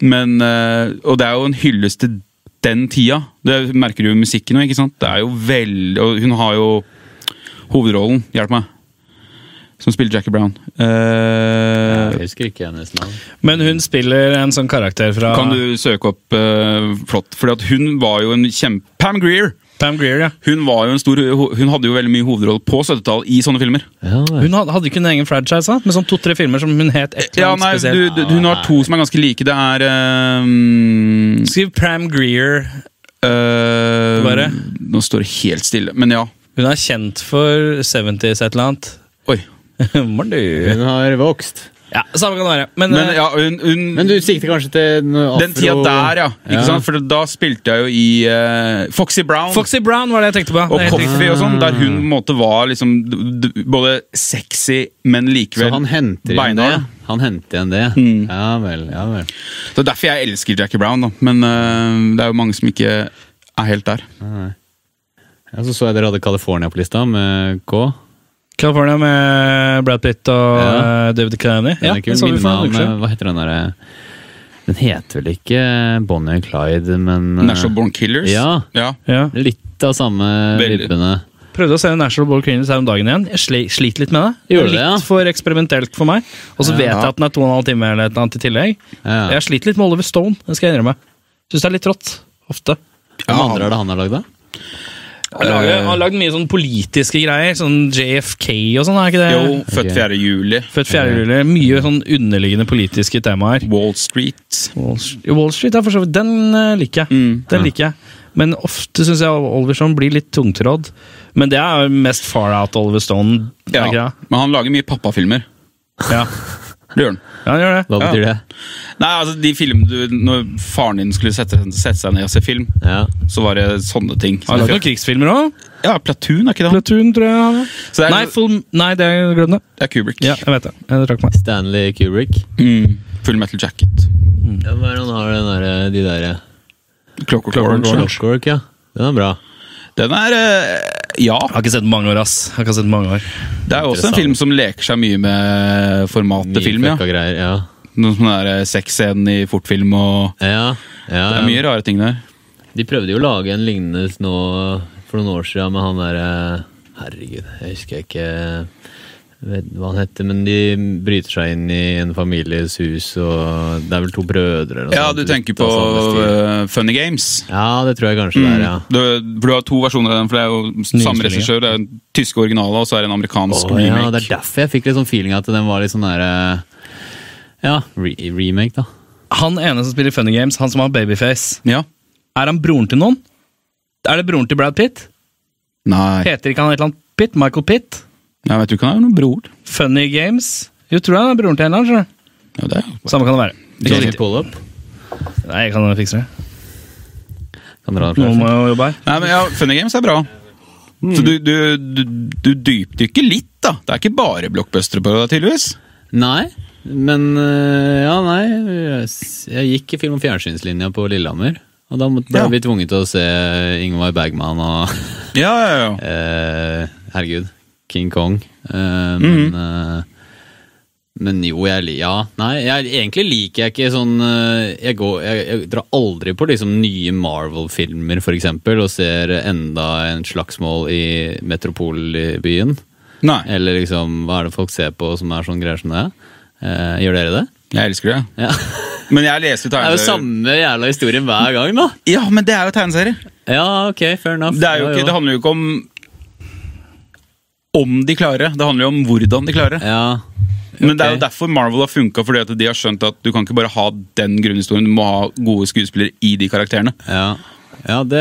men, eh, og det er jo en hyllest til den tida. Det merker du jo i musikken òg. Det er jo veldig Og hun har jo hovedrollen, hjelp meg, som spiller Jackie Brown. Eh, Jeg husker ikke hennes navn. Men hun spiller en sånn karakter fra Kan du søke opp eh, flott? Fordi at hun var jo en kjempe... Pam Greer Pam Greer, ja. Hun, var jo en stor, hun hadde jo veldig mye hovedrolle på 70-tallet i sånne filmer. Ja, Hun had- hadde ikke en egen franchise, da, med sånn to-tre filmer som hun het et eller Ja, annet nei, du, spesielt. du, Hun har to som er ganske like. Det er ehm, Skriv Pam Greer. ehm, Bare? Nå står det helt stille, men ja. Hun er kjent for 70s et eller annet. Oi. *laughs* Mordu. hun har vokst. Ja, samme kan det være. Men, Men eh, ja, hun, hun Men du sikter kanskje til noe afro... Den tida der, ja. Ikke Ja. sant? For da spilte jeg jo i eh, Foxy Brown. Foxy Brown var det jeg tenkte på. og Det er helt riktig. Coffee og sånn, der hun på en måte var liksom d- d- både sexy, men Så likevel han henter igjen det? beinhard. Han henter igjen det. Mm. Ja vel, ja vel. Det er derfor jeg elsker Jackie Brown, da. Men eh, det er jo mange som ikke er helt der. Ja, så så jeg dere hadde California på lista med K. California med Brad Pitt og Ja. eh, David Clowney. Den er kul. det så vi Minner for meg om noen uker eh, siden. Hva heter den derre Den heter vel ikke Bonnie and Clyde, men eh, National Born Killers. Ja. ja. Litt av samme Veldig. vippene. Prøvde å se National Ball Cleaners her om dagen igjen. Jeg sli, sliter litt med det. Gjorde litt det, ja. for eksperimentelt for meg. Og så vet Ja. jeg at den er to og en halv time eller et eller annet i tillegg. Ja. Jeg sliter litt med Oliver Stone, det skal jeg innrømme. Syns det er litt rått. Ofte. Hvem andre er det han har lagd, da? Han lager- han har lagd mye sånn politiske greier, sånn JFK og sånn, er ikke det? Jo, Eh. født Ok. 4. juli. Født 4. juli. Mye sånn underliggende politiske temaer. Wall Street. Wall Street, Wall Street er for så vidt Den eh, liker jeg. Mm. Den liker jeg. Men ofte syns jeg Oliver Stone blir litt tungtrådd. Men det er jo mest far out Oliver Stone. er Ja. ikke det? Men han lager mye pappafilmer. Ja. Det gjør han. ja, han gjør det. Hva Ja. betyr det? Nei, altså, de film du, Når faren din skulle sette, sette seg ned og se film, Ja. så var det sånne ting. Har han lagd noen krigsfilmer òg? Ja, Platoon, er ikke det han? Platoon, tror jeg. han har. Så det er, Nei, full, nei, det er glem det. det er Kubrick. Ja, jeg vet det. Jeg trakk meg. Stanley Kubrick. Mm. Full Metal Jacket. Ja, hva er det han har den der, eh, de derre Clockwork Orange. Clockwork, ja. Den er bra. Den er eh, Ja. Jeg har ikke sett mange år, ass. Jeg har ikke sett mange år. Det er jo også en Interessant. film som leker seg mye med formatet Mye film. ja. fucka greier. Ja. Noen sånne der, eh, sexscenen i fortfilm og Ja, ja, Det ja. er mye rare ting der. De prøvde jo å lage en lignende nå for noen år siden med han derre Herregud, jeg husker ikke eh, vet hva han heter, men de bryter seg inn i en families hus, og det er vel to brødre eller noe Ja, sånt, du litt tenker på av samme stil. eh, Funny Games. Ja, det tror jeg kanskje det er, ja. Du, Mm. for du har to versjoner av den, for det er jo samme innspillinger. regissør. Det er den tyske originale, og så er det en amerikansk Å, ja, det remake. er derfor jeg fikk litt sånn feeling at den var litt sånn derre Ja, re remake, da. Han ene som spiller Funny Games, han som har babyface, Ja. er han broren til noen? Er det broren til Brad Pitt? Nei, Heter ikke han et eller annet Pitt? Michael Pitt? jeg vet du ikke, han er jo noen bror. Funny Games? Jo, tror jeg han er broren til en eller annen. skjønner du. Ja, det er jo Samme kan det være. Johnny Pull-up. Nei, jeg kan fikse det. Kan dra den Noen fra. må jo jobbe her. Nei, men ja, Funny Games er bra. Mm. Så du, du, du, du dypdykker litt, da. Det er ikke bare blockbustere på deg, tydeligvis. Nei, men øh, Ja, nei. jeg s- Jeg gikk i film- og fjernsynslinja på Lillehammer. Og da måtte- ble Ja. vi tvunget til å se Ingvar Bergman og Ja, ja, ja. eh, Herregud, King Kong. Eh, men, Mhm. eh, men jo, jeg li- Ja, nei, jeg, egentlig liker jeg ikke sånn eh, Jeg, går, jeg, jeg drar aldri på liksom nye Marvel-filmer, for eksempel, og ser enda en slagsmål i metropolbyen. Nei, Eller liksom, hva er det folk ser på som er sånn greier som det? Eh, gjør dere det? jeg elsker det. Ja. *laughs* Men jeg leser jo Det er jo tegneserier. samme jævla historien hver gang, da. Ja, men det er jo tegneserier. Ja, ok, fair enough. Det, er jo ikke, det handler jo ikke om om de klarer det. Det handler jo om hvordan de klarer det. Ja, Men det er jo ok. derfor Marvel har funka, fordi at de har skjønt at du kan ikke bare ha den grunnhistorien, du må ha gode skuespillere i de karakterene. ja. ja det,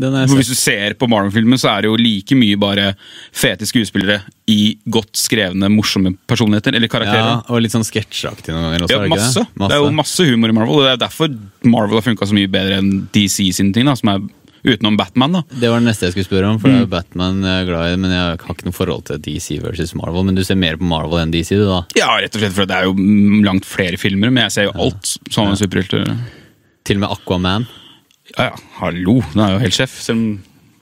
den er For Hvis du ser på Marvel-filmen, så er det jo like mye bare fete skuespillere i godt skrevne, morsomme personligheter eller ja, karakterer. Og litt sånn sketsjaktig noen ganger også, Ja, er det ikke masse. det? Det er jo masse humor i Marvel, og det er derfor Marvel har funka så mye bedre enn DC sine ting, da, som er utenom Batman. da. Det var det neste jeg skulle spørre om, for det er jo Batman jeg er glad i, men jeg har ikke noe forhold til DC versus Marvel. Men du ser mer på Marvel enn DC, du, da? Ja, rett og slett, for det er jo mm, langt flere filmer, men jeg ser jo alt sånne superhelter. Til og med Aquaman. Ja, ja, hallo, nå er jeg jo helt sjef, selv om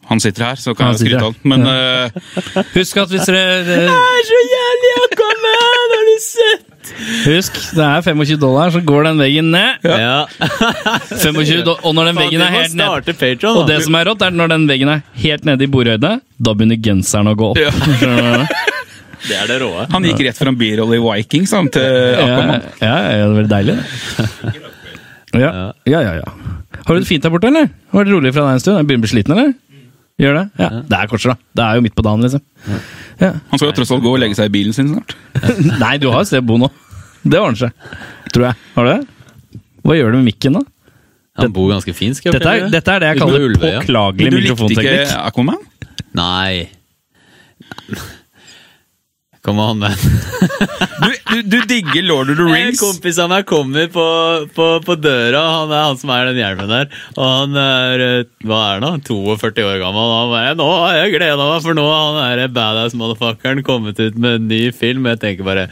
han sitter her, så kan Han jeg sitter jo her. skryte av han. Men eh, Husk at hvis dere eh, er så jævlig Aquaman, har du sett?! Husk, det er 25 dollar, så går den veggen ned. Ja. 25 do og når den veggen er helt ned ned. Patreon, Og det som er rått, er at når den veggen er helt nede i bordhøyde, da begynner genseren å gå opp. Ja. Skjønner du? det er det råe. han gikk rett fra en birolle i Vikings han, til Aquaman. Ja, ja, ja, det var deilig. det. Ja, ja, ja. ja. Har du det fint der borte, eller? Har det rolig fra deg en stund? Jeg begynner å bli sliten, eller? Gjør det? Ja. Det er kortere, da. Det er jo midt på dagen, liksom. Ja. Han skal jo tross alt gå og legge seg i bilen sin snart. Nei, du har et sted å bo nå. Det ordner seg. Tror jeg. Har du det? Hva gjør du med mikken, da? Han bor ganske fint, skal jeg Dette er, fortelle. dette er det jeg Du bor kaller i Ulvøya. påklagelig du likte ikke mikrofonteknikk. Aquaman? Nei. Kom an, man. Du, du, du digger Lord of the En Rings. kompis av meg kommer på, på, på døra, han er han som er den hjelmen der. Og han er eh, hva er han da, 42 år gammel. Og han bare 'Nå har jeg gleda meg, for nå har han der badass motherfuckeren kommet ut med en ny film'. Jeg tenker bare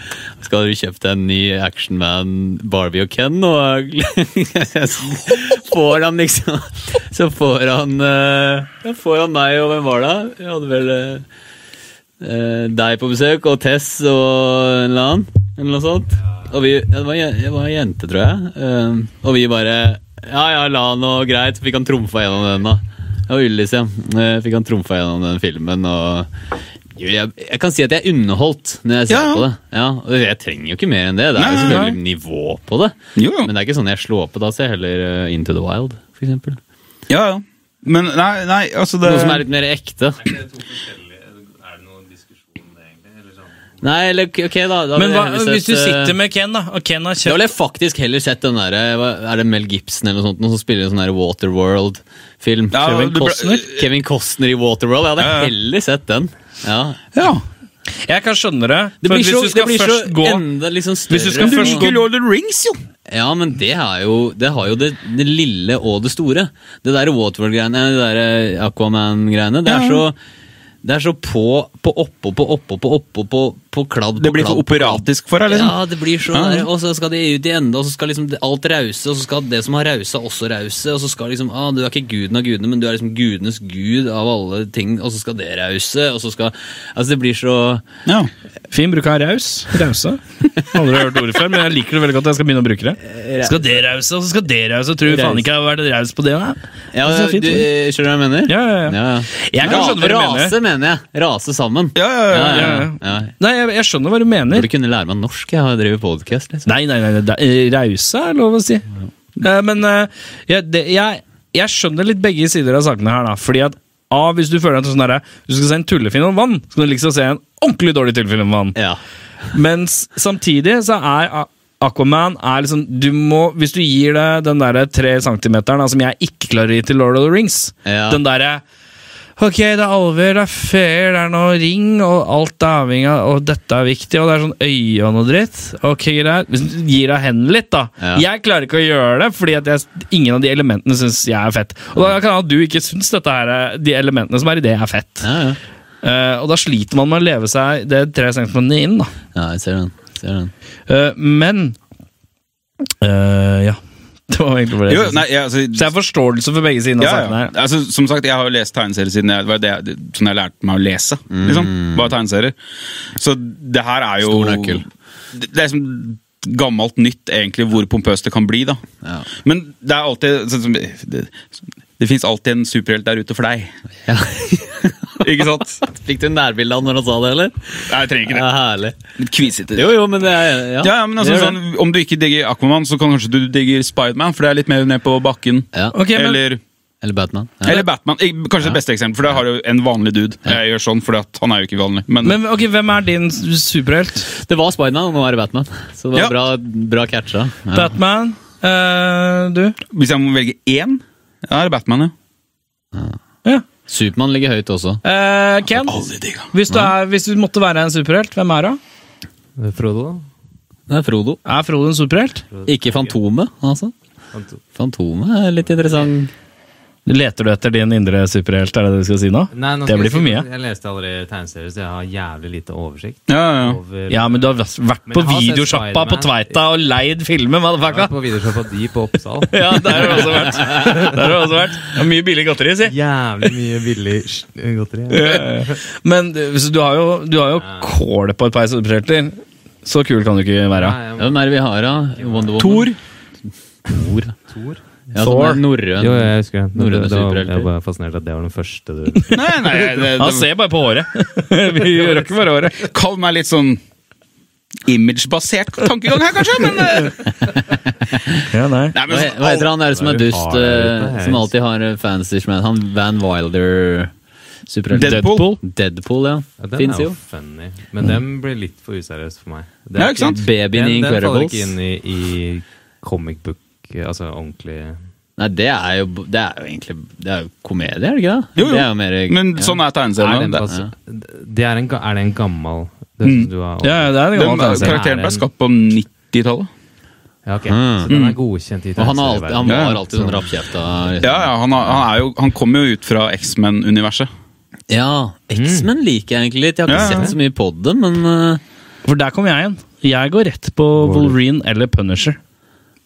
Skal du kjøpt en ny Action Man, Barbie og Ken nå? *laughs* får han liksom Så får han eh, ja, Får han meg, og hvem var det? Jeg hadde vel eh, eh, deg på besøk, og Tess og en eller annen. Eller noe sånt. Og vi, ja, det var, je- det var en jente, tror jeg. Eh, og vi bare Ja, ja, la han og greit. Fikk han trumfa gjennom den, da. Og Yllis, ja. Eh, fikk han trumfa gjennom den filmen, og jo, jeg, jeg kan si at jeg er underholdt når jeg ser Ja. på det. Ja, og Jeg trenger jo ikke mer enn det. Det er jo Nei, nei, selvfølgelig nivå på det. Jo, jo. Men det er ikke sånn jeg slår på. Da ser jeg heller eh, Into the Wild, for eksempel. Ja, ja. Men nei, nei, altså det Noe som er litt mer ekte. Er det noen diskusjon om det, egentlig? Eller sånn? Nei, eller ok, da. da Men vil jeg hva, heller sett, hvis du eh, sitter med Ken, da, og Ken har Da kjøpt ville jeg faktisk heller sett den der eh, hva- Er det Mel Gibson eller noe sånt noen som spiller en sånn der Waterworld-film? Ja, Kevin det ble- Costner? Kevin Costner i Waterworld. Jeg hadde Ja, ja. heller sett den. Ja. Ja. Jeg kan skjønne det. Det for blir hvis så, du skal det blir så først gå enda liksom større. Hvis du skal Du først og- liker Lord of the Rings, jo! Ja, men det, er jo, det har jo det, det lille og det store. Det der Waterworld-greiene, det der eh, Aquaman-greiene, det er Ja. så det er så på, på oppå, på oppå, på oppå, på, på kladd på Det blir kladd, for på kladd. operatisk for deg, liksom. Ja, det blir så Ja, ja. der, og så skal det ut i ende, og så skal liksom alt rause, og så skal det som har rausa, også rause, og så skal liksom ah, Du er ikke guden av gudene, men du er liksom gudenes gud av alle ting, og så skal det rause, og så skal Altså, det blir så Ja. Fin bruk av raus. Rause. Aldri hørt ordet før, men jeg liker det veldig godt. Jeg skal begynne å bruke det. Skal det rause, og så skal det rause. Tror du faen ikke jeg har vært raus på det? da? Ja, Det er så fint, du, det. skjønner du hva jeg mener? Ja, ja, ja. Jeg kan Ra- skjønne hva du mener. Rase, mener jeg. Rase sammen. Ja, ja, ja, ja, ja. ja. Nei, jeg, jeg skjønner hva du Jeg mener. Burde kunne lære meg norsk. Jeg har drevet podcast liksom. Nei, nei, nei, nei, da- eh, rause er lov å si. Eh, Men eh, jeg, det, jeg, jeg skjønner litt begge sider av sakene her, da. Fordi at A, hvis du føler at sånn der, du skal se en tullefilm om vann, skal du liksom se en ordentlig dårlig tullefilm om vann. Ja. Mens samtidig så er A- Aquaman er liksom, du må, Hvis du gir det den derre tre centimeteren da, som jeg ikke klarer å gi til Lord of the Rings Ja. Den derre Ok, det er alver, det er feer, det er noe ring, og alt er avhengig av Og dette er viktig, og det er sånn øye og noe dritt. Ok, greit. Hvis du gir deg hendene litt, da. Ja. Jeg klarer ikke å gjøre det, fordi at jeg, ingen av de elementene syns jeg er fett. Og da kan det hende at du ikke syns dette her, er- de elementene som er i det, er fett. Ja, ja. Eh, og da sliter man med å leve seg det tre centimeterne inn, da. ja, jeg ser den. Ser den. Eh, men eh, Ja. *laughs* Det var egentlig bare det. jeg Jo, skulle si. nei, ja, altså, så jeg har forståelse for begge sidene av ja, saken ja. her. Altså, som sagt, jeg har jo lest tegneserier siden jeg, det var det, jeg- sånn jeg lærte meg å lese. Liksom, Mm. var tegneserier. Så det her er jo Stor nøkkel. Det, det er liksom gammelt nytt, egentlig, hvor pompøst det kan bli. da. Ja. Men det er alltid sånn som- Det, det fins alltid en superhelt der ute for deg. Ja. *laughs* Ikke sant? Fikk du nærbilde av når han sa det, eller? *laughs* Nei, jeg trenger ikke Ja, det. herlig. Litt kvisete. Jo, jo, men det er Ja, Ja, ja, men altså, det gjør det. sånn, Om du ikke digger Aquaman, så kan kanskje du digger Spiderman, for det er litt mer ned på bakken. ja. Ok, men- Eller Eller Batman. Ja. Eller Batman. Ik- Kanskje det beste eksempelet, for der har du en vanlig dude. Jeg gjør sånn, for han er jo ikke vanlig. Men, Men ok, hvem er din s- superhelt? Det var Spiderman, og nå er det Batman. Så det var Ja. bra, bra catcha. Ja. Batman? eh, du? hvis jeg må velge én, ja, er det Batman, ja. Ja. Supermann ligger høyt også. Eh, Ken? Aldri digga. Hvis du, er, hvis du måtte være en superhelt, hvem er du? Eh, Frodo, da? Det er Frodo. Er Frode en superhelt? Ikke Fantomet, altså. Han to- Fantomet er litt interessant. Leter du etter din indre superhelt, er det det du skal si nå? Nei, nå det skal blir jeg for si- mye. Jeg leste aldri tegneserier, så jeg har jævlig lite oversikt. Ja, ja, ja. Over, Ja, men du har vært vært Men på jeg har sett videosjappa på Spider-Man. Tveita og leid filmer, Jeg har motherfucka! vært på videoshow på de på Oppsal. Ja, der har du også vært. Der har du også vært. Det er mye billig godteri, si. Jævlig mye billig sj- godteri. ja. Men du, så du har jo, du har jo Ja. kålet på et par solbriller. Så kul kan du ikke være. Nei, jeg Ja, må- Hvem er det vi har, da? Wonder Woman? Thor. Thor. Thor? Ja, som Thor. er norrøn. Jo, jeg husker det. Men Norrøne det- det var- superhelter. Jeg var fascinert at det var den *laughs* første du Nei, nei, det, Han det, ser bare på håret. *laughs* Vi gjør ikke bare håret. Kall meg litt sånn imagebasert tankegang her, kanskje, men eh, Ja, nei. Nei, men Hva, sånn, hva heter han der som er Hva er det dust, vi har der eh, ute? som alltid har eh, fancy smash? Han Van Wilder Superhelt. Deadpool. Deadpool, ja. Ja, den Fins er jo jo. funny, men den blir litt for useriøs for meg. Det Ja, ikke sant? Babyen i den, den faller ikke inn Incredibles. i, i comic book, altså ordentlig Nei, det er jo, det er jo egentlig Det er jo komedie, er det ikke det? Jo, jo. Det er jo mer, Men ja. sånn er Er tegneseriene. den, Det- altså, det er, en, ga- er det en gammel Det Mm. som du har Ja, ja, det er en Den gammel tegneserie. Karakteren ble Er den- skapt på 90-tallet. Ja, ok. Mm. Så den er godkjent i Og han, har alltid, han tegneserieverdenen. var alltid sånn rappkjefta. liksom. Ja, ja, han, har- han, er jo, han kommer jo ut fra X-Men-universet. Ja, X-Men liker jeg egentlig litt. Jeg har ikke Ja, ja. sett så mye på det, men eh, For der kommer jeg igjen. Jeg går rett på Wolverine eller Punisher.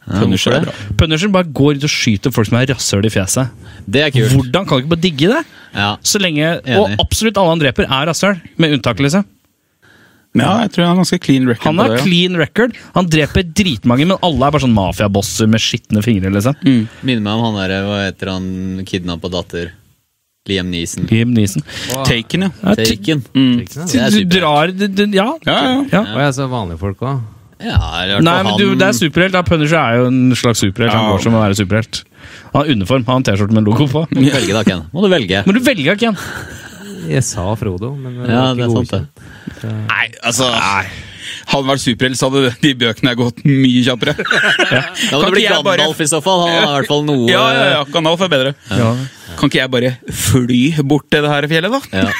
ja, Punisher er hvorfor det? bra. Punisher bare går ut og skyter folk som er rasshøl i fjeset. Det er kult. Hvordan kan du ikke bare digge det? Ja. Så lenge, Enig. Og absolutt alle han dreper, er rasshøl. Med unntak, liksom. Ja, jeg tror han har ganske clean record Han på har det. ja. clean record. Han dreper dritmange, men alle er bare sånn mafiabosser med skitne fingre. liksom. Minner meg om han der, hva heter han, kidnappa datter? Liam Neeson. Liam Neeson. Taken, ja. Mm. Ja, ti- Taken. Ikke sant? Det er Du superhelt. drar du- du- Ja. Ja, ja. Ja. Og jeg så vanlige folk òg. Ja, i hvert fall Nei, men du, han- det er superhelt. da. Punisher er jo en slags superhelt. Han Ja. går som å være superhelt. Han har uniform, han har en T-skjorte med en logo Må på. du velge, da, Ken. Må du velge. Men du velger ikke igjen. Jeg sa Frodo, men det Ja, var det ikke er sant, det. godkjent. Nei, altså Hadde det vært superhelt, så hadde de bøkene gått mye kjappere. *laughs* Da må Kan det bli ikke jeg bare- Gandalf i så fall. Han har i hvert fall noe Ja, ja, ja, Gandalf er bedre. Kan ikke jeg bare fly bort til det her fjellet, da? *laughs* Ja.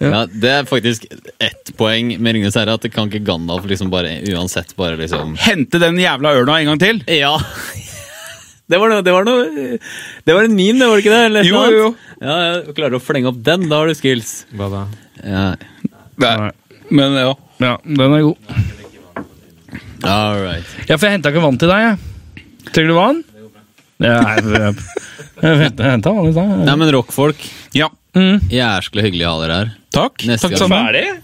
Ja, Det er faktisk ett poeng med Ringenes herre. At det kan ikke Gandalf liksom bare uansett bare liksom Hente den jævla ørna en gang til? Ja! *laughs* Det var, noe, det, var noe, det var en meme, det, var det ikke det? Eller et Jo, eller annet? jo, jo. Ja, ja, Klarer du å flenge opp den, da har du skills. Hva da? Ja. Nei. Men ja. Ja, den er god. All right. Ja, for jeg henta ikke vann til deg, jeg. Trenger du vann? Ja, nei, det- jeg henta vann i Nei, stad. men rockfolk, Mm. ja. jæsklig hyggelig å ha dere her. Takk. Neste Takk gang. sammen.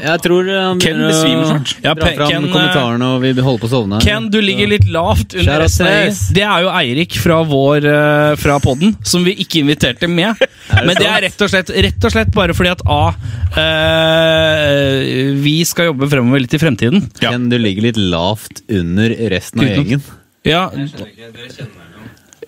Jeg tror eh, han Ken begynner besvimer å snart. Ja, dra Pe- fram Ken, eh, kommentarene, og vi holder på å sovne. her. Ken, du ligger litt lavt under Shout out resten av til gjengen. Det er jo Eirik fra vår eh, Fra podden, som vi ikke inviterte med. Men det er rett og slett Rett og slett bare fordi at A eh, Vi skal jobbe fremover litt i fremtiden. Ja. Ken, du ligger litt lavt under resten av Utenom- gjengen. Ja, Dere kjenner den jo.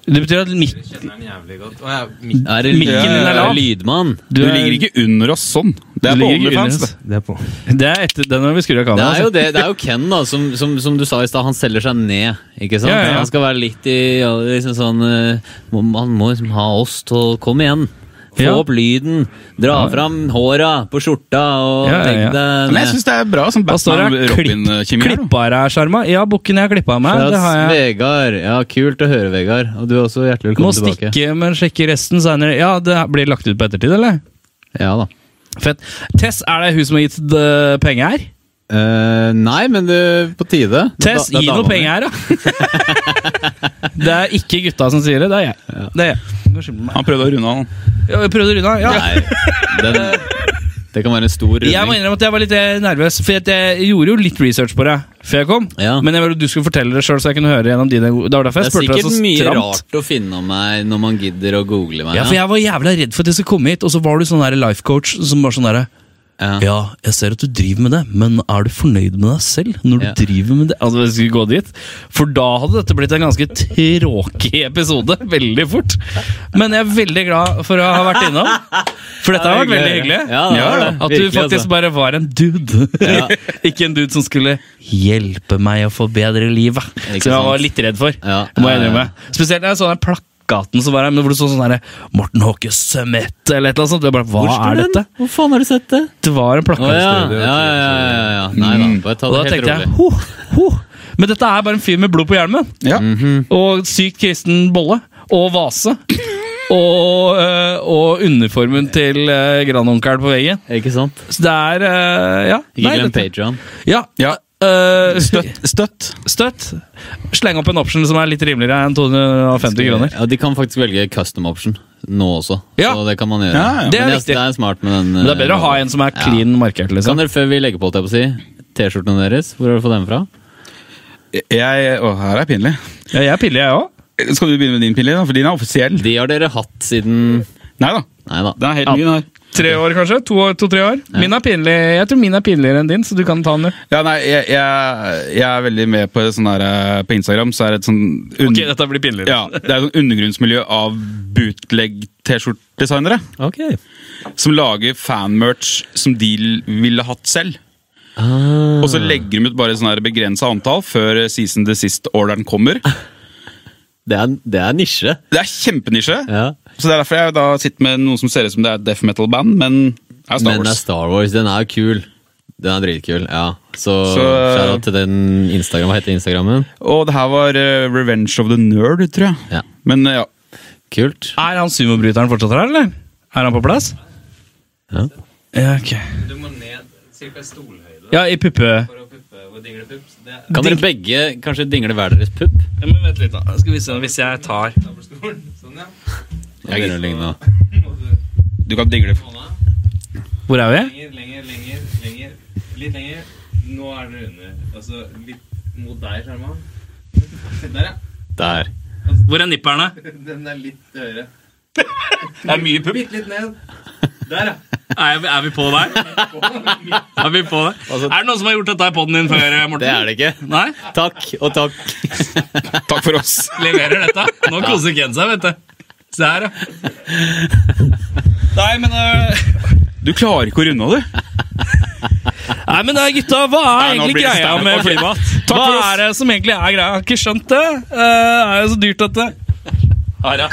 Det betyr at mitt, Dere kjenner den jævlig godt. Å, ja, mitt. Er det Mikken din er lav. lydmann? Du ligger ikke under oss sånn. Det er Du på ligger ikke under OnlyFans. det. oss. Det er på. Det er etter den når vi skrur av Det kameraet. altså. er jo, det, det er jo Ken, da, som, som, som du sa i stad. Han selger seg ned. ikke sant? Ja, ja, ja. Han skal være litt i ja, liksom sånn eh, må, Han må liksom ha oss til å komme igjen. Få Ja. opp lyden. Dra fram håra på skjorta og Ja, ja, ja. legg deg Men jeg ned. syns det er bra som Hva står Batman det? og Robin-kjemi. her, da. Klippa deg, Sjarma? Ja, bukken jeg har klippa av meg. Shout Det har out jeg. Vegard. Ja, kult å høre, Vegard. Og du er også hjertelig Må velkommen stikke, tilbake. men sjekke resten senere. Ja, det blir lagt ut på ettertid, eller? Ja da. Fett. Tess, er det hun som har gitt eh, penger her? Eh, nei, men det på tide. Det er Tess, da- det er gi dama mi. noe penger her, da! *laughs* det er ikke gutta som sier det, det er jeg. Det er jeg. Du kan skylde på meg. Han prøvde å runde av. han. Ja, vi prøvde å runde av. Ja. Nei, den, det kan være en stor Jeg må runding. innrømme at jeg var litt eh, nervøs, for at jeg gjorde jo litt research på det før jeg kom. Ja. Men jeg ville at du skulle fortelle det sjøl, så jeg kunne høre gjennom dine gode Det var derfor Det jeg er spurte deg sikkert så mye stramt. rart å finne om meg når man gidder å google meg. Ja, for jeg var jævla redd for at jeg skulle komme hit, og så var du sånn der life coach som var sånn derre Ja. ja, jeg ser at du driver med det, men er du fornøyd med deg selv når du Ja. driver med det? Altså, jeg skulle gå dit, For da hadde dette blitt en ganske tråkig episode *laughs* veldig fort. Men jeg er veldig glad for å ha vært innom, for dette har vært veldig hyggelig. Ja, det var det. At du Virkelig, faktisk altså. bare var en dude. Ja. *laughs* Ikke en dude som skulle hjelpe meg å forbedre livet, Ikke som jeg sant. var litt redd for. Ja. Må jeg Ja, ja, innrømme. *laughs* Spesielt når jeg så den plakaten som var her, men hvor det stod sånn der, Morten Håke Summit, eller et eller annet sånt. Jeg bare, hva er dette? Hvor faen har du sett det? Det var en plakat. Å ja. Ja, ja, ja, ja, ja. Nei da, Mm. bare ta Og da det helt tenkte jeg, rolig. ho, ho. Men dette er bare en fyr med blod på hjelmen. Ja. Mm. Og sykt kristen bolle. Og vase. Og, øh, og uniformen til øh, grandonkelen på veggen. Ikke sant? Så det er øh, Ja. Ikke glem dette- Patreon. Ja. Ja. øh, *laughs* Støtt. Støtt. støtt. Sleng opp en option som er litt rimeligere enn 250 kroner. Ja, de kan faktisk velge custom option nå også, Ja. så det kan man gjøre. Ja, ja. Det er Men viktig. det er smart med den. Men det er bedre å ha en som er clean markert, Kan liksom. dere, før vi legger på, holdt jeg på å si, T-skjortene deres, hvor har du fått dem fra? Jeg, å, her er det pinlig. Ja, jeg piller, jeg òg. Skal du begynne med din pinlige, da? For din er offisiell. De har dere hatt siden Nei da. Nei da. Den er helt ny, den her. Tre år, kanskje? To-tre år? Min er pinlig. Jeg tror min er pinligere enn din, så du kan ta den. du. Ja, nei, jeg, jeg, jeg er veldig med på sånn der eh, På Instagram så er det et sånn un- dette blir pinligere. ja, Det er et sånn undergrunnsmiljø av bootleg-T-skjortedesignere. Ok. Som lager fanmerch som de l- ville hatt selv. Ah. Og Mm. så legger de ut bare sånn her begrensa antall før season the sist-orderen kommer. Det er, det er nisje. Det er kjempenisje. Ja. Så det er derfor jeg da sitter med noen som ser ut som det er et death metal-band, men er Star Men det er Wars. Star Wars. Den er kul. Den er dritkul, ja. Så, Så, eh, shout out til den Instagram. Hva heter Instagrammen? Og det her var eh, Revenge of the Nerd, tror jeg. Ja. Men eh, ja. Kult. Er han sumobryteren fortsatt her, eller? Er han på plass? Ja. Ja, ok. Du må ned ca. stolhøyde Ja, i puppe... for å puppe og dingle pups. Det er Kan dere begge kanskje dingle hver deres pupp? Ja, men vent litt, da. Skal vi se hvis jeg tar dobbeltstolen. Sånn, ja. Nå begynner det å ligne. Du kan dingle. Hvor er vi? Lenger, lenger, lenger. lenger. Litt lenger. Nå er dere under. Altså litt mot deg, Sjarman. Der, ja. Der. Hvor er nipperne? Den er litt høyere. *laughs* Det er mye pupp. Bitte litt ned. Der, ja. Er, vi- er vi på *laughs* der? Er vi på der? Er det noen som har gjort dette i poden din før, eh, Morten? Det er det ikke. Nei? Takk og takk. Takk for oss. Leverer dette? Nå koser Ken seg, vet du. Se her, ja. Nei, men Du klarer ikke å runde av, du. Nei, men da, gutta, hva er Nei, nå egentlig blir det greia stand-up. med flymat? Takk Hva for oss. er det som egentlig er greia? Jeg har ikke skjønt det. Eh, Det er jo så dyrt, dette. Ara.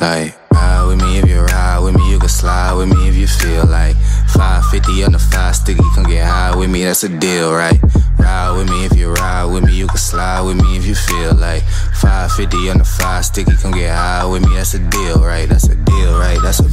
Like, ride with me if you ride with me, you can slide with me if you feel like 550 on the five sticky, come get high with me, that's a deal, right? Ride with me if you ride with me, you can slide with me if you feel like 550 on the five sticky, come get high with me, that's a deal, right? That's a deal, right? That's a